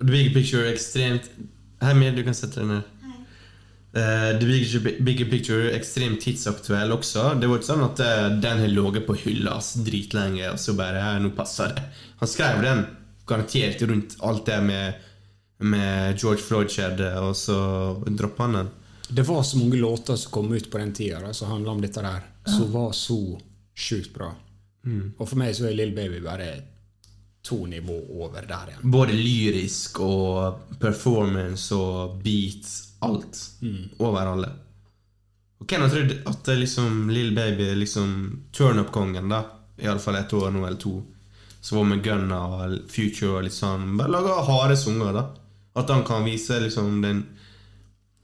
Speaker 1: The Bigger Picture er ekstremt Hei, Mir, du kan sette deg ned. Eh, The bigger, bigger Picture er ekstremt tidsaktuell også. Det var ikke sånn at eh, den har ligget på hylla ass, dritlenge, og så bare «Hei, Nå passer det. Han skrev den garantert rundt alt det med, med George Floyd skjedde, og så droppa han den.
Speaker 2: Det var så mange låter som kom ut på den tida da, som handla om dette der, som var så sjukt bra. Og for meg så er Lill Baby bare to nivå over der igjen.
Speaker 1: Både lyrisk og performance og beats. Alt. Over alle. Og hvem hadde trodd at det liksom Lill Baby er liksom turnup-kongen, da? Iallfall et år nå eller to. Så var med Gunna og Future og litt sånn Bare laga harde sanger, da. At han kan vise liksom den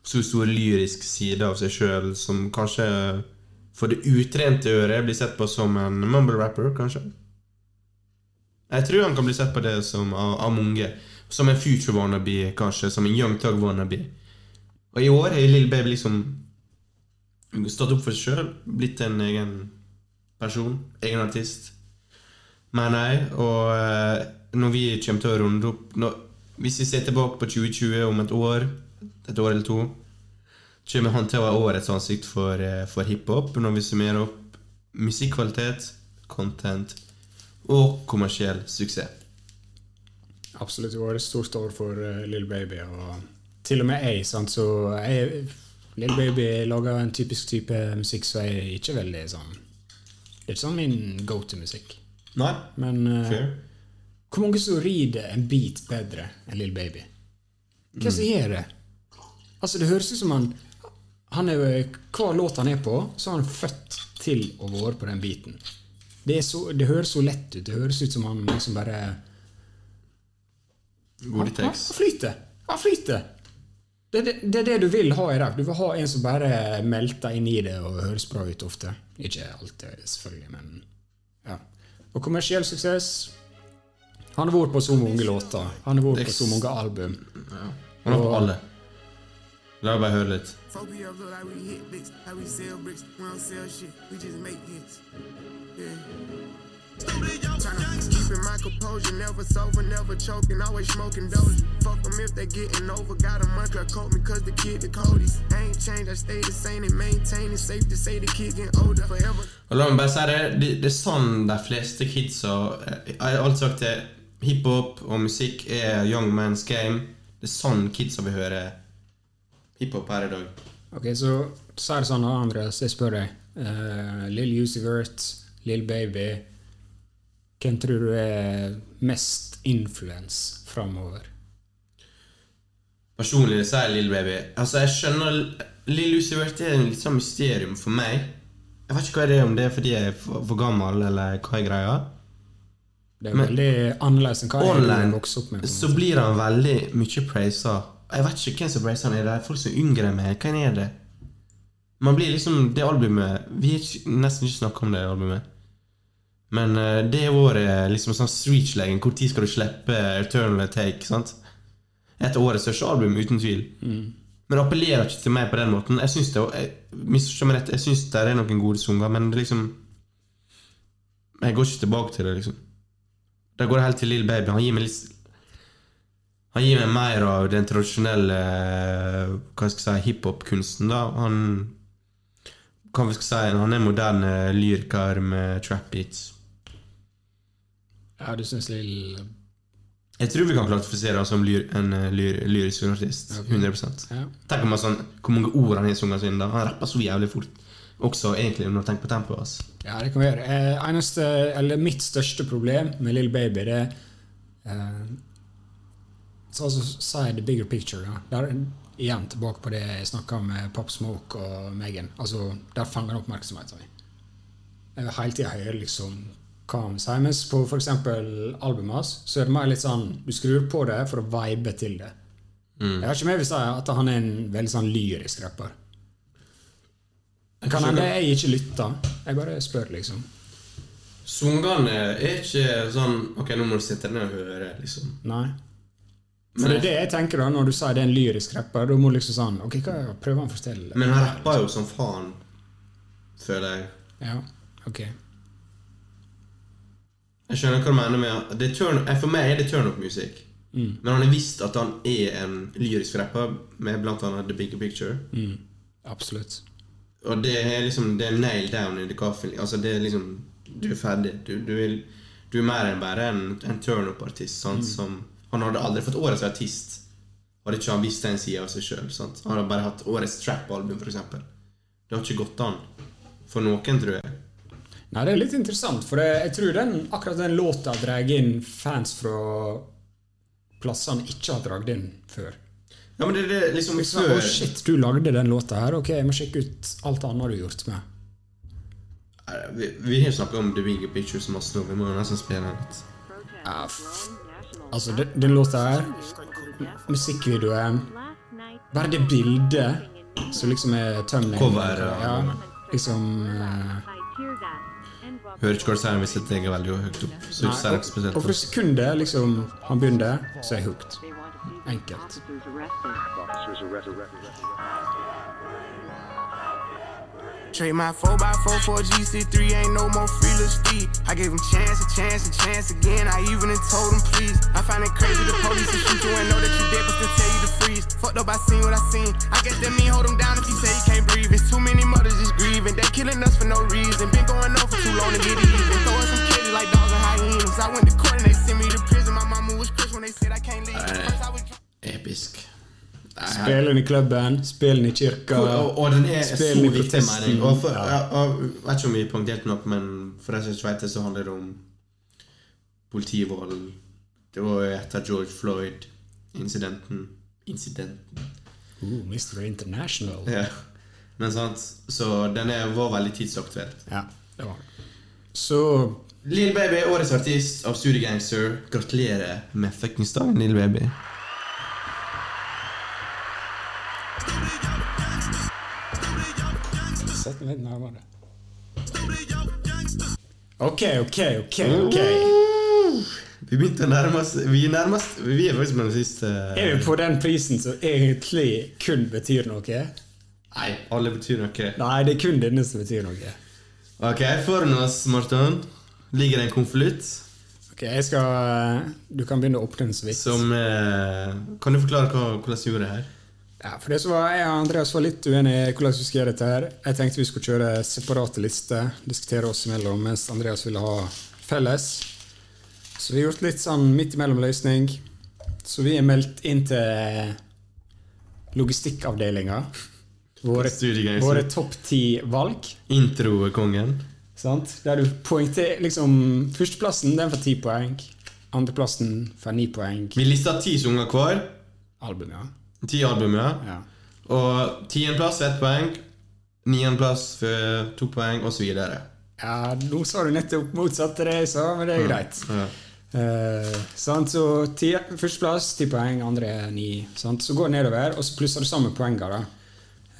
Speaker 1: så stor lyrisk side av seg sjøl som kanskje for det utrente øret blir sett på som en mumble rapper, kanskje. Jeg tror han kan bli sett på det som av, av mange. Som en future wannabe, kanskje. Som en young thug wannabe. Og i år har Lill Baby liksom stått opp for seg sjøl. Blitt en egen person. Egen artist. Men nei, og eh, når vi kommer til å runde opp når, Hvis vi ser tilbake på 2020 om et år, et år eller to, kommer han til å være årets ansikt for, eh, for hiphop når vi summerer opp musikkvalitet, content og kommersiell suksess.
Speaker 2: Absolutt. Hun har et stort år for uh, Little Baby. Og til og med jeg. sant? Så jeg, Little Baby lager en typisk type musikk som jeg er ikke veldig sånn Det er ikke sånn min go to-musikk.
Speaker 1: Nei?
Speaker 2: Men eh,
Speaker 1: Fair.
Speaker 2: hvor mange som rider en beat bedre enn Little Baby? Hva som gjør det? Altså, det høres ut som han han er jo, Hver låt han er på, så er han født til å være på den beaten. Det, er så, det høres så lett ut. Det høres ut som han liksom bare
Speaker 1: Gode
Speaker 2: Han
Speaker 1: tekst.
Speaker 2: flyter. Han flyter. Det, er det, det er det du vil ha i rap. Du vil ha en som bare melter inn i det og høres bra ut ofte. Ikke alltid, selvfølgelig, men ja. Og kommersiell suksess Han har vært på så mange låter. Han har vært på så mange album.
Speaker 1: Han har på alle. La meg bare høre litt.
Speaker 6: Folk be up, look like we hit bricks, how we sell bricks. We don't sell shit, we just make hits. Yeah. Tryna keeping my composure, never sober, never choking, always smoking dope. Fuck them if they getting over. Got a monkey, I coat me cause the kid the coldest. I ain't changed, I stay the same and maintain it. Safe to say the kid getting older forever.
Speaker 1: Og la meg bare si det, det, det er sånn de fleste kidsa eh, Jeg har alltid sagt det. Hiphop og musikk er young man's game. Det er sånn kidsa vil høre hiphop her i dag.
Speaker 2: Ok, så sier det sånn, da, Andreas, jeg spør deg. Uh, Lill Juicy Vert, Lill Baby Hvem tror du er mest influence framover?
Speaker 1: Personlig så er jeg Lill Baby. Altså, jeg skjønner Lill Lucy Vert er en litt sånn mysterium for meg. Jeg vet ikke hva det er, om det er fordi jeg er for, for gammel, eller hva er greia.
Speaker 2: Det er veldig annerledes enn hva jeg
Speaker 1: Online
Speaker 2: vokste opp med. på en
Speaker 1: så blir han veldig mye praisa. Jeg vet ikke hvem som praiser han er. Det er folk som er yngre enn meg. Hvem er det? Man blir liksom Det albumet Vi har ikke- nesten ikke snakka om det albumet. Men eh, det er vår eh, liksom sånn switch-legen. Når skal du slippe Eternal Take? sant? Et av årets største album, uten tvil. Men det appellerer ikke til meg på den måten. Jeg syns det jeg, misforstå meg rett, jeg synes det er noen gode sanger, men det liksom Jeg går ikke tilbake til det, liksom. Da går jeg helt til Lill Baby. Han gir meg litt Han gir meg mer av den tradisjonelle eh, Hva skal jeg si hiphop-kunsten, da. Han Hva vi skal si Han er moderne lyriker med trap beats.
Speaker 2: Ja, du syns Lill
Speaker 1: Jeg tror vi kan klassifisere han som lyr, en eh, lyr, lyrisk artist. 100
Speaker 2: ja.
Speaker 1: Tenk om han sånn, hvor mange ord han har i sangene sine. da. Han rapper så jævlig fort. Også egentlig, når du tenker på tempoet hans.
Speaker 2: ja, det kan vi gjøre. Eh, eneste, eller mitt største problem med Lill Baby, det er eh, Så altså si the bigger picture. Da. Der, igjen tilbake på det jeg snakka med Pop Smoke og Megan. Altså, der fanger han oppmerksomheten min. Jeg vil hele tida høre liksom hva han sier. Mens på for eksempel albumet hans, så er det mer litt sånn Du skrur på det for å vibe til det. Jeg har ikke med å si at han er en veldig sånn lyrisk rapper. Kan hende jeg ikke lytter. Jeg bare spør, liksom.
Speaker 1: Sangene er ikke sånn Ok, nå må du sitte ned og høre, liksom.
Speaker 2: Nei. For det er det jeg tenker da, når du sier det er en lyrisk rapper. Da må du liksom sånn Ok, hva prøver han å fortelle?
Speaker 1: Men han rapper jo som faen, føler jeg.
Speaker 2: Ja, ok.
Speaker 1: Jeg skjønner hva du mener med at det er turn, eh, For meg er det turn-up-musikk. Men han har visst at han er en lyrisk rapper med blant annet The Bigger Picture.
Speaker 2: Absolutt.
Speaker 1: Og det er liksom Det er nail down in the coffin. Altså det er liksom Du er ferdig. Du, du, er, du er mer enn bare en, en turn-up-artist. sant? Som, han hadde aldri fått årets artist hadde ikke han visst den sida av seg sjøl. Han hadde bare hatt årets trap-album, f.eks. Det har ikke gått an. For noen, tror jeg.
Speaker 2: Nei, det er litt interessant, for det, jeg tror den, akkurat den låta drar inn fans fra plasser han ikke har dratt inn før.
Speaker 1: Ja, men det er det liksom
Speaker 2: Liksom, Å, shit, du lagde den låta her. Ok, jeg må sjekke ut alt annet du har gjort med.
Speaker 1: Nei, Vi, vi har snakket om The Bigger Picture som masse nå. Vi må jo nesten spille den litt.
Speaker 2: Ja, f- altså, den, den låta her, musikkvideoen Bare det bildet som liksom er tømming.
Speaker 1: Cover, ja.
Speaker 2: ja. Liksom eh,
Speaker 1: Hører ikke hva du sier hvis jeg tenker veldig høyt opp. Så
Speaker 2: nei,
Speaker 1: det er
Speaker 2: og,
Speaker 1: ikke spesielt
Speaker 2: og for sekundet liksom, han begynner, så er jeg hooked. Enkelt.
Speaker 6: Trade my 4x4 for a GC3, ain't no more free little steed. I gave him chance, a chance, a chance again. I even done told him please. I find it crazy the police and shoot you and know that you dead, but still tell you to freeze. Fucked up, I seen what I seen. I guess that mean hold him down if he say he can't breathe. It's too many mothers just grieving. They killing us for no reason. Been going on for too long to get even. Throw us some cages like dogs and hyenas. I went to court and they sent me to prison. My mama was Chris when they said I
Speaker 2: Spiller den i klubben, spiller den i kirka.
Speaker 1: Og, og den er så
Speaker 2: Spiller
Speaker 1: viktig,
Speaker 2: protesten.
Speaker 1: mener jeg. Og for,
Speaker 2: Ja.
Speaker 1: ja. og, jeg vet ikke om vi poengterte nok, men for de som ikke vet det, så handler det om politivold. Det var jo etter George Floyd-incidenten. Incidenten.
Speaker 2: Ooh, Mr. International.
Speaker 1: Ja. Men sant, så den er, var veldig tidsaktuell.
Speaker 2: Ja, det var det. Så
Speaker 1: Lill Baby er årets artist av Studio Gangster. Gratulerer med fuckings dagen, Lill Baby.
Speaker 2: Sett den litt nærmere. OK, OK, OK. ok.
Speaker 1: Mm. Vi begynte å nærme oss Vi er nærmest Vi er faktisk med den siste
Speaker 2: Er vi på den prisen som egentlig kun betyr noe?
Speaker 1: Nei, alle betyr noe.
Speaker 2: Nei, det er kun denne som betyr noe.
Speaker 1: Ok, foran oss, Morten, ligger det en konvolutt.
Speaker 2: Ok, jeg skal Du kan begynne å åpne den så vidt.
Speaker 1: Som eh, Kan du forklare hva, hvordan du gjorde det her?
Speaker 2: Ja, for det som var, Jeg og Andreas var litt uenige i hvordan vi skulle gjøre dette. her. Jeg tenkte vi skulle kjøre separate lister, diskutere oss imellom, mens Andreas ville ha felles. Så vi har gjort litt sånn midt imellom-løsning. Så vi er meldt inn til logistikkavdelinga. Våre,
Speaker 1: Studiegang,
Speaker 2: våre
Speaker 1: så-
Speaker 2: topp ti valg.
Speaker 1: Introkongen.
Speaker 2: Sant? Der du poengterer liksom Førsteplassen den får ti poeng. Andreplassen får ni poeng.
Speaker 1: Vi lista ti sanger hver.
Speaker 2: Album, ja.
Speaker 1: Ti album, ja.
Speaker 2: ja.
Speaker 1: Og tiendeplass ett poeng. Niendeplass for to poeng, og så videre.
Speaker 2: Ja, nå sa du nettopp motsatt til det jeg sa, men det er greit.
Speaker 1: Ja.
Speaker 2: Eh, sant? Så ti, førsteplass ti poeng, andre er ni. Sant? Så går det nedover, og så plusser du sammen poengene. da.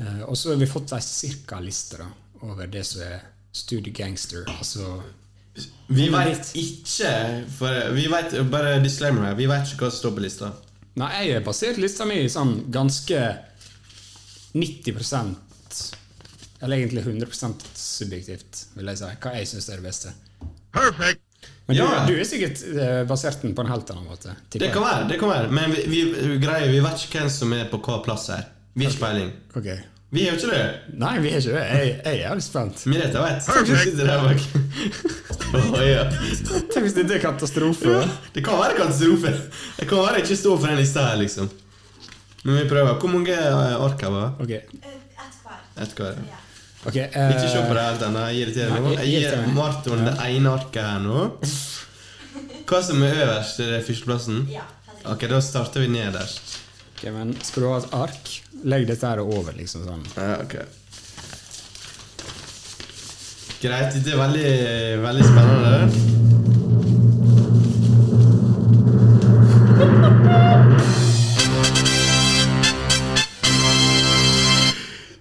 Speaker 2: Eh, og så har vi fått ei cirka-liste da, over det som er Studio Gangster. Altså
Speaker 1: Vi veit ikke for, Vi vet, Bare disclaimer her. Vi veit ikke hva som står på lista.
Speaker 2: Nei, jeg har basert lista mi sånn ganske 90 Eller egentlig 100 subjektivt, vil jeg si. Hva jeg syns er det beste.
Speaker 4: Perfect.
Speaker 2: Men
Speaker 1: Ja.
Speaker 2: du, du er sikkert eh, basert den på en helt annen måte. tipper
Speaker 1: Det
Speaker 2: jeg.
Speaker 1: kan være, det kan være. men vi, vi, greier, vi vet ikke hvem som er på hva plass her. Vi har ikke peiling.
Speaker 2: Ok.
Speaker 1: Vi har jo ikke det.
Speaker 2: Nei, vi er ikke det. Jeg, jeg er jævlig spent.
Speaker 1: Merete vet.
Speaker 4: Perfekt.
Speaker 1: Sitter der bak. Å, ja.
Speaker 2: Tenk hvis dette er katastrofe.
Speaker 1: Det kan være katastrofe. Jeg kan være ikke stå for den lista her, liksom. Men vi prøver. Hvor mange eh, ark her var
Speaker 2: Ok.
Speaker 1: Ett hver.
Speaker 2: ok, eh,
Speaker 1: Ikke se på det helt ennå. Jeg irriterer meg.
Speaker 2: Nei,
Speaker 1: Jeg gir
Speaker 2: irriterer meg.
Speaker 1: Marton det ene arket her nå. Hva som er øverst? Er det førsteplassen? Ok, da starter vi nederst.
Speaker 2: ok, men Skal du ha et ark, legg dette her over. liksom sånn.
Speaker 1: Ja, ok. Greit, dette er veldig, veldig spennende.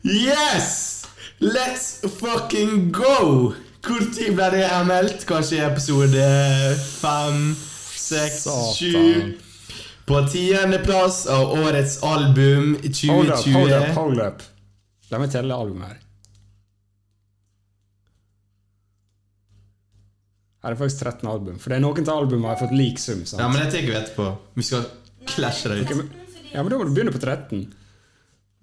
Speaker 1: Yes! Let's fucking go! Hvor tid ble det her meldt? Kanskje i episode fem, seks,
Speaker 2: Satan.
Speaker 1: sju? På tiendeplass av årets album i
Speaker 2: Hold up, hold up,
Speaker 1: 2020.
Speaker 2: hold up. La meg telle albumet her. Her er faktisk 13 album. For det er noen av albumene har fått lik sum. sant?
Speaker 1: Ja, men det tar vi etterpå. Vi skal klasje det ut.
Speaker 2: Ja, men da må du begynne på 13.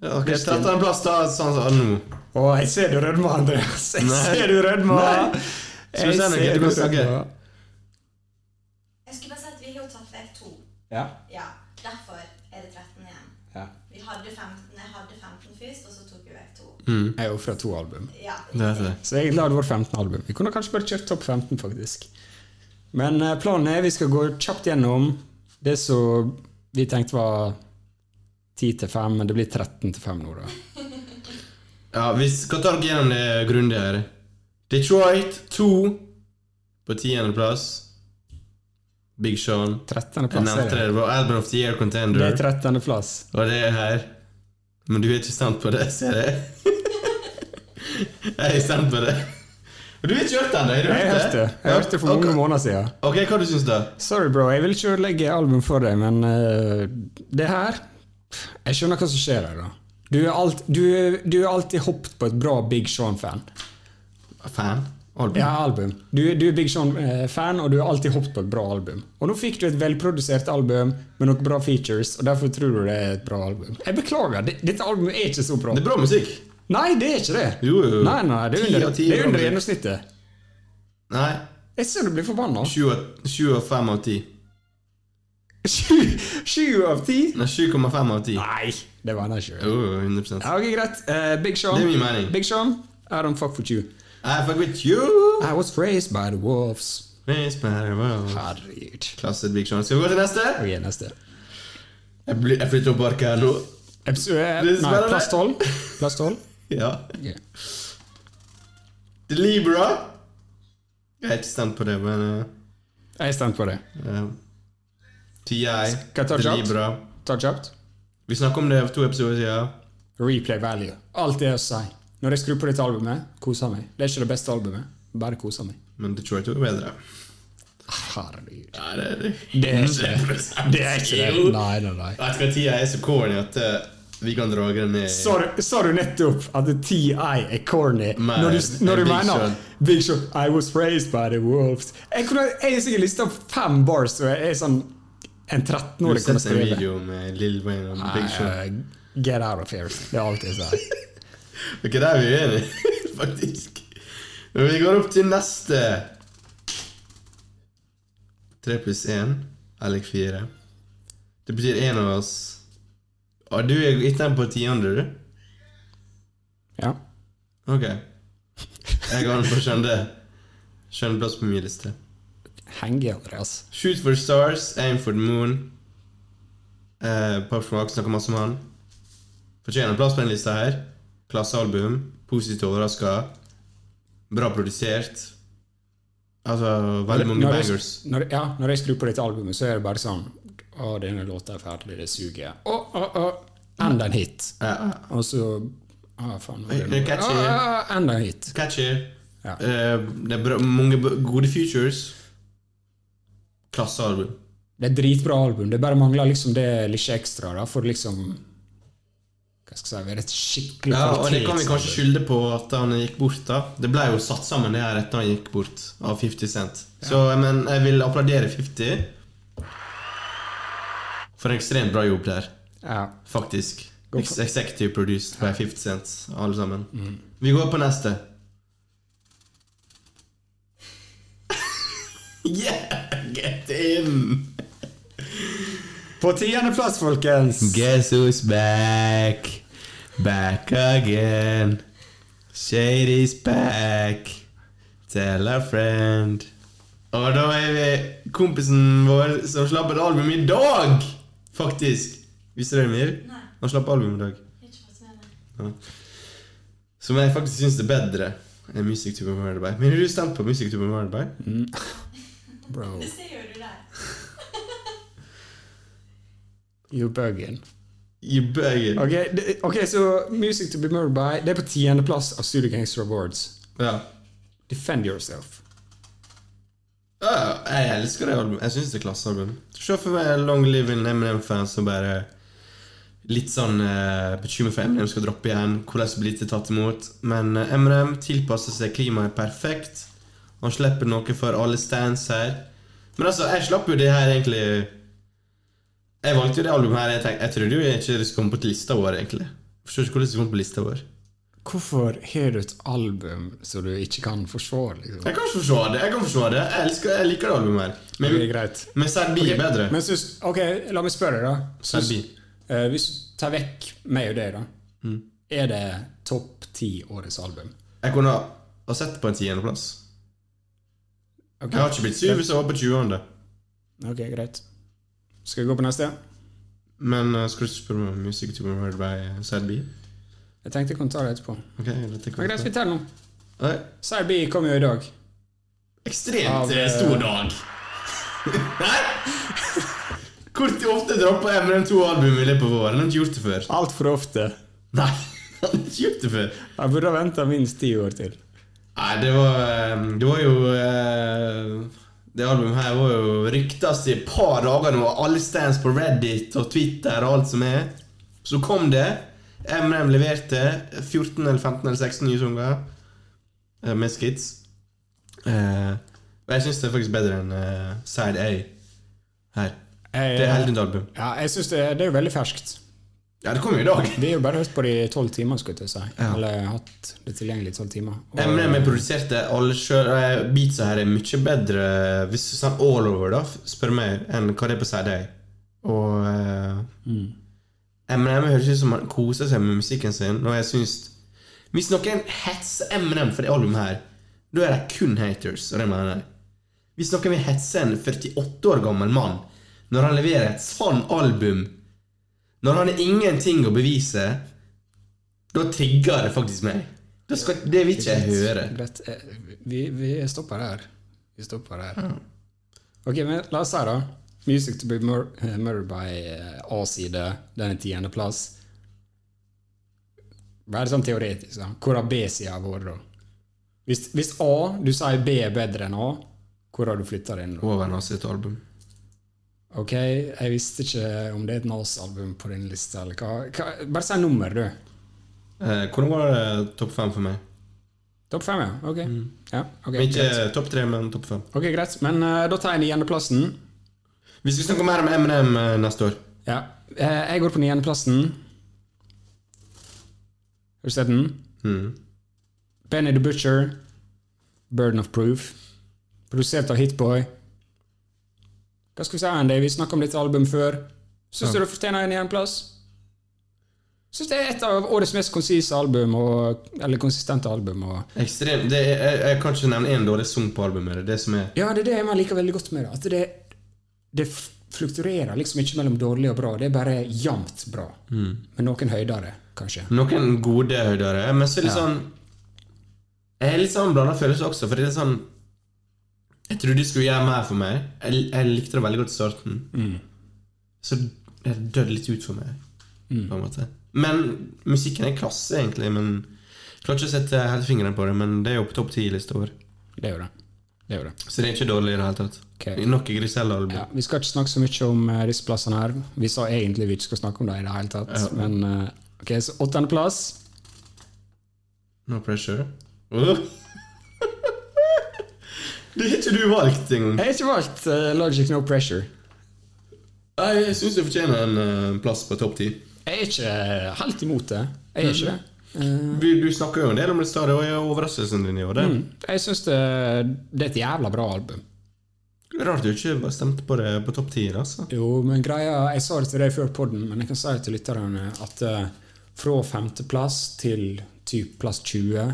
Speaker 1: Ja, Ok, 13. plass da, sånn som nå.
Speaker 2: Å, jeg ser du rødmer, Andreas. Jeg
Speaker 1: Nei.
Speaker 2: ser du rødmer.
Speaker 1: Nei. Skal vi se noe?
Speaker 2: Jeg ser
Speaker 1: Du
Speaker 2: du
Speaker 1: kan snakke.
Speaker 2: rødmer.
Speaker 7: Jeg skulle bare si at vi har jo tatt vekk to.
Speaker 2: Ja.
Speaker 7: Ja, derfor er det 13 igjen.
Speaker 2: ja.
Speaker 7: Vi hadde 15, jeg hadde 15 først, og så tok vi vekk to.
Speaker 2: Jeg er jo fra to album.
Speaker 7: Ja,
Speaker 1: Det heter det.
Speaker 2: Så egentlig hadde det vært 15 album. Vi kunne kanskje bare kjørt topp 15, faktisk. Men eh, planen er vi skal gå kjapt gjennom det som vi tenkte var 10 til 5, men det blir 13 til 5 nå, da.
Speaker 1: Ja, vi skal ta dere gjennom det grundigere. Detroit 2 på 10. plass. Big Sean.
Speaker 2: 13.
Speaker 1: Jeg
Speaker 2: plass er
Speaker 1: nevnte
Speaker 2: det.
Speaker 1: det. Det var Album of the Year
Speaker 2: Det
Speaker 1: Contender.
Speaker 2: er 13. plass.
Speaker 1: Og det er her. Men du er ikke stand på det, ser jeg. Jeg er stand på det. Og du har ikke hørt den, da? Har du
Speaker 2: Jeg
Speaker 1: hørt
Speaker 2: hørte
Speaker 1: det?
Speaker 2: jeg hørte det for mange
Speaker 1: Ok.
Speaker 2: måneder siden.
Speaker 1: Ok, hva du syns da?
Speaker 2: Sorry, bro. Jeg vil ikke ødelegge album for deg, men eh, det her Jeg skjønner hva som skjer her, da. Du er, alt, du, er- du er alltid hoppet på et bra Big Sean-fan.
Speaker 1: Fan? Album?
Speaker 2: Ja, album. Du, du er Big Sean-fan, og du har alltid hoppet på et bra album. Og nå fikk du et velprodusert album med noen bra features, og derfor tror du det er et bra album. Jeg beklager, det, dette albumet er ikke så bra.
Speaker 1: Det er bra musikk.
Speaker 2: Nei, det er ikke det!
Speaker 1: Jo, jo.
Speaker 2: Nei, nei, det er
Speaker 1: Ti
Speaker 2: under,
Speaker 1: av ti
Speaker 2: det er
Speaker 1: bra
Speaker 2: under
Speaker 1: musikk.
Speaker 2: gjennomsnittet.
Speaker 1: Nei.
Speaker 2: Jeg ser du blir forbanna.
Speaker 1: 7 og 5 av 10.
Speaker 2: Sju sju av ti?
Speaker 1: Nei, 7,5 av 10.
Speaker 2: Nei! Det var han ikke.
Speaker 1: Jo, jo, 100
Speaker 2: Ja, ok, greit. Eh, Big Sean.
Speaker 1: Det er min mening.
Speaker 2: Big Sean, I don't fuck with you.
Speaker 1: I fuck with you!
Speaker 2: I was raised by the wolves.
Speaker 1: Miss Marvel.
Speaker 2: Herregud.
Speaker 1: Klasse Big Sean. Skal vi gå til neste?
Speaker 2: Ok, neste.
Speaker 1: Jeg, blir, jeg flytter opp arket her nå.
Speaker 2: Episode,
Speaker 1: Det er
Speaker 2: nei,
Speaker 1: spennende.
Speaker 2: plass 12. Plass 12.
Speaker 1: Ja.
Speaker 2: Ok.
Speaker 1: The Libra. Jeg har ikke stemt på det, men
Speaker 2: Jeg stemte på det.
Speaker 1: eh, TI,
Speaker 2: jeg ta
Speaker 1: The
Speaker 2: kjapt?
Speaker 1: Libra.
Speaker 2: Ta kjapt.
Speaker 1: Vi snakket om det for to episoder siden.
Speaker 2: Replay value. Alt det å si. Når jeg skrur på dette albumet, koser meg. Det er ikke det beste albumet. Bare koser meg.
Speaker 1: Men Detroit var bedre.
Speaker 2: Herregud.
Speaker 1: Nei, det er det.
Speaker 2: Det er ikke det. Det er ikke det.
Speaker 1: Jo.
Speaker 2: Nei, nei, nei.
Speaker 1: Jeg tror TI er så corny at eh, vi kan dra den ned.
Speaker 2: Sa du- Sa du nettopp at TI er corny
Speaker 1: Nei,
Speaker 2: når du, når du
Speaker 1: Big
Speaker 2: mener
Speaker 1: Sean.
Speaker 2: Big Show I was raised by the wolves. Jeg kunne jeg har sikkert lista opp fem bars, og jeg er sånn en
Speaker 1: Du har
Speaker 2: 13-åring kan
Speaker 1: sett en
Speaker 2: skrive.
Speaker 1: video med Lil Wayne og Big Sean.
Speaker 2: Nei, eh, Get out of here. Det er alt jeg sier.
Speaker 1: Ok, der er vi uenige, faktisk. Men vi går opp til neste. Tre pluss én er lik fire. Det betyr én av oss Å, du er ikke den på tiende, du?
Speaker 2: Ja.
Speaker 1: Ok. Jeg har den på skjønne. Skjønneplass på min liste.
Speaker 2: Henge, Andreas.
Speaker 1: Shoot for the stars, aim for the moon. Uh, Pop Rock snakker masse om han. Fortjener plass på den lista her. Klassealbum. Positivt overraska. Bra produsert. Altså veldig mange
Speaker 2: Når jeg-
Speaker 1: bangers.
Speaker 2: Når, ja, når jeg skrur på dette albumet, så er det bare sånn Å, denne låta er ferdig, det suger. Å, å, å. Enda en hit.
Speaker 1: Ja, ja.
Speaker 2: Og så Å, faen. hva er
Speaker 1: Det er
Speaker 2: det nå?
Speaker 1: catchy.
Speaker 2: Å, å, å, Enda en hit.
Speaker 1: Catchy.
Speaker 2: Ja.
Speaker 1: Eh, det er bra, mange b- gode features. Klassealbum.
Speaker 2: Det er et dritbra album. Det bare mangler liksom det lille ekstra da, for liksom Hva skal jeg si være et skikkelig
Speaker 1: Ja, og det kan vi kanskje
Speaker 2: kvalitetsalbum.
Speaker 1: skylde på at han gikk bort, da. Det ble jo satt sammen det her etter han gikk bort, av 50 Cent. Så men jeg vil applaudere 50 for en ekstremt bra jobb der,
Speaker 2: Ja.
Speaker 1: faktisk.
Speaker 2: Gå for-
Speaker 1: Ex- Executive produced by 50 Cent, alle sammen. Vi går på neste. yeah! Get in!
Speaker 2: På tiendeplass, folkens!
Speaker 1: Guess who's back? Back again. Shady's back. Tell a friend. Og da er vi kompisen vår som slapp et album i dag! Faktisk. Visste dere mer?
Speaker 7: Nei.
Speaker 1: Han slapp album i dag.
Speaker 7: Jeg har ikke fått med meg.
Speaker 1: Som jeg faktisk syns er bedre enn Music to be murdered by. Men har du stemt på Music to be murdered by?
Speaker 2: Bro,
Speaker 7: Det ser jo du der.
Speaker 2: you bugging.
Speaker 1: You bugger.
Speaker 2: Ok, det, ok, så Music to be murdered by Det er på tiendeplass av Studio Gangster Awards.
Speaker 1: Ja.
Speaker 2: Defend yourself.
Speaker 1: Ja, jeg elsker det albumet. Jeg syns det er klassealbum. Se for meg Long Live in Eminem-fans som bare Litt sånn uh, bekymret for Eminem skal droppe igjen. Hvordan blir det tatt imot? Men eh, Eminem tilpasser seg klimaet perfekt. Han slipper noe for alle stands her. Men altså, jeg slapp jo det her egentlig Jeg valgte jo det albumet her. Jeg, tenk, jeg trodde jo ikke det skulle komme på lista vår, egentlig. Forstår ikke hvordan det kom på lista vår.
Speaker 2: Hvorfor har du et album som du ikke kan forsvare? Liksom?
Speaker 1: Jeg kan forsvare det. Jeg kan forsvare det Jeg elsker Jeg liker det albumet her. Men,
Speaker 2: Ok, greit.
Speaker 1: men Sad B er bedre.
Speaker 2: Men syns, ok, la meg spørre deg da. Syns-
Speaker 1: Selby.
Speaker 2: eh, hvis du tar vekk meg og deg, da.
Speaker 1: Mm.
Speaker 2: Er det topp ti årets album?
Speaker 1: Jeg kunne ha- ha sett på en tiendeplass.
Speaker 2: Ok.
Speaker 1: Jeg har ikke blitt syv hvis jeg var på 20.
Speaker 2: Ok, greit. Skal vi gå på neste?
Speaker 1: Men eh, skal du spørre meg om Music to be heard by eh, Sad B?
Speaker 2: Jeg tenkte jeg kunne ta det etterpå. Men
Speaker 1: Ok, dette kan
Speaker 2: greit,
Speaker 1: jeg
Speaker 2: vi tar det nå.
Speaker 1: ta. Nei,
Speaker 2: Serbi kom jo i dag. Av,
Speaker 1: Ekstremt
Speaker 2: eh,
Speaker 1: eh, stor dag. Nei? Hvor til ofte dropper MRM2 album i løpet av våren? Han har ikke gjort det før.
Speaker 2: Altfor ofte.
Speaker 1: Nei, han har ikke gjort det før.
Speaker 2: Jeg burde ha venta minst ti år til.
Speaker 1: Nei, det var, eh, det var jo eh, Det albumet her var jo ryktes i et par dager nå. Alle stands på Reddit og Twitter og alt som er. Så kom det. MRM leverte 14 eller 15 eller 16 nye sanger eh, med skits. Eh, Og jeg syns det er faktisk bedre enn eh, Side A her.
Speaker 2: Jeg,
Speaker 1: Det er helt nytt album.
Speaker 2: ja, jeg synes det, det er jo veldig ferskt.
Speaker 1: Ja, det kom jo i dag.
Speaker 2: Vi har jo bare hørt på det i tolv timer, skulle jeg til å si.
Speaker 1: Ja.
Speaker 2: Eller hatt det tilgjengelig i tolv timer. Og-
Speaker 1: MNM er produserte alle sjøl. Beatsa her er mye bedre hvis du sier all over, da, spør meg, enn hva det er på CD. Og eh, Eminem høres ut som han koser seg med musikken sin. Og jeg synes Hvis noen hetser Eminem for det albumet her, da er det kun haters. Og det mener jeg. Hvis noen vil hetse en 48 år gammel mann når han leverer et sånn album, når han har ingenting å bevise, da trigger det faktisk meg. Da skal, det vil ikke jeg høre.
Speaker 2: Greit. eh, Vi, vi stopper her. Vi stopper her. Ok, men la oss se, da. Music to be mur eh, murdered by eh, A-side, den er tiendeplass. Bare sånn teoretisk, da. Hvor har B-sida vært, da? Hvis, hvis A, du sier B er bedre enn A, hvor har du flytta den? da?
Speaker 1: Over hans sitt album.
Speaker 2: Ok, jeg visste ikke om det er et Nas-album på din liste, eller hva? hva bare si nummer, du.
Speaker 1: Eh, hvordan var det topp fem for meg?
Speaker 2: Topp fem, ja. Ok. Ja, ok,
Speaker 1: Men Ikke
Speaker 2: greit.
Speaker 1: topp tre, men topp fem.
Speaker 2: Ok, greit. Men eh, da tar jeg niendeplassen.
Speaker 1: Vi skal snakke mer om Eminem eh, neste år.
Speaker 2: Ja. Eh, Jeg går på niendeplassen. Har du sett den? Benny the Butcher, 'Burden of Proof', produsert av Hitboy. Hva skal vi si, Andy? Vi snakka om dette albumet før. Syns du det fortjener en niendeplass? Syns det er et av årets mest konsise album, og, eller konsistente album. Og
Speaker 1: Ekstrem, det er, jeg, jeg kan ikke nevne én dårlig sang på albumet. Det er det som er
Speaker 2: Ja, det er det man liker veldig godt med det. At det, det f- fluktuerer liksom ikke mellom dårlig og bra. Det er bare jevnt bra. Med noen høydere, kanskje.
Speaker 1: Noen gode høydere, men så er det litt sånn Jeg har litt sånn blanda følelser også, for det er litt sånn Jeg trodde de skulle gjøre mer for meg. Jeg, jeg likte det veldig godt i starten.
Speaker 2: Mm.
Speaker 1: Så det døde litt ut for meg,
Speaker 2: Mm.
Speaker 1: på en måte. Men musikken er klasse, egentlig. Men jeg klarer ikke å sette helt fingeren på det, men det er jo på topp ti lista vår.
Speaker 2: Det er jo det. det, er jo det.
Speaker 1: Så det er ikke dårlig i det hele tatt.
Speaker 2: Ok.
Speaker 1: Nok Griselle-album.
Speaker 2: Ja, vi skal ikke snakke så mye om eh, disse plassene her. Vi sa egentlig vi ikke skal snakke om det i det hele tatt. Men eh, ok, så åttendeplass.
Speaker 1: No pressure. Uh. det har ikke du valgt engang.
Speaker 2: Jeg har ikke valgt eh, Logic No Pressure.
Speaker 1: Nei, jeg syns du fortjener en eh, plass på topp ti.
Speaker 2: Jeg er ikke eh, helt imot det. Jeg er ikke det.
Speaker 1: Du, du snakker jo en del om det stadig, og jeg er overraskelsen din i år. Det
Speaker 2: Jeg syns det, det er et jævla bra album. Mm.
Speaker 1: er Rart du ikke bare stemte på det på topp ti. Altså.
Speaker 2: Jo, men greia Jeg sa det til deg før podden, men jeg kan si det til lytterne at eh, fra femteplass til typ plass 20,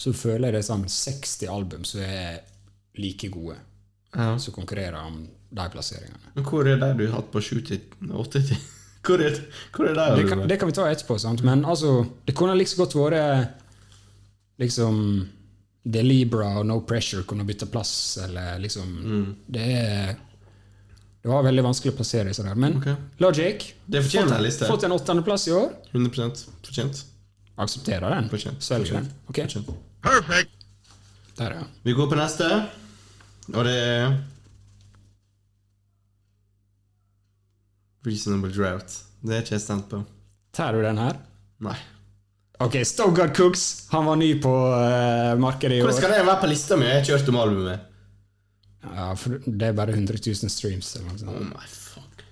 Speaker 2: så føler jeg det er sånn 60 album som er like gode,
Speaker 1: Ja.
Speaker 2: som konkurrerer om de plasseringene.
Speaker 1: Men hvor er de du har hatt på sju til åtte til? Hvor er, hvor er de?
Speaker 2: Det kan,
Speaker 1: albumet?
Speaker 2: det kan vi ta etterpå, sant? men altså, det kunne like så godt vært liksom The Libra og No Pressure kunne bytte plass, eller liksom Det er Det var veldig vanskelig å plassere i sånn her, men
Speaker 1: Ok.
Speaker 2: Logic
Speaker 1: Det fortjener en liste.
Speaker 2: Fått en åttendeplass i år.
Speaker 1: 100 fortjent.
Speaker 2: Aksepterer den.
Speaker 1: Fortjent.
Speaker 2: Svelger den. Ok,
Speaker 1: fortjent.
Speaker 4: Perfect.
Speaker 2: der ja.
Speaker 1: Vi går på neste, og det er Reasonable Drought. Det er ikke jeg stemt på.
Speaker 2: Tar du den her?
Speaker 1: Nei.
Speaker 2: Ok, Stogard Cooks. Han var ny på eh, markedet i
Speaker 1: Hvordan
Speaker 2: år.
Speaker 1: skal det være på lista mi? Jeg har ikke hørt om albumet.
Speaker 2: Ja, for det er bare 100 000 streams. Eller noe sånt.
Speaker 1: Oh my fuck.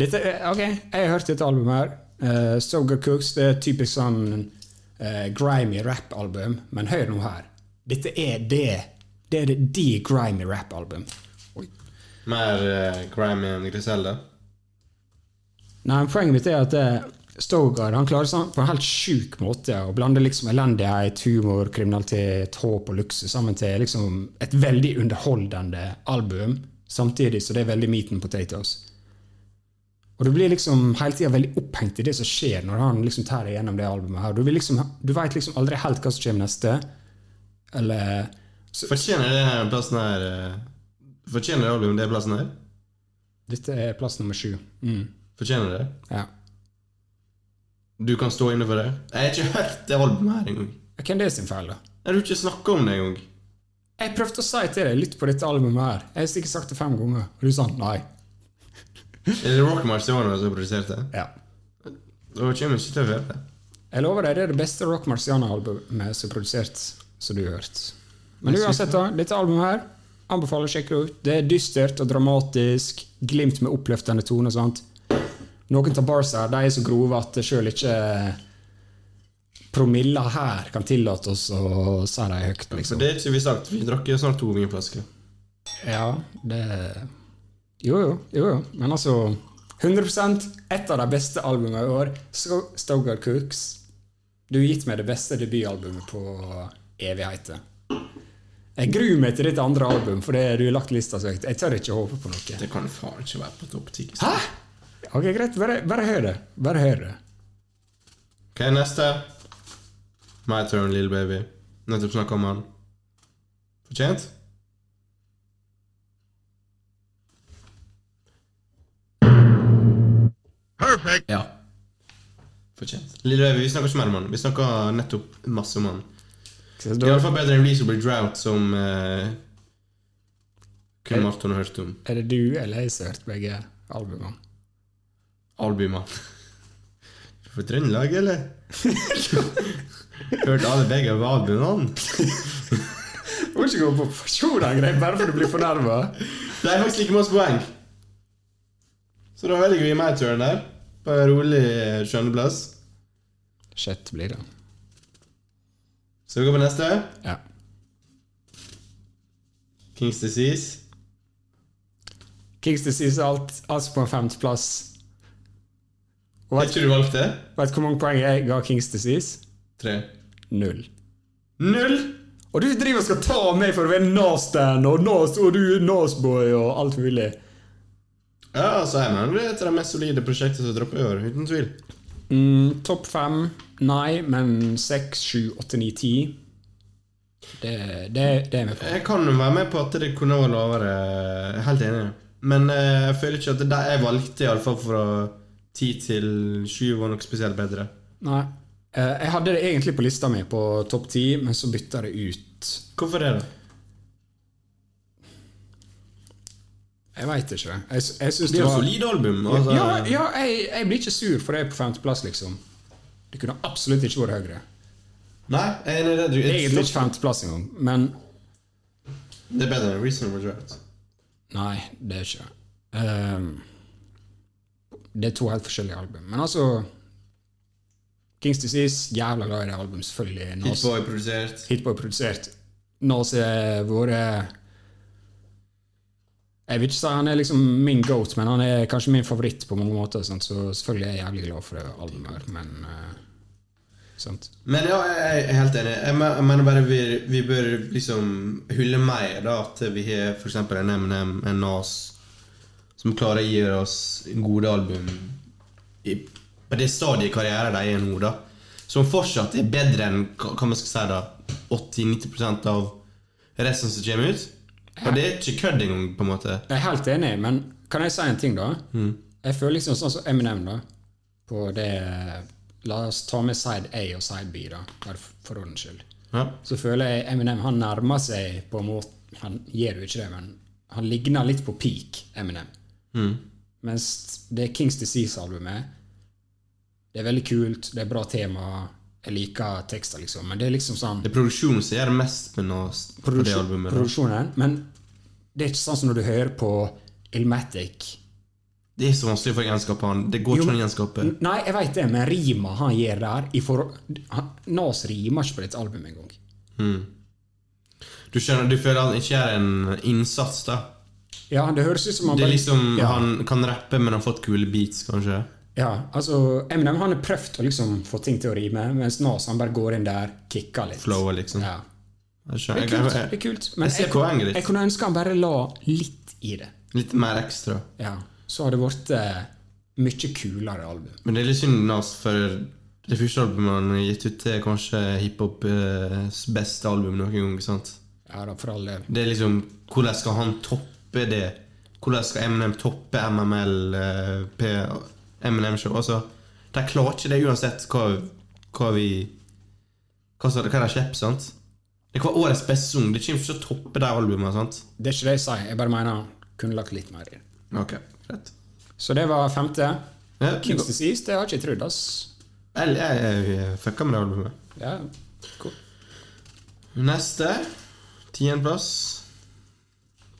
Speaker 2: Dette, er- ok, jeg har hørt dette albumet her. Eh, Stogard Cooks det er typisk sånn eh, grimy rap-album, men hør nå her. Dette er det. Det er det, de grimy rap-album. Oi.
Speaker 1: Mer uh, grimy enn Griselda.
Speaker 2: Nei, men Poenget mitt er at eh, Stogard han klarer sånn på en helt sjuk måte å blande liksom elendighet, humor, kriminalitet, håp og luksus sammen til liksom et veldig underholdende album, samtidig så det er veldig meat and potatoes. Og du blir liksom hele tida veldig opphengt i det som skjer når han liksom tar deg gjennom det albumet. her. Du, blir liksom, du veit liksom aldri helt hva som kommer neste. Eller så,
Speaker 1: Fortjener det her plassen her eh, Fortjener det albumet det plassen her?
Speaker 2: Dette er plass nummer sju. Mm,
Speaker 1: Fortjener det?
Speaker 2: ja.
Speaker 1: Du kan stå inne for det? Jeg har ikke hørt det albumet her engang.
Speaker 2: Hvem det er sin feil, da?
Speaker 1: Jeg har ikke snakket om det engang.
Speaker 2: Jeg prøvde å si til deg, lytt på dette albumet her. Jeg har sikkert sagt det fem ganger, og du sa nei.
Speaker 1: Er det Rock Marciano som produserte?
Speaker 2: Ja.
Speaker 1: Da kommer ikke til å høre det.
Speaker 2: Jeg lover deg, det er det beste Rock Marciano-albumet som er produsert, som du har hørt. Men
Speaker 1: Jeg synes
Speaker 2: uansett, da, dette albumet her anbefaler å sjekke det ut. Det er dystert og dramatisk, glimt med oppløftende tone og sånt. Noen av barsa her, de er så grove at sjøl ikke promilla her kan tillate oss å si dem høyt,
Speaker 1: Så
Speaker 2: liksom.
Speaker 1: det er ikke vi sagt. Vi drakk jo snart to vinflasker.
Speaker 2: Ja, det Jo, jo. jo, jo. Men altså 100 et av de beste albumene i år. Sto- Stogar Cooks. Du har gitt meg det beste debutalbumet på evigheter. Jeg gruer meg til ditt andre album, for det du har lagt lista så høyt. Jeg tør ikke håpe på noe.
Speaker 1: Det kan faen ikke være på topp ti.
Speaker 2: Hæ? Ok, greit. Bare, bare hør det. Bare hør det.
Speaker 1: Ok, neste. My turn, little baby. Nettopp snakka om han. Fortjent?
Speaker 4: Perfect.
Speaker 1: Ja. Fortjent. Lille Baby, vi snakker ikke mer om han. Vi snakker nettopp masse om han.
Speaker 2: Så
Speaker 1: Det er i
Speaker 2: da
Speaker 1: alle fall bedre enn Reasonable Drought, som eh, kun Marton har hørt om.
Speaker 2: er det du eller jeg som har hørt begge albumene.
Speaker 1: Albumet. Du fra Trøndelag, eller? Hørt alle begge av albumene?
Speaker 2: Du må ikke gå på personangrep bare for du blir fornærma.
Speaker 1: Det er faktisk like masse poeng. Så da velger vi meg turen der. På en rolig eh, skjønneplass.
Speaker 2: Shit blir det.
Speaker 1: Så vi går på neste.
Speaker 2: Ja.
Speaker 1: Kings Disease.
Speaker 2: Kings Disease er alt, altså på en femteplass. Og
Speaker 1: Har
Speaker 2: vet,
Speaker 1: ikke du valgt det?
Speaker 2: vet du hvor mange poeng jeg ga Kings Disease?
Speaker 1: Tre.
Speaker 2: Null.
Speaker 1: Null!
Speaker 2: Og du driver og skal ta meg for å være Nas-stan og Nas og du Nas-boy og alt mulig.
Speaker 1: Ja, altså, jeg mener det er et av de mest solide prosjektene som dropper i år. Uten tvil.
Speaker 2: Mm, Topp fem? Nei, men seks, sju, åtte, ni, ti. Det, det, det er vi på.
Speaker 1: Jeg kan jo være med på at det kunne vært lavere. Jeg er helt enig. Men eh, jeg føler ikke at det der jeg valgte, i alle fall fra 10 til 7, var noe spesielt bedre.
Speaker 2: Nei. Eh, Jeg hadde det egentlig på lista mi på topp ti, men så bytta jeg det ut.
Speaker 1: Hvorfor det, da?
Speaker 2: Jeg veit ikke. Jeg, s- jeg synes
Speaker 1: Det er jo
Speaker 2: var-
Speaker 1: et solid album. Altså,
Speaker 2: Ja, ja jeg, jeg blir ikke sur for det er på femteplass, liksom. Det kunne absolutt ikke vært høyere.
Speaker 1: Nei, jeg er enig i det. Du, et
Speaker 2: Egentlig ikke
Speaker 1: flott-
Speaker 2: femteplass engang, men
Speaker 1: det er bedre enn Reasonable Drought.
Speaker 2: Nei, det er ikke. Ehm, det er to helt forskjellige album. Men altså Kings Disease, jævla glad i det albumet, selvfølgelig. Nas-
Speaker 1: Hitboy produsert.
Speaker 2: Hitboy produsert. Nas har vært Jeg vil ikke si han er liksom min goat, men han er kanskje min favoritt på mange måter. Sant? Så selvfølgelig er jeg jævlig glad for det albumet, her, men eh, sant?
Speaker 1: Men ja, jeg er helt enig. Jeg me- jeg mener bare vi, vi bør liksom hylle mer da, at vi har f.eks. en MNM, en Nas, som klarer å gi oss gode album i, på det stadiet i karrieren de er nå, da. Som fortsatt er bedre enn hva hva man skal si da, 80-90 av resten som kommer ut. Og det er ikke kødd engang, på en måte.
Speaker 2: Jeg er helt enig, men kan jeg si en ting, da?
Speaker 1: Mm.
Speaker 2: Jeg føler liksom sånn som Eminem, da. På det La oss ta med side A og side B, da, bare for- for ordens skyld.
Speaker 1: Ja.
Speaker 2: Så føler jeg Eminem han nærmer seg på en måte Han gjør jo ikke det, men han ligner litt på peak Eminem.
Speaker 1: Mm.
Speaker 2: Mens det Kings Disease-albumet Det er veldig kult, det er bra tema, jeg liker tekster, liksom, men det er liksom sånn
Speaker 1: Det er produksjonen som gjør mest med Nas på det
Speaker 2: produksjon-
Speaker 1: albumet. Da.
Speaker 2: produksjonen. Men det er ikke sånn som når du hører på Ilmatic.
Speaker 1: Det er så vanskelig for å gjenskape han. Det går ikke
Speaker 2: Jo,
Speaker 1: an å
Speaker 2: men-
Speaker 1: gjenskape.
Speaker 2: N- Nei, jeg veit det, men rima han gjør der i forhold, han, Nas rimer ikke på dette albumet engang.
Speaker 1: Du skjønner, du føler han ikke gjør en innsats, da.
Speaker 2: Ja, det høres ut som han
Speaker 1: Det er
Speaker 2: bare-
Speaker 1: liksom,
Speaker 2: ja,
Speaker 1: Han kan rappe, men han har fått kule beats, kanskje.
Speaker 2: ja, altså Eminem han har prøvd å liksom få ting til å rime, mens Nas han bare går inn der, kicker litt.
Speaker 1: Flower, liksom.
Speaker 2: Ja.
Speaker 1: Jeg
Speaker 2: Det
Speaker 1: skjønner,
Speaker 2: er kult,
Speaker 1: jeg,
Speaker 2: det er kult men
Speaker 1: jeg ser
Speaker 2: kunne-
Speaker 1: poenget ditt.
Speaker 2: jeg kunne ønske han bare la litt i det.
Speaker 1: litt mer ekstra.
Speaker 2: Ja, Så hadde det blitt eh, mye kulere album.
Speaker 1: Men det er litt synd, Nas, for det første albumet han har gitt ut, er kanskje hiphops beste album noen gang. sant?
Speaker 2: Ja da, for all del.
Speaker 1: Det er liksom Hvordan skal han toppe det? Hvordan skal Eminem toppe MML, eh, P, Eminem Show? Altså, de klarer ikke det uansett hva, hva vi Hva, sa- hva de slipper, sant? Det er hva årets beste sang. Det kommer ikke til å toppe de albumene, sant?
Speaker 2: Det er ikke det jeg sier, jeg bare mener han kunne lagt litt mer i det.
Speaker 1: Ok, greit.
Speaker 2: Så det var femte.
Speaker 1: Ja,
Speaker 2: Kings Disease, det har jeg ikke trodd, ass.
Speaker 1: Jeg, jeg, jeg, jeg fucka med det albumet.
Speaker 2: Ja, cool.
Speaker 1: Neste. Tiendeplass.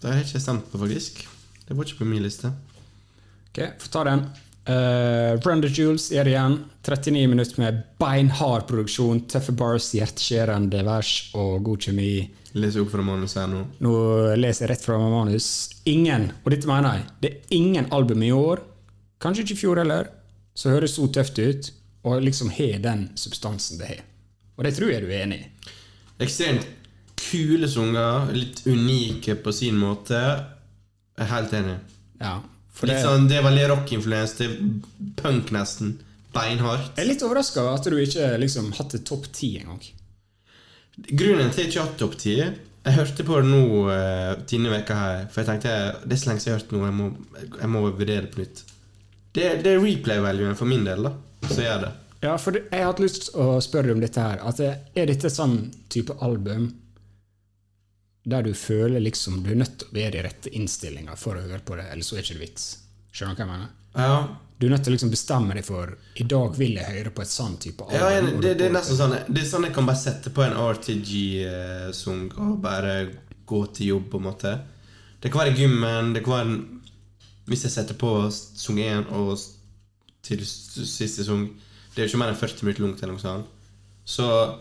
Speaker 1: Det har jeg ikke stemt på, faktisk. Det var ikke på min liste.
Speaker 2: Ok, får ta den. Eh, Run the Jewels er det igjen. 39 minutter med beinhard produksjon, tøffe bars, hjerteskjærende vers og god kjemi.
Speaker 1: Leser opp fra manuset her nå.
Speaker 2: Nå leser jeg rett fra manus. Ingen, og dette mener jeg, det er ingen album i år kanskje ikke i fjor heller, som høres så tøft ut, og liksom har den substansen det har. Og det tror jeg du er enig i.
Speaker 1: Ekstremt kule sanger, litt unike på sin måte. Jeg er helt enig.
Speaker 2: Ja, for det,
Speaker 1: Litt sånn, det er veldig rock-influens. Det er punk, nesten. Beinhardt.
Speaker 2: jeg er litt overraska over at du ikke liksom hatt det topp ti engang.
Speaker 1: Grunnen til ikke hatt topp 10 Jeg hørte på det nå eh, tiende veka her, for jeg tenkte det er så lenge siden jeg har hørt noe, jeg må, jeg må vurdere det på nytt. Det, det er replay-valuen for min del, da. Så gjør det.
Speaker 2: Ja, for det- jeg har hatt lyst til å spørre deg om dette her. At det- er dette sånn type album der du føler liksom du er nødt til å være i rette innstillinga for å høre på det, eller så er ikke det vits? Skjønner du hva jeg mener?
Speaker 1: Ja,
Speaker 2: Du er nødt til å liksom bestemme deg for I dag vil jeg høre på et sånn type album.
Speaker 1: ja jeg,
Speaker 2: og
Speaker 1: det,
Speaker 2: du-
Speaker 1: det er nesten sånn Det er sånn jeg kan bare sette på en RTG-sang og bare gå til jobb, på en måte. Det kan være i gymmen, det kan være en, Hvis jeg setter på sang 1 og s- til s- siste sang Det er jo ikke mer enn 40 minutter langt, eller noe sånt. Så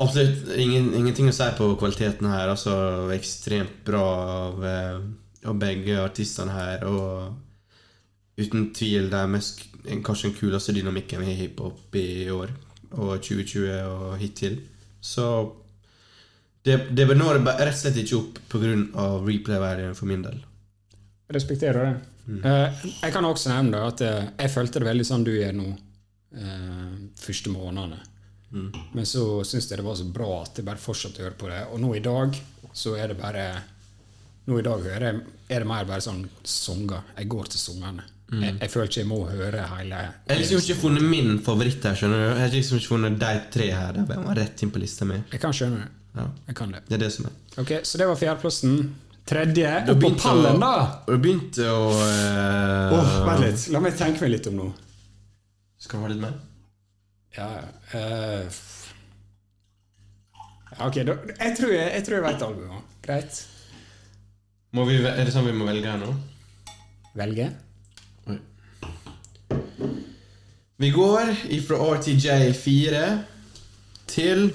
Speaker 1: Absolutt ingen, ingenting å si på kvaliteten her. Altså ekstremt bra av, eh, av begge artistene her. Og uten tvil det er mest, kanskje den kuleste dynamikken vi har i hiphop i år. Og 2020 og hittil. Så det, det når bare rett og slett ikke opp pga. replay-verdien for min del.
Speaker 2: Jeg respekterer det.
Speaker 1: Mm.
Speaker 2: Eh, jeg kan også nevne da at eh, jeg følte det veldig sånn du gjør nå, eh, første månedene.
Speaker 1: Mm.
Speaker 2: Men så syns jeg det var så bra at jeg bare fortsatte å høre på det. Og nå i dag så er det bare Nå i dag hører jeg, er det mer bare sånn sanger. Jeg går til sangene. Jeg, jeg føler ikke jeg må høre hele
Speaker 1: Mm. Jeg har liksom ikke funnet min favoritt her. skjønner du? Jeg har liksom ikke funnet de tre her. De var rett inn på lista mi.
Speaker 2: Jeg kan skjønne det.
Speaker 1: Ja.
Speaker 2: Jeg kan det.
Speaker 1: Det er det som er.
Speaker 2: Ok, Så det var fjerdeplassen. Tredje.
Speaker 1: Du
Speaker 2: Opp på
Speaker 1: begynte å-
Speaker 2: pallen, da!
Speaker 1: Du begynte å eh,
Speaker 2: Åh, Vent litt. La meg tenke meg litt om nå.
Speaker 1: Skal du ha litt mer?
Speaker 2: Ja, ja. Eh, f- ja, ok, da, jeg tror jeg, jeg, tror jeg vet albumet. Greit.
Speaker 1: Må vi, ve- er det sånn vi må velge her nå?
Speaker 2: Velge?
Speaker 1: Vi går ifra RTJ4 til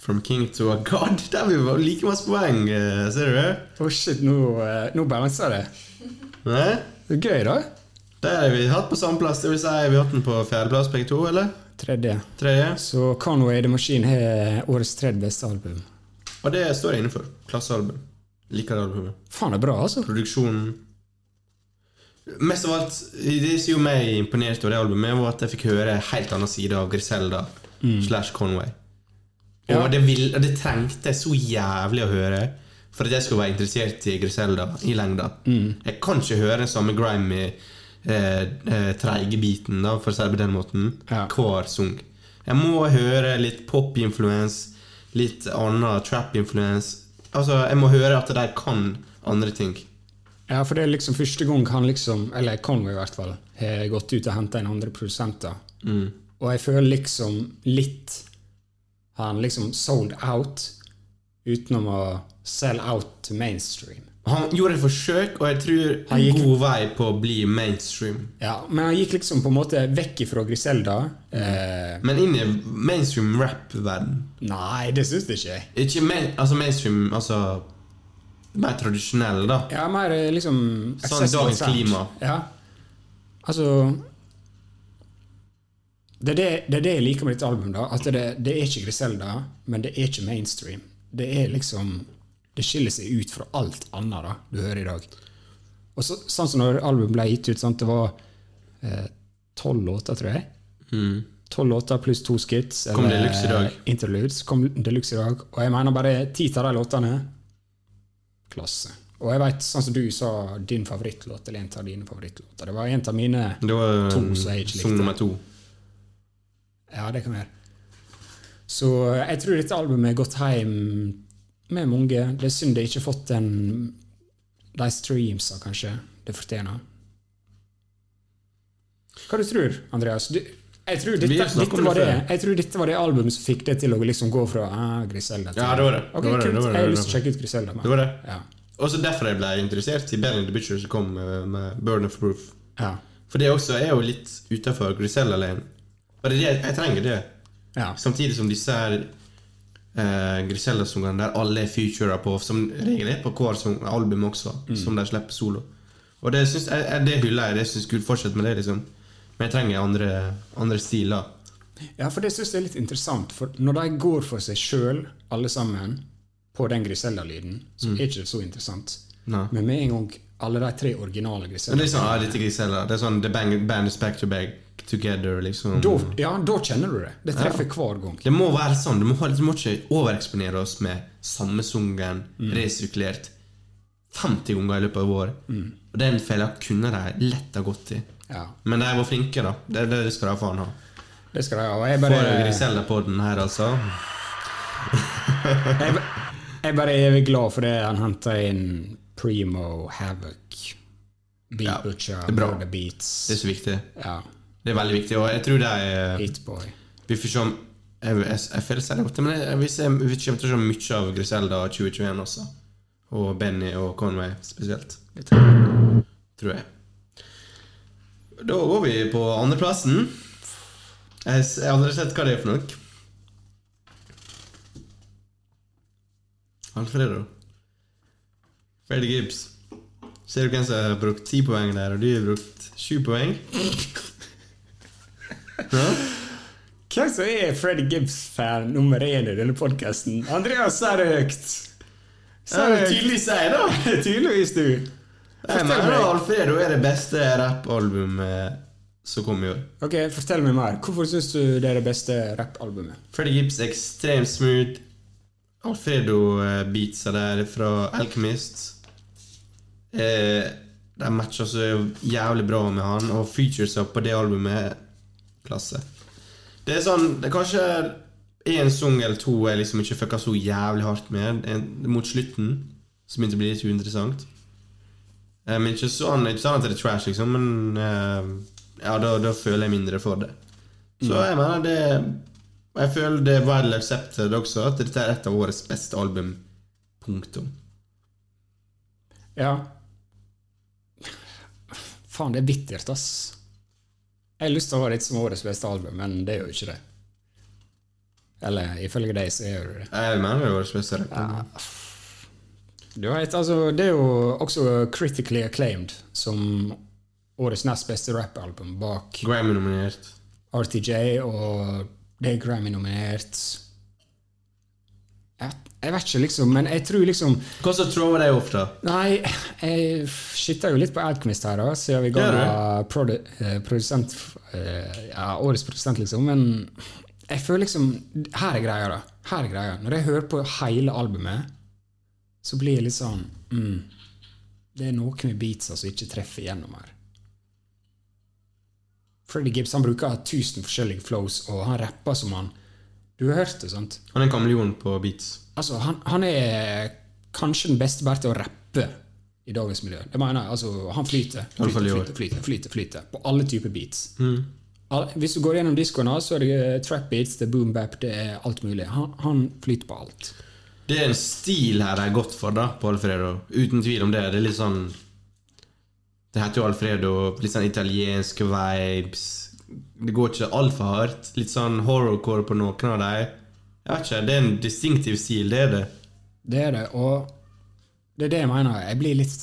Speaker 1: From King to a God. Der vi var like masse poeng, eh, ser du det?
Speaker 2: Å shit, nå, eh, nå balanser det.
Speaker 1: Nei?
Speaker 2: Det er Gøy, da.
Speaker 1: Der har vi hatt på samme plass. Det vil si, vi har hatt den på fjerdeplass begge to, eller?
Speaker 2: Tredje.
Speaker 1: Tredje.
Speaker 2: Så Conway The Machine har årets tredje beste album.
Speaker 1: Og det står jeg inne for. Klassealbum. Liker det albumet.
Speaker 2: Faen, det er bra, altså.
Speaker 1: Produksjonen Mest av alt, det som gjorde meg imponert over det albumet, var at jeg fikk høre en helt annen side av Griselda slash Conway. Og
Speaker 2: Ja.
Speaker 1: det, vil, og det trengte jeg så jævlig å høre for at jeg skulle være interessert i Griselda i lengda. Jeg kan ikke høre den samme grimy, eh, eh, treige biten, da, for å si det på den måten,
Speaker 2: Ja.
Speaker 1: hver sang. Jeg må høre litt pop-influens, litt annen trap-influens. Altså, jeg må høre at de kan andre ting.
Speaker 2: Ja, for det er liksom første gang han liksom, eller Conway i hvert fall, har gått ut og henta inn andre produsenter. Og jeg føler liksom litt Han liksom sold out utenom å sell out to mainstream.
Speaker 1: Han gjorde et forsøk, og jeg tror
Speaker 2: Han gikk-
Speaker 1: en god vei på å bli mainstream.
Speaker 2: Ja, men han gikk liksom på en måte vekk ifra Griselda. Eh,
Speaker 1: Men inn i mainstream rap-verden.
Speaker 2: nei, det syns jeg ikke.
Speaker 1: Ikke main, altså mainstream Altså mer tradisjonell, da.
Speaker 2: Ja, mer eh, liksom accessible
Speaker 1: dagens
Speaker 2: sound.
Speaker 1: klima.
Speaker 2: Ja. Altså det er det, det er det jeg liker med ditt album. da, at det, det er ikke Griselda, men det er ikke mainstream. Det er liksom Det skiller seg ut fra alt annet da, du hører i dag. Og så, sånn som når albumet ble gitt ut, sant, det var eh, tolv låter, tror jeg. Tolv låter pluss to skits.
Speaker 1: Mm. Kom
Speaker 2: eller eh,
Speaker 1: Deluxe i dag.
Speaker 2: Interludes. Kom Deluxe i dag. Og jeg mener bare ti av de låtene Klasse. Og jeg vet, sånn som du sa, din favorittlåt eller en av dine favorittlåter. Det var en av mine
Speaker 1: Det var
Speaker 2: To som jeg ikke likte.
Speaker 1: sang nummer to.
Speaker 2: Ja, det kan være. Så eh, jeg tror dette albumet har gått hjem med mange. Det er synd det ikke har fått den de streamsa, kanskje, det fortjener. Hva du tror Andreas? Du, jeg, tror
Speaker 1: Vi
Speaker 2: dette,
Speaker 1: har snakket
Speaker 2: dette
Speaker 1: om
Speaker 2: var
Speaker 1: det
Speaker 2: det,
Speaker 1: før.
Speaker 2: jeg tror dette var det albumet som fikk det til å liksom gå fra ah, Griselda til
Speaker 1: Ja, det var det. det,
Speaker 2: Ok,
Speaker 1: var det,
Speaker 2: kult.
Speaker 1: det, var det,
Speaker 2: jeg har
Speaker 1: det,
Speaker 2: lyst til å
Speaker 1: var det.
Speaker 2: sjekke ut Griselda. men-
Speaker 1: det var det.
Speaker 2: Ja.
Speaker 1: Også derfor jeg ble interessert i Berlin the Butcher som kom med, med Burn of Proof.
Speaker 2: Ja.
Speaker 1: For det også er jo litt utafor Grisella-leiren. Og det er det, jeg trenger det.
Speaker 2: ja.
Speaker 1: Samtidig som disse her eh, Grisella-sangene der alle er featurer på, som regel er på hver sang- album også, som de slipper solo. Og det, syns, jeg, jeg- det hyller jeg. Det syns Gud fortsett med det, liksom. Men jeg trenger andre, andre stiler.
Speaker 2: Ja, for det syns jeg er litt interessant. For når de går for seg sjøl, alle sammen, på den Griselda-lyden,
Speaker 1: Mm.
Speaker 2: så er ikke det så interessant.
Speaker 1: Nei.
Speaker 2: Men med en gang alle de tre originale
Speaker 1: Men det
Speaker 2: Griselda
Speaker 1: er sånn, ah, dette er griseller. Det er sånn The bang, Band is back to back together, liksom.
Speaker 2: da, Ja, da kjenner du det. Det treffer hver gang.
Speaker 1: Det må være sånn. Du må, du må ikke overeksponere oss med samme sungen resirkulert 50 ganger i løpet av året. Og Den fella kunne de lett ha gått i.
Speaker 2: Ja,
Speaker 1: Men de var flinke, da. Det, det det skal de faen ha.
Speaker 2: det skal de ha. Og jeg
Speaker 1: For
Speaker 2: bare,
Speaker 1: Griselda-podden her, altså.
Speaker 2: jeg, ba- jeg bare er evig glad for det han henta inn Primo, Havoc, Beat
Speaker 1: Ja,
Speaker 2: Butcher,
Speaker 1: det er bra.
Speaker 2: Brother Beats,
Speaker 1: Det er så viktig.
Speaker 2: ja,
Speaker 1: Det er veldig viktig, og jeg tror de eh,
Speaker 2: Hitboy.
Speaker 1: Vi får se om Jeg, jeg, jeg føler seg godt, men jeg, hvis jeg, vi kommer til å se mye av Griselda 2021 også. Og Benny og Conway spesielt. Det tror jeg. Tror jeg. Da går vi på andreplassen. Jeg, s- jeg har aldri sett hva det er for noe. Alfredo. Freddy Gibbs. Ser du hvem som har brukt ti poeng der, og du har brukt sju poeng? Ja?
Speaker 2: Hvem som er Fred Gibbs-fan nummer én i denne podkasten? Andreas sa det høyt. Sa det tydelig.
Speaker 1: sier, da.
Speaker 2: tydeligvis, du.
Speaker 1: Jeg
Speaker 2: Fortell
Speaker 1: mener
Speaker 2: meg.
Speaker 1: Alfredo er det beste rappalbumet som kom i år.
Speaker 2: Ok, Fortell meg mer. Hvorfor syns du det er det beste rappalbumet?
Speaker 1: Freddy Gibbs er ekstremt smooth. eh, Alfredo-beatsa der fra Alchemist eh, De matcher så jævlig bra med han, og featuresa på det albumet er klasse. Det er sånn det er Kanskje én sang eller to jeg liksom ikke fucka så jævlig hardt med en, mot slutten, som begynte å bli litt uinteressant. Eh, men ikke sånn, ikke sånn at det er trash, liksom, men eh, ja, da, da føler jeg mindre for det. Så jeg mener det Og jeg føler det er well accepted også, at dette er et av årets beste album. Punktum.
Speaker 2: Ja Faen, det er bittert, ass. Jeg har lyst til å ha det som årets beste album, men det er jo ikke det. Eller ifølge deg, så er det det.
Speaker 1: Jeg mener det er årets beste rappalbum.
Speaker 2: Du vet, altså, det er jo også critically acclaimed som årets nest beste rappalbum bak
Speaker 1: Grammy-nominert.
Speaker 2: RTJ, og det er Grammy-nominert. Jeg, jeg vet ikke, liksom, men jeg tror liksom
Speaker 1: Hva som thrower deg opp, da?
Speaker 2: Nei, jeg skitter jo litt på Alchemist her, da, siden vi ga
Speaker 1: Gjør du?
Speaker 2: henne produ eh, produsent eh, Ja, årets produsent, liksom, men jeg føler liksom Her er greia, da. Her er greia. Når jeg hører på hele albumet, så blir jeg litt sånn mm, Det er noe med beatsa som ikke treffer igjennom her. Freddy Gibbs han bruker tusen forskjellige flows, og han rapper som han Du har hørt det, sant?
Speaker 1: Han er en kameleon på beats.
Speaker 2: Altså, han, han er kanskje den beste bare til å rappe i dagens miljø. Det mener jeg, altså, Han flyter,
Speaker 1: hvert fall
Speaker 2: flyter,
Speaker 1: i år.
Speaker 2: flyter, flyter, flyter, flyter på alle typer beats. Al- Hvis du går gjennom diskoen hans, så er det eh, trap beats, det er boom bap, det er alt mulig. Han, han flyter på alt.
Speaker 1: Det er en stil her de har gått for, da, på Alfredo. Uten tvil om det. Det er litt sånn Det heter jo Alfredo. Litt sånn italienske vibes. Det går ikke altfor hardt. Litt sånn horrorcore på noen av dem. Jeg vet ikke, Det er en distinktiv stil, det er det.
Speaker 2: Det er det, og det er det jeg mener. Jeg blir litt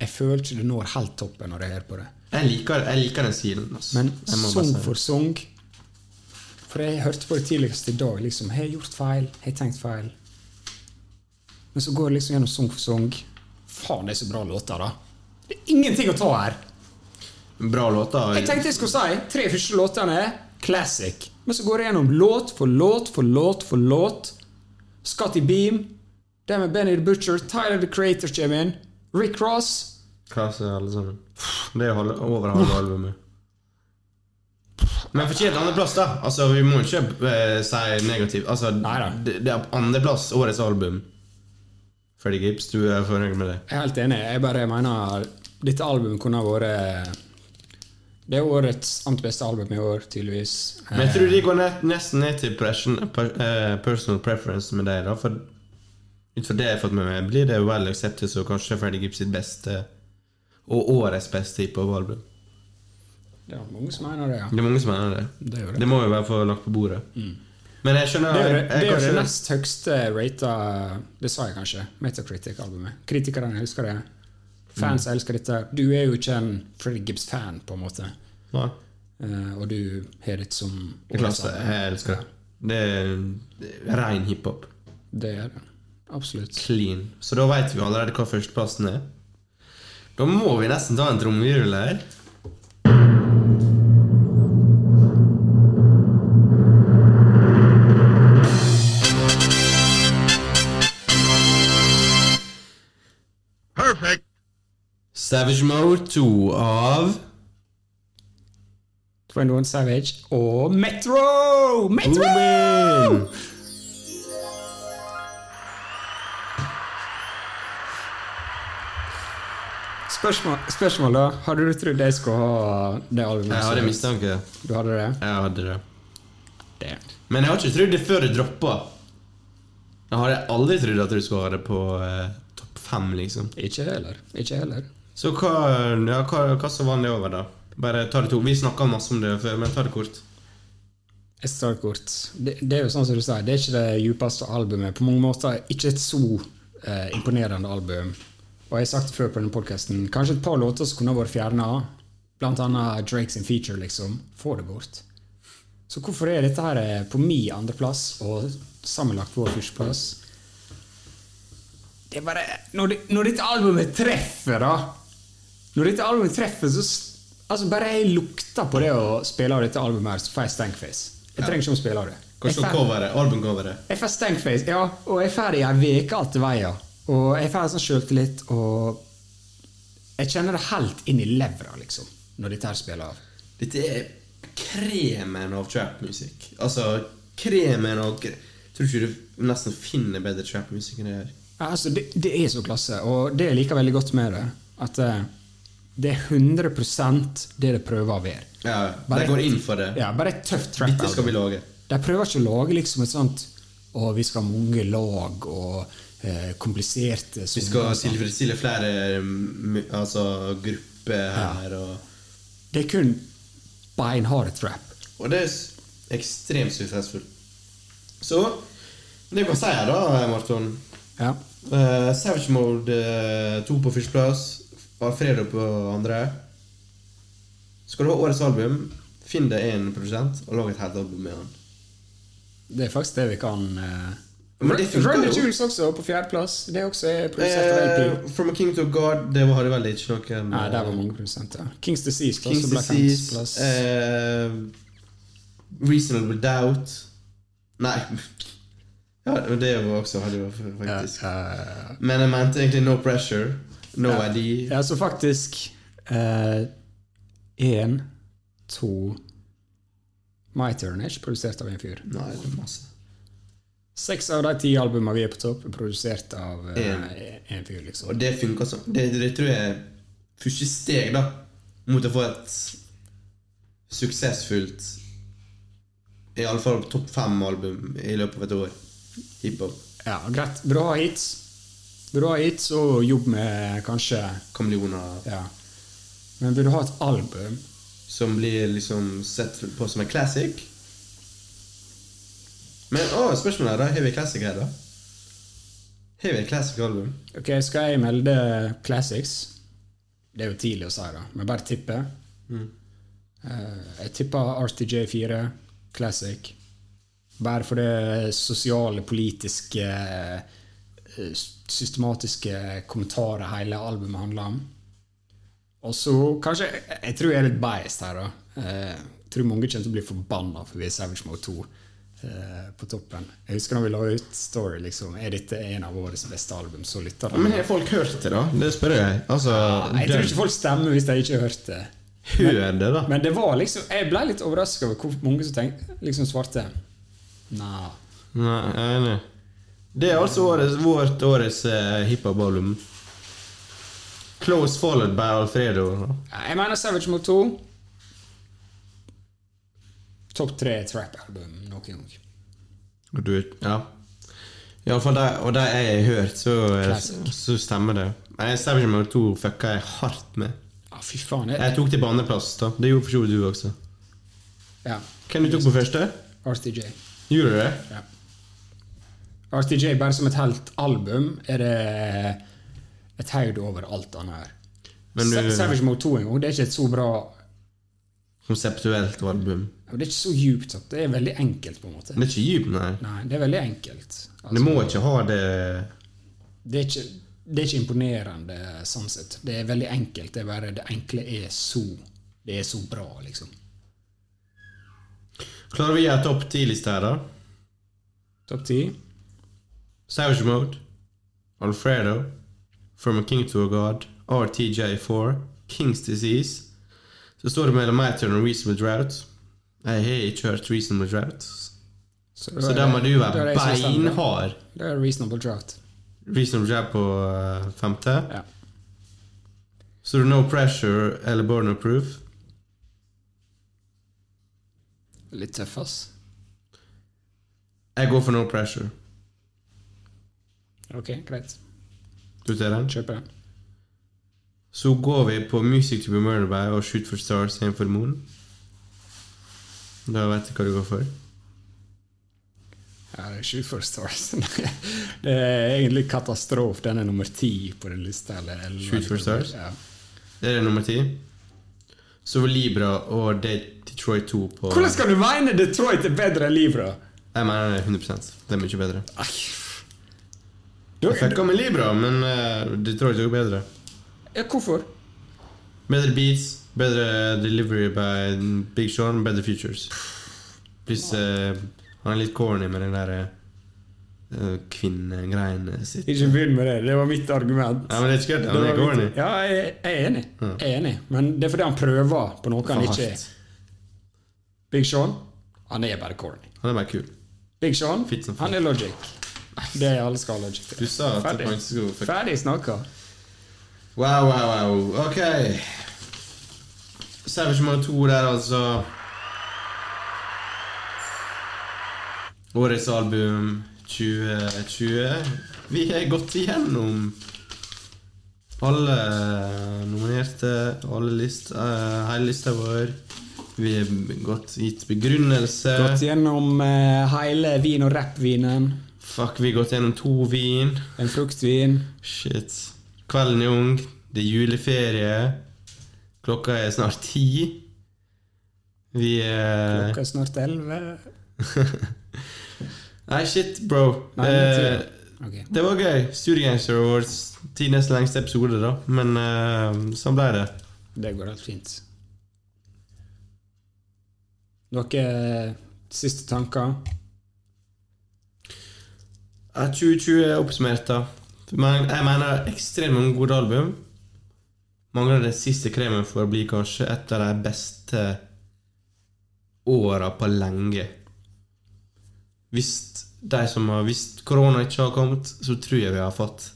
Speaker 2: Jeg føler ikke det når helt toppen når jeg hører på det.
Speaker 1: Jeg liker, jeg liker den stilen. Altså.
Speaker 2: Men sånn
Speaker 1: Jeg må bare
Speaker 2: sang
Speaker 1: si det.
Speaker 2: for sang For jeg hørte på det tidligst i dag. liksom, Har jeg gjort feil? Har jeg tenkt feil? Men så går jeg liksom gjennom sang for sang. Faen, det er så bra låter, da. Det er ingenting å ta her.
Speaker 1: Bra låter.
Speaker 2: Jeg tenkte jeg skulle si tre første låtene er classic. Men så går jeg gjennom låt for låt for låt for låt. Scotty Beam, det med Benny the Butcher, Tyler the Creator kommer inn, Rick Ross
Speaker 1: Klasse, alle sammen. Det er halve- over halve albumet. Men fortjent andreplass, da. Altså, Vi må ikke eh, si negativt. Altså,
Speaker 2: Neida.
Speaker 1: det, det er andreplass årets album. Freddy Gibbs, du er fornøyd med det?
Speaker 2: Jeg er helt enig. Jeg bare mener dette albumet kunne ha vært Det er årets amt beste album i år, tydeligvis.
Speaker 1: Men jeg tror de går ned, nesten ned til pression, per, eh, personal preference med deg, da. For ut fra det jeg har fått med meg, blir det well accepted som kanskje Freddy Gibbs sitt beste og årets beste hiphop-album.
Speaker 2: Det er mange som mener det, ja.
Speaker 1: Det er mange som mener det.
Speaker 2: Det er jo det. Mm.
Speaker 1: må jo være for lagt på bordet. Men jeg skjønner
Speaker 2: Det er
Speaker 1: jeg,
Speaker 2: jo det,
Speaker 1: jeg,
Speaker 2: det, er jo det
Speaker 1: kanskje,
Speaker 2: nest høyeste rata Det sa jeg kanskje. Metacritic-albumet. Kritikerne jeg husker det. Fans elsker dette. Du er jo ikke en Freddy Gibbs-fan, på en måte.
Speaker 1: Ja.
Speaker 2: Eh, og du har det som
Speaker 1: Klasse. Jeg elsker det. Det er det er ren hiphop.
Speaker 2: Det er det. Absolutt.
Speaker 1: Clean. Så da veit vi allerede hva førsteplassen er. Da må vi nesten ta en trommevirvel her.
Speaker 4: Perfect.
Speaker 1: Savage Mode 2 av
Speaker 2: 21 Savage og Metro! Metro!
Speaker 1: Boom!
Speaker 2: Spørsmål, spørsmål da. Hadde du trodd jeg skulle ha det albumet?
Speaker 1: Jeg hadde mistanke.
Speaker 2: Du hadde det?
Speaker 1: Jeg hadde det.
Speaker 2: Det.
Speaker 1: Men jeg har ikke trodd det før det droppa. Jeg hadde aldri trodd at du skulle ha det på eh, topp fem, liksom.
Speaker 2: Ikke heller. Ikke heller.
Speaker 1: Så hva, ja, hva, hva så vant det over, da? Bare ta det to. Vi snakka masse om det før, men ta det kort.
Speaker 2: Et startkort. Det, det er jo sånn som du sier, det er ikke det djupeste albumet. På mange måter ikke et så eh, imponerende album. Og jeg har sagt før på denne podcasten, kanskje et par låter som kunne ha vært fjerna. Blant annet Drake sin feature, liksom. Få det bort. Så hvorfor er dette her eh, på min andreplass og sammenlagt vår førsteplass? Det er bare Når, det, når dette albumet treffer, da Når dette albumet treffer, så s- Altså, bare jeg lukter på det å spille av dette albumet, her, så får jeg stankface. Jeg trenger ikke å spille av det. Jeg
Speaker 1: Kanskje
Speaker 2: får-
Speaker 1: coveret, albumcoveret.
Speaker 2: jeg får stankface, ja, og jeg får det i ei uke etter veien. Og jeg får sånn sjøltillit, og Jeg kjenner det helt inn i levra, liksom, når dette her spiller av.
Speaker 1: Dette er kremen av trap-musikk. Altså kremen av kre- Tror ikke du nesten finner bedre trap-musikk enn det her.
Speaker 2: Ja, altså, det, det er så klasse, og det jeg liker veldig godt med det, at eh, det er 100 det det prøver å være.
Speaker 1: Ja,
Speaker 2: Bare-
Speaker 1: De går inn for det.
Speaker 2: Ja, bare et tøft track.
Speaker 1: Dette skal vi lage.
Speaker 2: De prøver ikke å lage liksom et sånt Å, vi skal ha mange lag og eh, kompliserte
Speaker 1: Vi skal tilfredsstille flere mm, altså, grupper her. Og,
Speaker 2: Det er kun beinhard trap.
Speaker 1: og det er s- ekstremt suksessfullt. Så det kan jeg si her, da, Marton.
Speaker 2: Ja.
Speaker 1: Eh, Savage Mode 2 på førsteplass, Alfredo på andre. Skal du ha årets album, finn deg en produsent og lag et helt album med han.
Speaker 2: Det er faktisk det vi kan eh,
Speaker 1: Men det funker
Speaker 2: Run
Speaker 1: jo.
Speaker 2: the Jewels også, på fjerdeplass. Det også er produsert av
Speaker 1: Eh,
Speaker 2: LP.
Speaker 1: From a King to a God, det var- hadde vel ikke noen eh,
Speaker 2: Nei, der var mange produsenter. Kings Disease da,
Speaker 1: Kings
Speaker 2: som ble
Speaker 1: Disease,
Speaker 2: femteplass.
Speaker 1: eh, Reasonable Doubt Nei. Ja, det var også hadde jo faktisk.
Speaker 2: Eh,
Speaker 1: Men jeg mente egentlig No Pressure, No ID.
Speaker 2: ja, så faktisk Én, to My Turn er ikke produsert av en fyr.
Speaker 1: Nei, det er masse.
Speaker 2: Seks av de ti albumene vi er på topp, er produsert av eh, en fyr, liksom.
Speaker 1: Og det funka sånn. Det, det tror jeg er første steg da mot å få et suksessfullt Iallfall topp fem-album i løpet av et år. Hiphop.
Speaker 2: Ja, greit. Bra hits. Bra hits og jobb med kanskje
Speaker 1: Kameleoner.
Speaker 2: Ja. Men vil du ha et album
Speaker 1: som blir liksom sett på som en classic. Men å, spørsmålet er da, har vi classic her, da? Har vi et classic album?
Speaker 2: Ok, skal jeg melde classics? Det er jo tidlig å si, da, men bare tippe. Eh, jeg tipper RTJ4, classic. Bare for det sosiale, politiske, eh, systematiske kommentarer hele albumet handler om. Og så kanskje Jeg jeg tror jeg er litt biased her, da. Eh, Jeg tror mange kommer til å bli forbanna for vi er Savage Mode 2 eh, på toppen. Jeg husker da vi la ut Story, liksom. Er dette en av årets beste album? Så lytter de.
Speaker 1: Men har folk hørt det, da? Det spør jeg. Altså,
Speaker 2: Nei, Jeg tror ikke folk stemmer hvis de ikke har hørt det.
Speaker 1: Hør det, da.
Speaker 2: Men det var liksom Jeg ble litt overraska over hvor mange som tenkte, liksom svarte. Nei.
Speaker 1: Nei, jeg er enig. Det er altså årets, vårt årets eh, hiphop-album. Close followed by Alfredo. da.
Speaker 2: Jeg mener Savage Mode 2. Topp tre trap-album noen gang.
Speaker 1: Og du Ja. Iallfall de, og de jeg har hørt, så, eh,
Speaker 2: Classic.
Speaker 1: så stemmer det. Nei, Savage Mode 2 fucka jeg hardt med.
Speaker 2: Ja, fy faen. Jeg,
Speaker 1: Jeg tok det på andreplass, da. Det gjorde for så vidt du også.
Speaker 2: ja.
Speaker 1: Hvem du tok på første?
Speaker 2: RTJ.
Speaker 1: Gjorde du det?
Speaker 2: Ja. RTJ bare som et helt album er det et haug over alt annet her.
Speaker 1: Men
Speaker 2: Sa-
Speaker 1: du
Speaker 2: Savage Mode 2 en gang, det er ikke et så bra
Speaker 1: Konseptuelt album.
Speaker 2: Det er ikke så djupt. at Det er veldig enkelt, på en måte.
Speaker 1: Det er ikke dypt, nei.
Speaker 2: Nei, det er veldig enkelt. Altså,
Speaker 1: Det må ikke ha det
Speaker 2: det, er ikke, det er ikke imponerende, sånn sett. Det er veldig enkelt. Det er bare det enkle er så Det er så bra, liksom.
Speaker 1: Klarer vi å gjøre topp ti-lista her, da?
Speaker 2: Topp ti?
Speaker 1: Savage Mode, Alfredo, From a King to a God, RTJ4, King's Disease. Så står det mellom meg og Reasonable Drought. Jeg har ikke hørt Reasonable Drought,
Speaker 2: er
Speaker 1: så der må du være beinhard.
Speaker 2: Det er reasonable drought.
Speaker 1: Reasonable Drought på eh, femte.
Speaker 2: Ja.
Speaker 1: Så det er No Pressure eller Born No Proof.
Speaker 2: Litt tøff, ass.
Speaker 1: Jeg går for No Pressure.
Speaker 2: Ok, greit.
Speaker 1: Du ser den?
Speaker 2: Kjøper den.
Speaker 1: Så går vi på Music to be murdered by og Shoot for Stars Aim for the Moon. Da vet du hva du går for.
Speaker 2: Ja, det er Shoot for stars. det er egentlig katastrofe. Den er nummer ti på den lista. Eller, eller,
Speaker 1: Shoot for stars?
Speaker 2: Ja.
Speaker 1: Det er nummer ti. Så var Libra og Det- Detroit 2 på
Speaker 2: Hvordan skal du mene Detroit er bedre enn Libra?
Speaker 1: Jeg mener det 100 Det er mye bedre.
Speaker 2: Du,
Speaker 1: Jeg fikk av med Libra, men eh, Detroit er jo bedre.
Speaker 2: ja, hvorfor?
Speaker 1: Bedre beats, bedre delivery by Big Sean, bedre features. Pluss eh, han er litt corny med den der uh, kvinnegreiene sitt.
Speaker 2: Ikke begynn med det. Det var mitt argument.
Speaker 1: Ja, men det er ikke kødd. Han er
Speaker 2: Det var
Speaker 1: corny.
Speaker 2: mitt- Ja, jeg, jeg er enig. Jeg er enig. Men det er fordi han prøver på noe han
Speaker 1: For
Speaker 2: ikke er.
Speaker 1: hardt.
Speaker 2: Big Sean, han er bare corny.
Speaker 1: Han er bare kul.
Speaker 2: Big Sean,
Speaker 1: Fitt som faen.
Speaker 2: han er logic. Det er alle skal ha logic til.
Speaker 1: Du sa at
Speaker 2: Ferdig.
Speaker 1: man ikke skulle fuck- Eh.
Speaker 2: Ferdig snakka.
Speaker 1: Wow, wow, wow. Ok. Savage Mode 2 der, altså. Årets album 2020. Vi har gått igjennom alle nominerte, alle list, eh, hele lista vår. Vi har gått gitt begrunnelse.
Speaker 2: Gått gjennom eh, hele vin- og rappvinen.
Speaker 1: Fuck, vi har gått gjennom to vin.
Speaker 2: En fruktvin.
Speaker 1: Eh. Shit. Kvelden er ung, det er juleferie. Klokka er snart ti. Vi er
Speaker 2: Klokka er snart elleve.
Speaker 1: Nei, shit, bro.
Speaker 2: Nei, det er
Speaker 1: Eh,
Speaker 2: Ok.
Speaker 1: det var gøy. Studiegangster Awards. Tidenes lengste episode, da. Men eh, sånn ble det.
Speaker 2: Det går helt fint. Noen siste tanker?
Speaker 1: Ja, 2020 er oppsummert, da. Men jeg mener ekstremt mange gode album. Mangler den siste kremen for å bli kanskje et av de beste åra på lenge. Hvis de som har Hvis korona ikke har kommet, så tror jeg vi har fått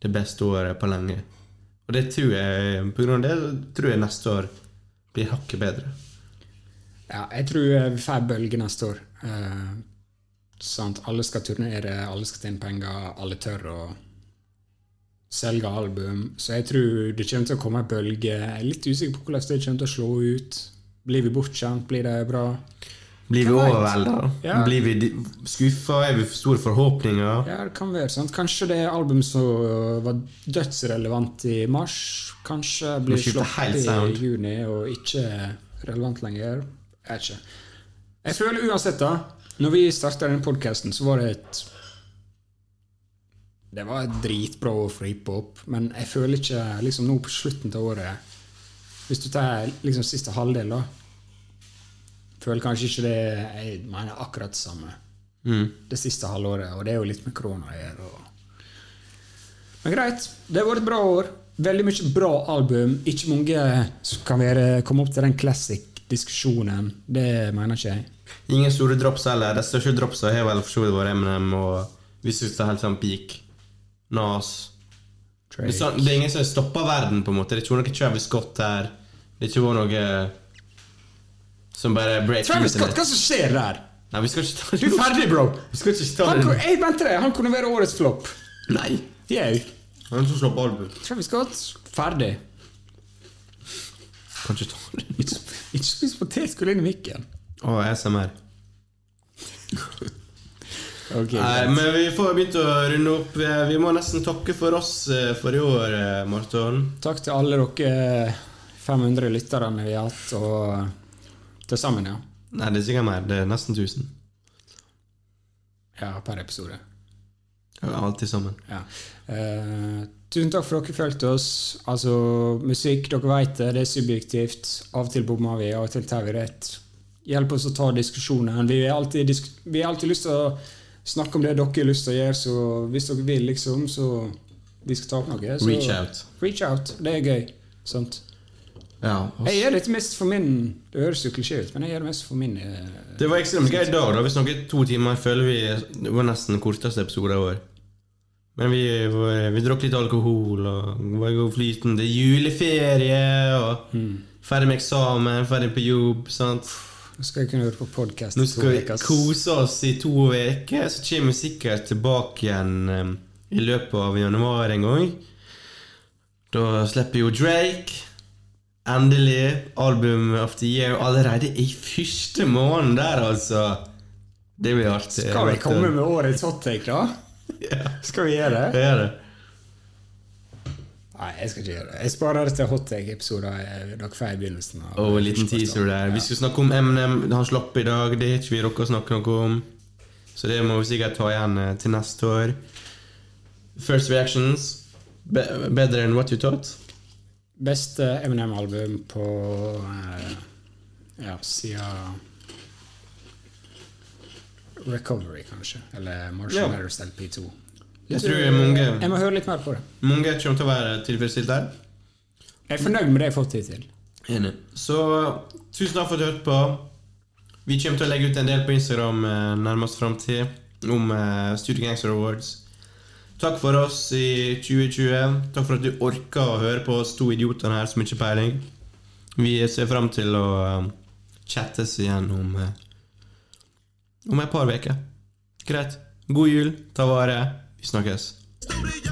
Speaker 1: det beste året på lenge. Og det tror jeg på grunn av det så tror jeg neste år blir hakket bedre.
Speaker 2: Ja, jeg tror eh, vi får bølge neste år. Eh, sant? Alle skal turnere, alle skal tjene penger, alle tør å selge album. Så jeg tror det kommer til å komme en bølge. Jeg er litt usikker på hvordan det kommer til å slå ut. Blir vi bortskjemt? Blir det bra?
Speaker 1: Blir vi
Speaker 2: Hvem vet?
Speaker 1: overvelda?
Speaker 2: Ja.
Speaker 1: Blir vi skuffa? Er vi for store forhåpninger?
Speaker 2: Ja, det kan være sant. Kanskje det er album som var dødsrelevant i mars, kanskje
Speaker 1: Må
Speaker 2: blir
Speaker 1: skifte helt
Speaker 2: sluppet
Speaker 1: sound.
Speaker 2: i juni og ikke relevant lenger. Jeg vet ikke. Jeg føler uansett, da Når vi starta denne podkasten, så var det et Det var et dritbra år for hiphop, men jeg føler ikke liksom nå på slutten av året Hvis du tar liksom siste halvdel, da Føler kanskje ikke det Jeg mener akkurat det samme
Speaker 1: Mm.
Speaker 2: det siste halvåret, og det er jo litt med korona å gjøre. Og... Men greit, det har vært et bra år. Veldig mye bra album. Ikke mange som kan være, komme opp til den classic-diskusjonen. Det mener ikke jeg.
Speaker 1: Ingen store drops heller. De største dropsa har vel for så vidt vært Eminem og hvis vi tar helt sånn peak. Nas. Det er, sånn, det er ingen som stopper verden, på en måte. Det er ikke noe Travis Scott her. Det er ikke noe eh, som bare break
Speaker 2: Travis Scott,
Speaker 1: internet.
Speaker 2: hva som skjer der?
Speaker 1: Nei, vi skal ikke ta
Speaker 2: Du er ferdig, bro!
Speaker 1: Vi skal ikke ta
Speaker 2: Han,
Speaker 1: det.
Speaker 2: kun- jeg mente det, han kunne være årets flopp.
Speaker 1: Nei.
Speaker 2: Jau.
Speaker 1: Han som slår på album.
Speaker 2: Travis Scott, ferdig.
Speaker 1: Kan ikke ta det.
Speaker 2: Ikke ikke spis potet, skulle inn i mikken.
Speaker 1: Å, SMR. Nei,
Speaker 2: Ok, greit.
Speaker 1: men vi får begynt å runde opp. Vi, vi må nesten takke for oss eh, for i år, eh, Marton.
Speaker 2: Takk til alle dere 500 lytterne vi har hatt, og eh, til sammen, ja.
Speaker 1: Nei, det er sikkert mer. Det er nesten 1000.
Speaker 2: ja per episode.
Speaker 1: Alt til sammen.
Speaker 2: Ja. Eh, tusen takk for at dere fulgte oss. Altså, musikk, dere vet det, det er subjektivt. Av og til bommer vi, av og til tar vi rett. Hjelp oss å ta diskusjonen. Vi har alltid, disk vi har alltid lyst til å snakke om det dere har lyst til å gjøre, så hvis dere vil, liksom, så vi skal ta opp noe. Så
Speaker 1: Reach out.
Speaker 2: Reach out. Det er gøy. Sant.
Speaker 1: Ja. og-
Speaker 2: Jeg gjør dette mest for min Det høres jo klisjé ut, men jeg gjør det mest for min eh,
Speaker 1: Det var ekstremt gøy i dag. da Vi snakket to timer. Jeg føler vi Det var nesten den korteste episoden i år. Men vi, eh, vi drakk litt alkohol og var i god flyten. Det er juleferie og ferdig med eksamen, ferdig på jobb. sant?
Speaker 2: Nå skal jeg kunne høre på podkast.
Speaker 1: Nå skal vi kose oss i to uker, så kommer vi sikkert tilbake igjen eh, i løpet av januar en gang. Da slipper jo Drake endelig album of the year allerede i første måned der, altså. Det blir artig.
Speaker 2: Skal vi komme med årets hottake, da? Skal vi gjøre det?
Speaker 1: Det er det.
Speaker 2: Nei, jeg skal ikke gjøre det. Jeg sparer det til hottake-episoder eh, dere får i begynnelsen. av-
Speaker 1: Og en liten teaser der. Vi skal snakke om Eminem. Han slapp i dag. Det har ikke vi rukket å snakke noe om. Så det må vi sikkert ta igjen eh, til neste år. First reactions. Be bedre enn what you thought?
Speaker 2: Beste Eminem-album på eh, ja, siden Recovery, kanskje. Eller Marshall
Speaker 1: Ja.
Speaker 2: Mathers LP2.
Speaker 1: Jeg tror mange,
Speaker 2: Jeg må høre litt mer på det.
Speaker 1: mange kommer til å være tilfredsstilt der.
Speaker 2: Jeg er fornøyd med det jeg har fått tid til.
Speaker 1: Enig. Så tusen takk for at du hørte på. Vi kommer til å legge ut en del på Instagram eh, nærmest framtid om eh, Studio Gangster Awards. Takk for oss i 2020. Takk for at du orka å høre på oss to idioter her som ikke har peiling. Vi ser fram til å eh, chattes igjen om eh, om et par uker. Greit. God jul. Ta vare. Vi snakkes.
Speaker 5: Studio